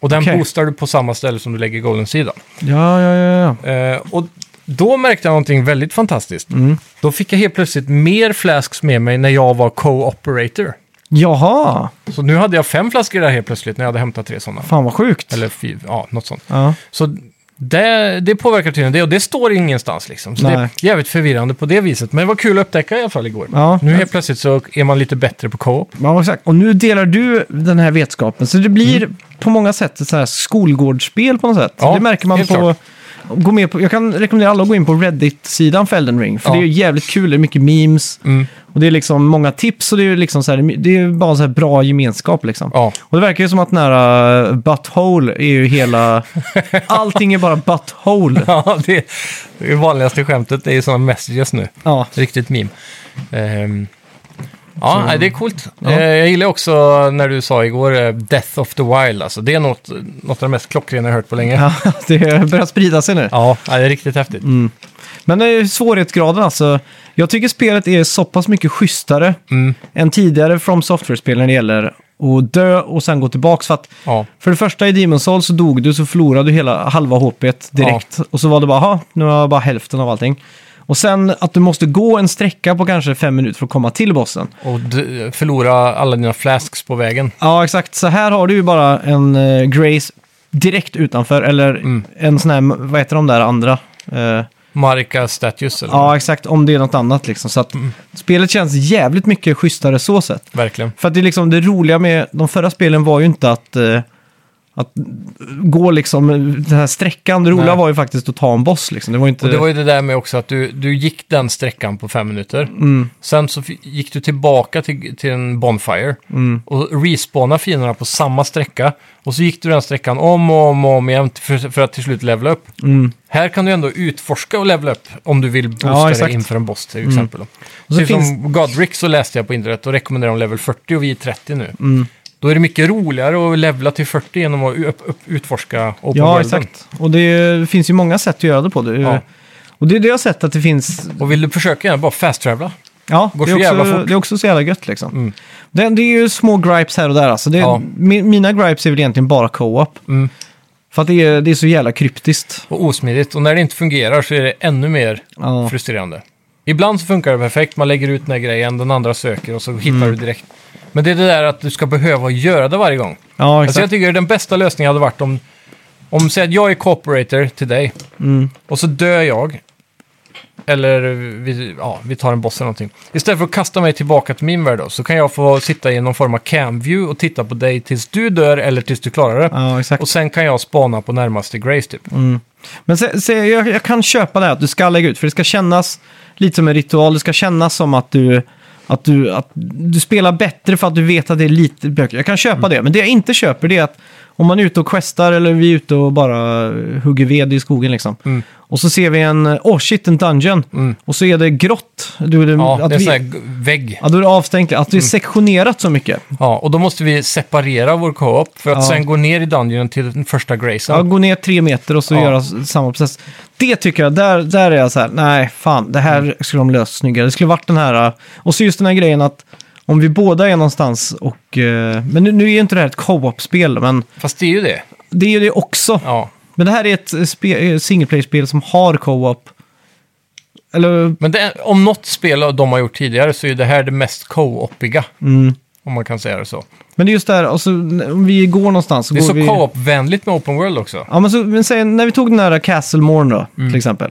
Speaker 2: Och den
Speaker 1: Okej.
Speaker 2: boostar du på samma ställe som du lägger golden sidan.
Speaker 1: ja, ja, ja. ja.
Speaker 2: Eh, och då märkte jag någonting väldigt fantastiskt.
Speaker 1: Mm.
Speaker 2: Då fick jag helt plötsligt mer flasks med mig när jag var co-operator.
Speaker 1: Jaha,
Speaker 2: Så nu hade jag fem flaskor där helt plötsligt när jag hade hämtat tre sådana.
Speaker 1: fan vad sjukt.
Speaker 2: Eller fy, ja, något sånt.
Speaker 1: Ja.
Speaker 2: Så det, det påverkar tydligen det och det står ingenstans liksom. Så det är
Speaker 1: Nej.
Speaker 2: jävligt förvirrande på det viset. Men det var kul att upptäcka i alla fall igår.
Speaker 1: Ja.
Speaker 2: Nu helt plötsligt så är man lite bättre på co-op.
Speaker 1: Ja, exakt. Och nu delar du den här vetskapen. Så det blir på många sätt ett så här skolgårdsspel på något sätt.
Speaker 2: Mm. Ja,
Speaker 1: det märker man
Speaker 2: helt
Speaker 1: på,
Speaker 2: klart.
Speaker 1: gå med på... Jag kan rekommendera alla att gå in på Reddit-sidan för Elden Ring. För
Speaker 2: Ja. Mm.
Speaker 1: det är jävligt kul, det är mycket memes. Och det är liksom många tips och det är, liksom så här, det är bara så här bra gemenskap liksom.
Speaker 2: Ja.
Speaker 1: Och det verkar ju som att nära butthole är ju hela... Allting är bara butthole.
Speaker 2: Ja, det, det vanligaste skämtet är ju sådana messages nu.
Speaker 1: Ja.
Speaker 2: Riktigt meme. Ehm, ja, nej, det är coolt.
Speaker 1: Ja.
Speaker 2: Eh, jag gillar också när du sa igår eh, Death of the Wild. Alltså, det är något, något av det mest klockrena jag hört på länge. Ja,
Speaker 1: Ja, Mm. det börjar sprida sig nu.
Speaker 2: nej, det är riktigt häftigt.
Speaker 1: Men eh, svårighetsgraden alltså. Jag tycker spelet är så pass mycket schysstare
Speaker 2: Mm.
Speaker 1: än tidigare From Software-spel när det gäller att dö och sen gå tillbaka. För, att,
Speaker 2: Ja.
Speaker 1: för det första i Demon's Souls så dog du så förlorade du hela halva HP direkt. Och så var det bara, "Aha, nu har jag bara hälften av allting. Och sen att du måste gå en sträcka på kanske fem minuter för att komma till bossen.
Speaker 2: Och d- förlora alla dina flasks på vägen.
Speaker 1: Ja, exakt. Så här har du ju bara en eh, Grace direkt utanför, eller en sån här, vad heter de där andra? Eh,
Speaker 2: Marika Statues, eller?
Speaker 1: Ja, exakt. Om det är något annat liksom. Så att
Speaker 2: Mm.
Speaker 1: spelet känns jävligt mycket schysstare så sett.
Speaker 2: Verkligen.
Speaker 1: För att det, är liksom, det roliga med de förra spelen var ju inte att, eh, att gå liksom den här sträckan. Det roliga
Speaker 2: Nej.
Speaker 1: var ju faktiskt att ta en boss liksom. Det var ju inte...
Speaker 2: Och det var ju det där med också att du, du gick den sträckan på fem minuter.
Speaker 1: Mm.
Speaker 2: Sen så fi- gick du tillbaka till, till en Bonfire
Speaker 1: Mm.
Speaker 2: och respawnade fienderna på samma sträcka. Och så gick du den sträckan om och om och om igen för, för att till slut levla upp. Här kan du ändå utforska och levla upp om du vill
Speaker 1: Mm. Ja,
Speaker 2: boosta
Speaker 1: exakt. Mm.
Speaker 2: dig inför en boss till exempel. då.
Speaker 1: så
Speaker 2: Precis
Speaker 1: finns-
Speaker 2: Som Godric så läste jag på internet och rekommenderar om level 40 och vi är 30 nu.
Speaker 1: Mm.
Speaker 2: Då är det mycket roligare att levla till 40 genom att upp, upp, utforska open
Speaker 1: ja,
Speaker 2: worlden.
Speaker 1: exakt. Och det finns ju många sätt att göra det på. Det,
Speaker 2: Ja.
Speaker 1: Och det är det jag har sett att det finns
Speaker 2: Och vill du försöka gärna bara fast-travela.
Speaker 1: Ja,
Speaker 2: Går
Speaker 1: det
Speaker 2: så
Speaker 1: är,
Speaker 2: jävla
Speaker 1: också,
Speaker 2: fort. Mm.
Speaker 1: det är också så jävla gött liksom. Det, det är ju små gripes här och där alltså. Det,
Speaker 2: Ja.
Speaker 1: mi, mina gripes är väl egentligen bara co-op.
Speaker 2: Mm.
Speaker 1: För att det är, det är så jävla kryptiskt.
Speaker 2: och osmidigt. Och när det inte fungerar så är det ännu mer
Speaker 1: Ja.
Speaker 2: frustrerande. Ibland så funkar det perfekt, man lägger ut den här grejen, den andra söker och så hittar
Speaker 1: Mm.
Speaker 2: du direkt. Men det är det där att du ska behöva göra det varje gång.
Speaker 1: Ja,
Speaker 2: Alltså jag
Speaker 1: exakt.
Speaker 2: tycker den bästa lösningen hade varit om, om säg att jag är cooperator till dig
Speaker 1: Mm.
Speaker 2: och så dör jag. Eller vi, ja, vi tar en boss eller någonting. Istället för att kasta mig tillbaka till min värld då, så kan jag få sitta i någon form av camview och titta på dig tills du dör eller tills du klarar det.
Speaker 1: Ja, exakt.
Speaker 2: Och sen kan jag spana på närmaste Grace typ.
Speaker 1: Men se, se, jag, jag kan köpa det här att du ska lägga ut, för det ska kännas lite som en ritual. Det ska kännas som att du Att du, att du spelar bättre för att du vet att det är lite bökigt. Jag kan köpa
Speaker 2: Mm.
Speaker 1: det, men det jag inte köper det är att om man är ute och questar eller vi är ute och bara hugger ved i skogen liksom.
Speaker 2: Mm.
Speaker 1: Och så ser vi en, åh oh shit, en dungeon.
Speaker 2: Mm.
Speaker 1: Och så är det grått. Du, det,
Speaker 2: Ja,
Speaker 1: Mm, att
Speaker 2: det är en
Speaker 1: vi,
Speaker 2: sån här Mm. g- vägg.
Speaker 1: ja, då är det avstängt. Att det är sektionerat så mycket.
Speaker 2: Ja, och då måste vi separera vår co-op för att
Speaker 1: Ja.
Speaker 2: sen gå ner i dungeonen till den första graysen.
Speaker 1: Ja, gå ner tre meter och så
Speaker 2: Ja.
Speaker 1: göra s- samma process. Det tycker jag, där, där är jag så här, nej fan, det
Speaker 2: Mm.
Speaker 1: här skulle de löst snyggare. Det skulle varit den här, äh, och så just den här grejen att om vi båda är någonstans och, eh, men nu, nu är ju inte det här ett co-op-spel, men
Speaker 2: Fast det är ju det.
Speaker 1: det är ju det också.
Speaker 2: Ja.
Speaker 1: Men det här är ett eh, spe- eh, single player-spel som har co-op. Eller,
Speaker 2: Men det, om något spel de har gjort tidigare så är det här det mest co-opiga.
Speaker 1: mm.
Speaker 2: Om man kan säga det så.
Speaker 1: Men det är just det här, och så, n- om vi går någonstans så
Speaker 2: Det är
Speaker 1: går
Speaker 2: så
Speaker 1: vi...
Speaker 2: co-op-vänligt med Open World också.
Speaker 1: Ja, men, så, men säg, när vi tog den här Castle Morn då,
Speaker 2: Mm.
Speaker 1: till exempel.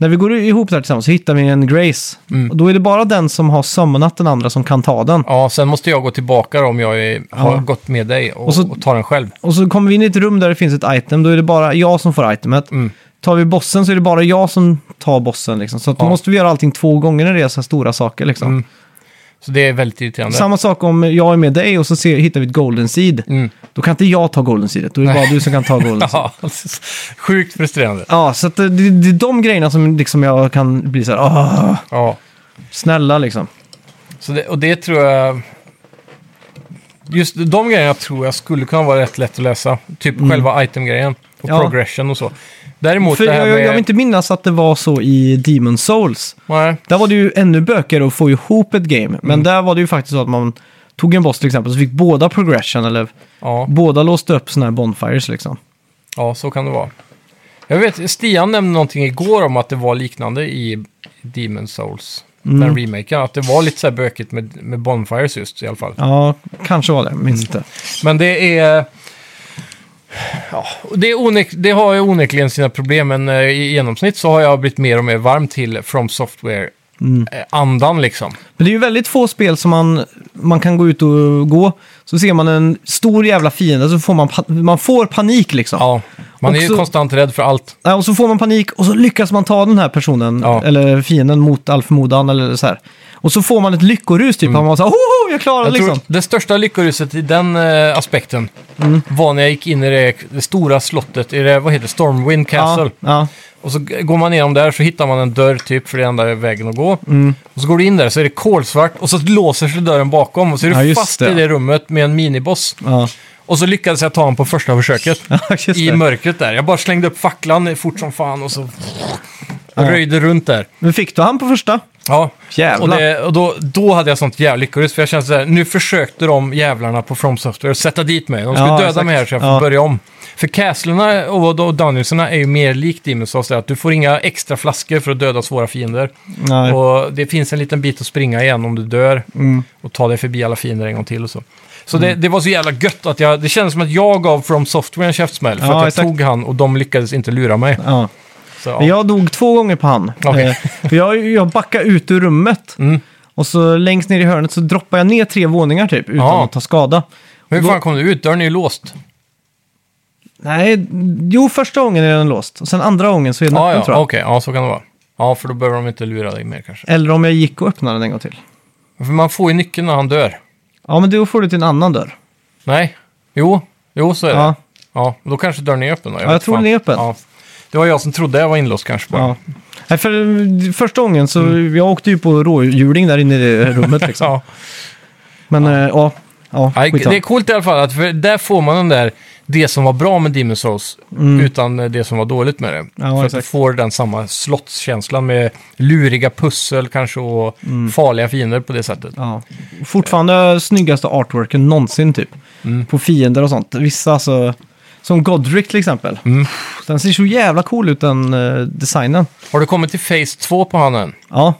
Speaker 1: När vi går ihop där tillsammans så hittar vi en Grace.
Speaker 2: Mm.
Speaker 1: Och då är det bara den som har sömnat den andra som kan ta den.
Speaker 2: Ja, sen måste jag gå tillbaka då, om jag är, har gått med dig och,
Speaker 1: Och
Speaker 2: och,
Speaker 1: så-
Speaker 2: tar den själv.
Speaker 1: Och så kommer vi in i ett rum där det finns ett item, då är det bara jag som får itemet.
Speaker 2: Mm.
Speaker 1: Tar vi bossen så är det bara jag som tar bossen. Liksom. Så att då
Speaker 2: Ja.
Speaker 1: måste vi göra allting två gånger när det är så här stora saker. Liksom.
Speaker 2: Mm. Så det är väldigt irriterande.
Speaker 1: Samma sak om jag är med dig och så ser, hittar vi ett golden seed.
Speaker 2: Mm.
Speaker 1: Då kan inte jag ta golden seedet, då är det bara du som kan ta golden seed.
Speaker 2: Ja, sjukt frustrerande.
Speaker 1: Ja, så att det, det det är de grejerna som liksom jag kan bli så här, "Åh,
Speaker 2: Ja.
Speaker 1: snälla liksom.
Speaker 2: Så det, och det tror jag... Just de grejerna tror jag skulle kunna vara rätt lätt att läsa. Typ själva item-grejen och
Speaker 1: Mm. Ja.
Speaker 2: progression och så. Däremot
Speaker 1: För
Speaker 2: det här
Speaker 1: jag, jag
Speaker 2: med...
Speaker 1: vill inte minnas att det var så i Demon Souls.
Speaker 2: Nej,
Speaker 1: Där var det ju ännu bökigare att få ihop ett game. Men
Speaker 2: Mm.
Speaker 1: där var det ju faktiskt så att man tog en boss till exempel så fick båda progression eller
Speaker 2: ja,
Speaker 1: båda låste upp sådana här bonfires liksom.
Speaker 2: ja, så kan det vara. Jag vet, Stian nämnde någonting igår om att det var liknande i Demon Souls.
Speaker 1: Mm.
Speaker 2: Den remaken. Att det var lite så här bökigt med, med Bonfires just i alla fall.
Speaker 1: Ja, kanske var det,
Speaker 2: Mm.
Speaker 1: minns inte.
Speaker 2: Men det är... Ja, det, är onek- det har ju onekligen sina problem, men eh, i genomsnitt så har jag blivit mer och mer varm till From Software-andan
Speaker 1: Mm.
Speaker 2: liksom.
Speaker 1: Men det är ju väldigt få spel som man, man kan gå ut och gå. Så ser man en stor jävla fiende så får man, pa- man får panik liksom.
Speaker 2: Ja, man är ju
Speaker 1: Också-
Speaker 2: konstant rädd för allt.
Speaker 1: Ja, och så får man panik och så lyckas man ta den här personen,
Speaker 2: Ja.
Speaker 1: eller fienden, mot all förmodan. Eller så här. Och så får man ett lyckorus, typ. Mm. Man så här, "Hoho, jag klarar det
Speaker 2: Jag
Speaker 1: liksom. Mm.
Speaker 2: tror det största lyckoruset i den eh, aspekten var när jag gick in i det, det stora slottet i det, vad heter det, Stormwind Castle.
Speaker 1: Ja,
Speaker 2: Och så g- går man igenom där så hittar man en dörr typ, för det är enda vägen att gå.
Speaker 1: Mm.
Speaker 2: Och så går du in där så är det kolsvart och så låser sig dörren bakom och så är
Speaker 1: Ja,
Speaker 2: du
Speaker 1: just
Speaker 2: fast
Speaker 1: det.
Speaker 2: i det rummet med en miniboss.
Speaker 1: ja.
Speaker 2: Och så lyckades jag ta honom på första försöket.
Speaker 1: ja. just
Speaker 2: I
Speaker 1: det.
Speaker 2: mörkret där. Jag bara slängde upp facklan fort som fan och så röjde runt där.
Speaker 1: Men fick du han på första?
Speaker 2: Ja.
Speaker 1: Jävlar.
Speaker 2: Och, det, och då, då hade jag sånt jävla lyckorus. För jag kände såhär, nu försökte de jävlarna på From Software sätta dit mig. De skulle
Speaker 1: Ja,
Speaker 2: döda
Speaker 1: exakt.
Speaker 2: mig här så jag får
Speaker 1: Ja.
Speaker 2: börja om. För castlerna och, och dungeonsarna är ju mer likt Demon's Souls. där att Du får inga extra flaskor för att döda svåra fiender.
Speaker 1: Nej.
Speaker 2: Och det finns en liten bit att springa igen om du dör.
Speaker 1: Mm.
Speaker 2: Och ta dig förbi alla fiender en gång till och så. Så det, det var så jävla gött att jag... Det kändes som att jag gav From Software en käftsmäll. För
Speaker 1: Ja,
Speaker 2: att jag
Speaker 1: exakt.
Speaker 2: tog han och de lyckades inte lura mig.
Speaker 1: Ja.
Speaker 2: Så, ja.
Speaker 1: Men jag dog två gånger på han.
Speaker 2: Okej.
Speaker 1: Eh, för jag, jag backade ut ur rummet.
Speaker 2: Mm.
Speaker 1: Och så längst ner i hörnet så droppade jag ner tre våningar typ, utan
Speaker 2: Ja.
Speaker 1: att ta skada.
Speaker 2: Men hur
Speaker 1: då-
Speaker 2: fan kom du ut? Dörren är ju låst.
Speaker 1: Nej, jo första gången är den låst. Och sen andra gången så är den
Speaker 2: Ja,
Speaker 1: öppen
Speaker 2: ja.
Speaker 1: tror
Speaker 2: Okej,
Speaker 1: jag.
Speaker 2: ja, så kan det vara. Ja, för då behöver de inte lura dig mer kanske.
Speaker 1: Eller om jag gick och öppnade den en gång till.
Speaker 2: För man får ju nyckeln när han dör.
Speaker 1: Ja, men då får du till en annan dörr.
Speaker 2: Nej? Jo, jo så är det.
Speaker 1: Ja.
Speaker 2: Ja, då kanske dörren är öppen då.
Speaker 1: Ja, jag
Speaker 2: vet
Speaker 1: tror
Speaker 2: fan.
Speaker 1: den är öppen.
Speaker 2: Ja. Det var jag som trodde jag var inlåst kanske bara.
Speaker 1: Ja. Nej, för eh, första gången så jag åkte ju på rådjuring där inne i det rummet liksom.
Speaker 2: Mm. Ja.
Speaker 1: Men eh, ja, ja,
Speaker 2: Nej,
Speaker 1: skitsamma.
Speaker 2: det är coolt i alla fall, att för där får man den där, det som var bra med Demon's Souls, utan eh, det som var dåligt med det.
Speaker 1: Mm. Ja,
Speaker 2: för att du
Speaker 1: exakt.
Speaker 2: får den samma slottskänslan med luriga pussel kanske och
Speaker 1: Mm.
Speaker 2: farliga fiender på det sättet.
Speaker 1: Ja. Fortfarande snyggaste artworken någonsin typ.
Speaker 2: Mm.
Speaker 1: På fiender och sånt. Vissa alltså, som Godric till exempel.
Speaker 2: Mm.
Speaker 1: Den ser så jävla cool ut den eh, designen.
Speaker 2: Har du kommit till Phase 2 på han än?
Speaker 1: Ja,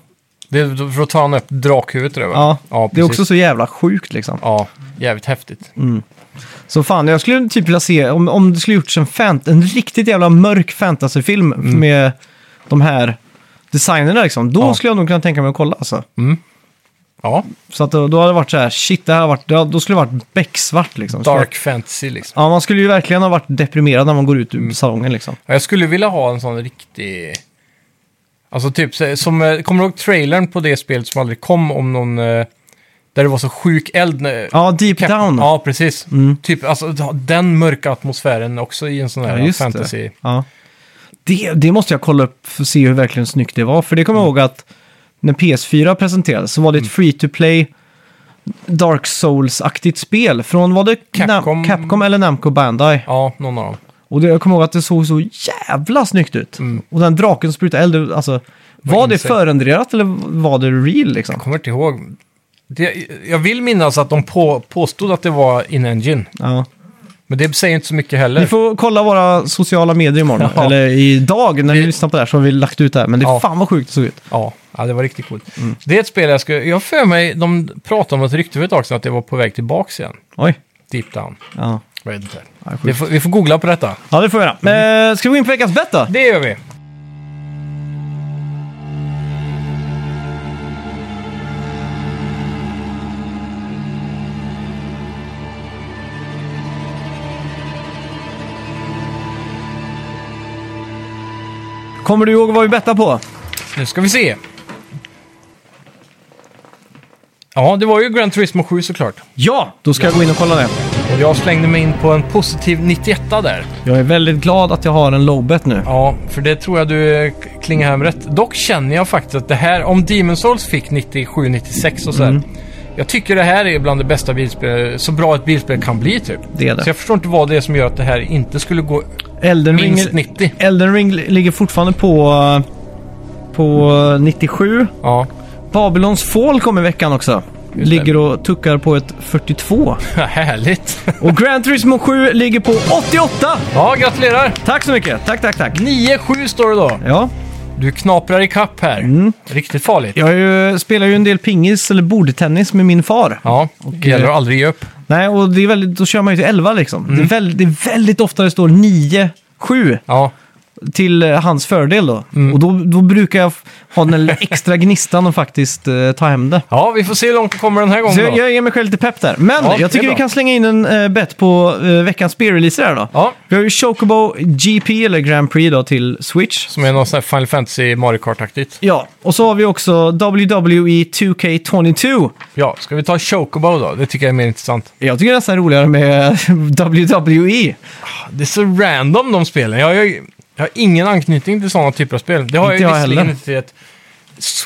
Speaker 2: Det, då då tar han upp drakhuvudet där, va?
Speaker 1: ja.
Speaker 2: ja
Speaker 1: det är
Speaker 2: precis.
Speaker 1: också Mm. så jävla sjukt liksom.
Speaker 2: Ja, jävligt häftigt.
Speaker 1: Så fan, jag skulle typ vilja se om, om det skulle gjorts en, fant- en riktigt jävla mörk fantasyfilm med de här designerna liksom. Då
Speaker 2: Mm. Ja.
Speaker 1: skulle jag nog kunna tänka mig att kolla alltså.
Speaker 2: Ja,
Speaker 1: Så att då, då hade det varit så här, shit, det här hade varit, då- då skulle det varit becksvart liksom.
Speaker 2: dark fantasy liksom.
Speaker 1: Ja, man skulle ju verkligen
Speaker 2: Mm.
Speaker 1: ha varit deprimerad när man går ut ur salongen liksom.
Speaker 2: Ja, Jag skulle vilja ha en sån riktig... Alltså typ, så- som, eh, kommer du ihåg trailern på det spelet som aldrig kom om någon... eh, Där det var så sjuk eld? när-
Speaker 1: Ja, Deep
Speaker 2: Cap-
Speaker 1: Down. Mm.
Speaker 2: Ja, precis. Typ, alltså, den mörka atmosfären också i en sån här
Speaker 1: Ja, just det.
Speaker 2: fantasy.
Speaker 1: Ja. Det, det måste jag kolla upp för att se hur verkligen snyggt det var. För det kommer jag ihåg att när PS4 presenterades så var det ett free to play Dark Souls-aktigt spel. Från var det
Speaker 2: Capcom.
Speaker 1: Nam- Capcom eller Namco Bandai.
Speaker 2: Ja, någon av dem.
Speaker 1: Och det, jag kommer ihåg att det såg så jävla snyggt ut.
Speaker 2: Mm.
Speaker 1: Och den draken som sprutade eld, alltså. Var det
Speaker 2: insane.
Speaker 1: förenderat eller var det real liksom?
Speaker 2: Jag kommer inte ihåg. Det, jag vill minnas att de på, påstod att det var in-engine.
Speaker 1: Ja.
Speaker 2: Men det säger inte så mycket heller.
Speaker 1: Vi får kolla våra sociala medier imorgon.
Speaker 2: Ja.
Speaker 1: Eller idag när vi lyssnar på det här så har vi lagt ut det här. Men det är
Speaker 2: Ja.
Speaker 1: fan vad sjukt det såg ut.
Speaker 2: Ja, ja, det var riktigt coolt.
Speaker 1: Mm.
Speaker 2: Det är ett spel jag skulle... Jag har för mig, de pratade om ett rykte för ett tag sedan att det var på väg tillbaka igen.
Speaker 1: Oj. Deep.
Speaker 2: Deep down.
Speaker 1: Ja.
Speaker 2: Jag vet inte.
Speaker 1: Ja, sjukt.
Speaker 2: Vi får, vi får googla på detta.
Speaker 1: Ja, det får vi göra. Eh, ska vi gå in på veckans bett då?
Speaker 2: Det gör vi.
Speaker 1: Kommer du ihåg vad vi bettade på?
Speaker 2: Nu ska vi se. Ja, det var ju Gran Turismo 7 såklart.
Speaker 1: Ja! Då ska jag gå in och kolla det.
Speaker 2: Och jag slängde mig in på en positiv 91 där.
Speaker 1: Jag är väldigt glad att jag har en low bet nu.
Speaker 2: Ja, för det tror jag du eh, klingar hem rätt. Dock känner jag faktiskt att det här, om Demon Souls fick 97-96 och sådär.
Speaker 1: Mm.
Speaker 2: Jag tycker det här är bland det bästa bilspel, så bra ett bilspel kan bli typ.
Speaker 1: Det är det.
Speaker 2: Så jag förstår inte vad det är som gör att det här inte skulle gå
Speaker 1: Elden Ring,
Speaker 2: minst 90.
Speaker 1: Elden Ring li- ligger fortfarande på, eh, på eh, 97.
Speaker 2: Ja,
Speaker 1: Babylons Fall kom i veckan också.
Speaker 2: Just det.
Speaker 1: Ligger och tuckar på ett 42.
Speaker 2: härligt.
Speaker 1: Och Gran Turismo 7 ligger på 88!
Speaker 2: Ja, gratulerar!
Speaker 1: Tack så mycket! Tack, tack, tack!
Speaker 2: 9-7 står det då.
Speaker 1: Ja,
Speaker 2: Du knaprar i kapp här.
Speaker 1: Mm.
Speaker 2: Riktigt farligt.
Speaker 1: jag är ju, spelar ju en del pingis eller bordtennis med min far.
Speaker 2: Ja, det gäller att aldrig ge upp.
Speaker 1: Nej, och det är väldigt, då kör man ju till 11 liksom.
Speaker 2: Mm.
Speaker 1: Det, är väldigt, det är väldigt ofta det står 9-7
Speaker 2: Ja,
Speaker 1: till eh, hans fördel då.
Speaker 2: Mm.
Speaker 1: Och då, då brukar jag f- ha den där extra gnistan och faktiskt eh, ta hem det.
Speaker 2: ja vi får se hur långt det kommer den här gången
Speaker 1: Så
Speaker 2: då.
Speaker 1: jag, jag ger mig själv lite pepp där. Men
Speaker 2: Ja, det är
Speaker 1: jag tycker vi
Speaker 2: bra.
Speaker 1: kan slänga in en eh, bet på eh, veckans spearreleaser här då.
Speaker 2: Ja,
Speaker 1: Vi har ju Chocobo GP, eller Grand Prix då, till Switch.
Speaker 2: som är någon sån här Final Fantasy Mario Kart-aktigt.
Speaker 1: Ja, och så har vi också E WWE 2K22.
Speaker 2: Ja, ska vi ta Chocobo då? Det tycker jag är mer intressant.
Speaker 1: Jag tycker det är nästan roligare med E. WWE.
Speaker 2: Det är så random de spelen. Jag, jag, jag har ingen anknytning till sådana typer av spel. Det har
Speaker 1: Inte
Speaker 2: jag
Speaker 1: jag
Speaker 2: visserligen
Speaker 1: heller.
Speaker 2: inte till ett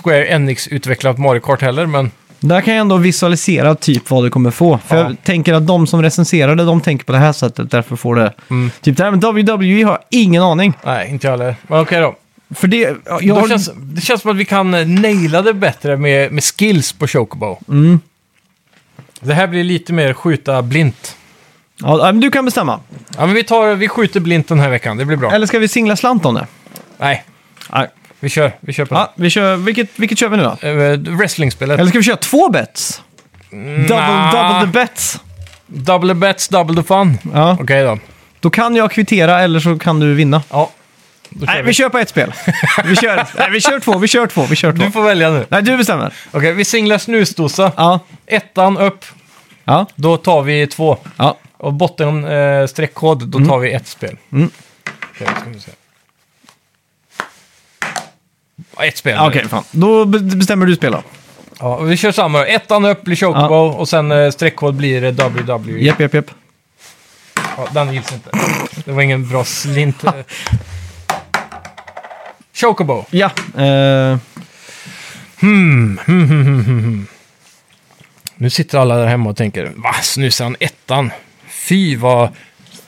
Speaker 2: Square Enix-utvecklat Mario Kart heller, men
Speaker 1: Där kan jag ändå visualisera typ vad du kommer få. För
Speaker 2: Ja.
Speaker 1: jag tänker att de som recenserade, de tänker på det här sättet. Därför får det...
Speaker 2: Mm.
Speaker 1: Typ det här med WWE har jag ingen aning.
Speaker 2: nej, inte jag heller. Men okej då.
Speaker 1: För det... Jag
Speaker 2: då
Speaker 1: har...
Speaker 2: känns, det känns som att vi kan eh, naila det bättre med, med skills på Chocobo.
Speaker 1: Mm.
Speaker 2: Det här blir lite mer skjuta blint.
Speaker 1: ja, men du kan bestämma.
Speaker 2: Ja, men vi, tar, vi skjuter blint den här veckan, det blir bra.
Speaker 1: Eller ska vi singla slant om det?
Speaker 2: Nej,
Speaker 1: Nej.
Speaker 2: vi kör, vi kör på
Speaker 1: Ja, vi kör... Vilket, vilket kör vi nu då?
Speaker 2: det. Eh, Wrestlingspelet.
Speaker 1: Eller ska vi köra två bets?
Speaker 2: Mm,
Speaker 1: Double,
Speaker 2: Nah.
Speaker 1: double the bets.
Speaker 2: Double the bets, double the fun.
Speaker 1: Ja.
Speaker 2: Okej då.
Speaker 1: Då kan jag kvittera eller så kan du vinna.
Speaker 2: Ja, då kör
Speaker 1: Nej,
Speaker 2: vi.
Speaker 1: vi kör på ett spel. Vi kör, nej, vi kör två, vi kör två, vi kör två.
Speaker 2: Du får välja nu.
Speaker 1: Nej, du bestämmer.
Speaker 2: Okej, vi singlar snusdosa.
Speaker 1: Ja,
Speaker 2: Ettan upp,
Speaker 1: ja,
Speaker 2: då tar vi två.
Speaker 1: ja.
Speaker 2: Och botten eh, streckkod, då tar vi ett spel.
Speaker 1: Mm.
Speaker 2: Okej, ska vi se. Ja, Ett spel.
Speaker 1: Ja, Okej, fan. Då be- bestämmer du spel då.
Speaker 2: Ja, och vi kör samma. Ettan upp blir Chocobo och sen eh, streckkod blir eh, WWE.
Speaker 1: Japp, japp, japp.
Speaker 2: Ja, den gills inte. Det var ingen bra slint. eh. Chocobo.
Speaker 1: Ja. Eh,
Speaker 2: Nu sitter alla där hemma och tänker, va, snusar han ettan? Fy, vad,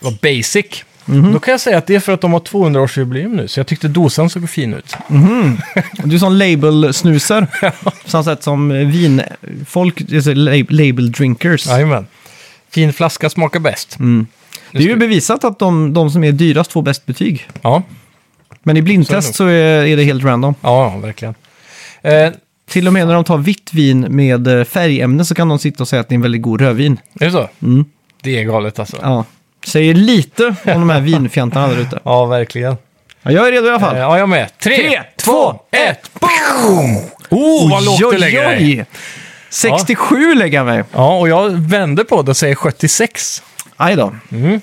Speaker 2: vad basic. Då kan jag säga att det är för att de har 200-årsjubileum nu, så jag tyckte dosan såg fin ut.
Speaker 1: du är sån label-snuser. På samma sätt som vinfolk, alltså lab- label-drinkers.
Speaker 2: Jajamän. Fin flaska smakar bäst.
Speaker 1: det är ju bevisat att de, de som är dyrast får bäst betyg.
Speaker 2: Ja,
Speaker 1: Men i blindtest så är, är det helt random.
Speaker 2: ja, verkligen. Eh, är
Speaker 1: Till och med när de tar vitt vin med eh, färgämne så kan de sitta och säga att det är en väldigt god rödvin.
Speaker 2: det så? Det är galet alltså. Ja,
Speaker 1: Ja. Säger lite om de här vinfjantarna där ute.
Speaker 2: verkligen.
Speaker 1: Ja, jag är redo i alla
Speaker 2: Eh,
Speaker 1: fall.
Speaker 2: ja, jag med. Tre,
Speaker 1: Tre,
Speaker 2: två,
Speaker 1: två,
Speaker 2: ett, boom! Oh, vad lågt du lägger dig.
Speaker 1: dig. 67 lägger jag mig.
Speaker 2: Ja, och jag vänder på det och säger 76.
Speaker 1: Aj då.
Speaker 2: Mm.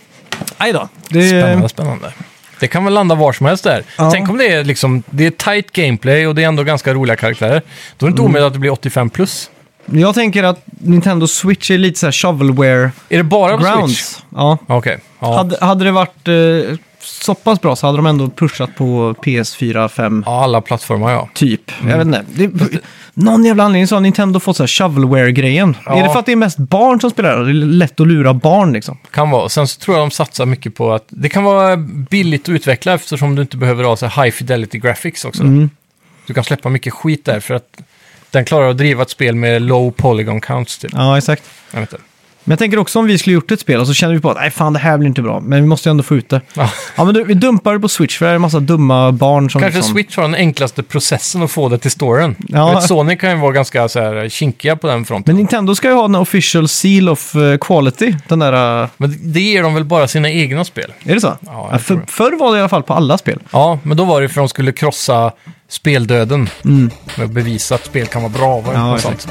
Speaker 1: Aj då. Det,
Speaker 2: Spännande, spännande. Det kan väl landa var som helst där.
Speaker 1: Ja.
Speaker 2: Tänk om det är liksom, det är tight gameplay och det är ändå ganska roliga karaktärer. Då är det inte
Speaker 1: Mm.
Speaker 2: omöjligt att det blir 85 plus.
Speaker 1: Jag tänker att Nintendo Switch är lite så här shovelware
Speaker 2: Är det bara på Switch?
Speaker 1: grounds. Ja.
Speaker 2: Okej. Ja.
Speaker 1: Hade, hade det varit eh, så pass bra så hade de ändå pushat på PS4, 5,
Speaker 2: ja, alla plattformar ja.
Speaker 1: typ. Jag
Speaker 2: Mm.
Speaker 1: vet inte. Det, någon jävla anledning så har Nintendo fått så här shovelware-grejen.
Speaker 2: Ja.
Speaker 1: Är det för att det är mest barn som spelar? det? Det är lätt att lura barn liksom.
Speaker 2: Kan vara. Sen så tror jag de satsar mycket på att det kan vara billigt att utveckla eftersom du inte behöver ha så här high fidelity graphics också.
Speaker 1: Mm.
Speaker 2: Du kan släppa mycket skit där för att den klarar att driva ett spel med low polygon counts typ.
Speaker 1: Ja, exakt.
Speaker 2: Jag vet inte.
Speaker 1: Men jag tänker också om vi skulle gjort ett spel och så känner vi på att nej fan det här blir inte bra, men vi måste ju ändå få ut det.
Speaker 2: Ja.
Speaker 1: Ja men du, vi dumpar det på Switch för det är en massa dumma barn som
Speaker 2: Kanske
Speaker 1: liksom...
Speaker 2: Switch har den enklaste processen att få det till storen.
Speaker 1: Ja.
Speaker 2: Jag Vet, Sony kan ju vara ganska så här kinkiga på den fronten.
Speaker 1: Men Nintendo ska ju ha den här official seal of eh, quality, den där... eh,
Speaker 2: Men det ger de väl bara sina egna spel?
Speaker 1: Är det så?
Speaker 2: Ja, jag tror
Speaker 1: för, förr var det i alla fall på alla spel.
Speaker 2: Ja, men då var det för att de skulle krossa speldöden. Med att bevisa att spel kan vara bra. Var det
Speaker 1: Mm. Ja,
Speaker 2: ja, sånt.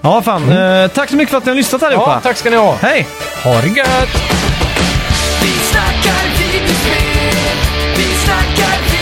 Speaker 1: Ja, fan. Eh, tack så mycket för att ni har lyssnat allihopa.
Speaker 2: Mm. ja, tack ska ni ha.
Speaker 1: Hej!
Speaker 2: Ha det gött!
Speaker 3: Vi snackar videospel, vi snackar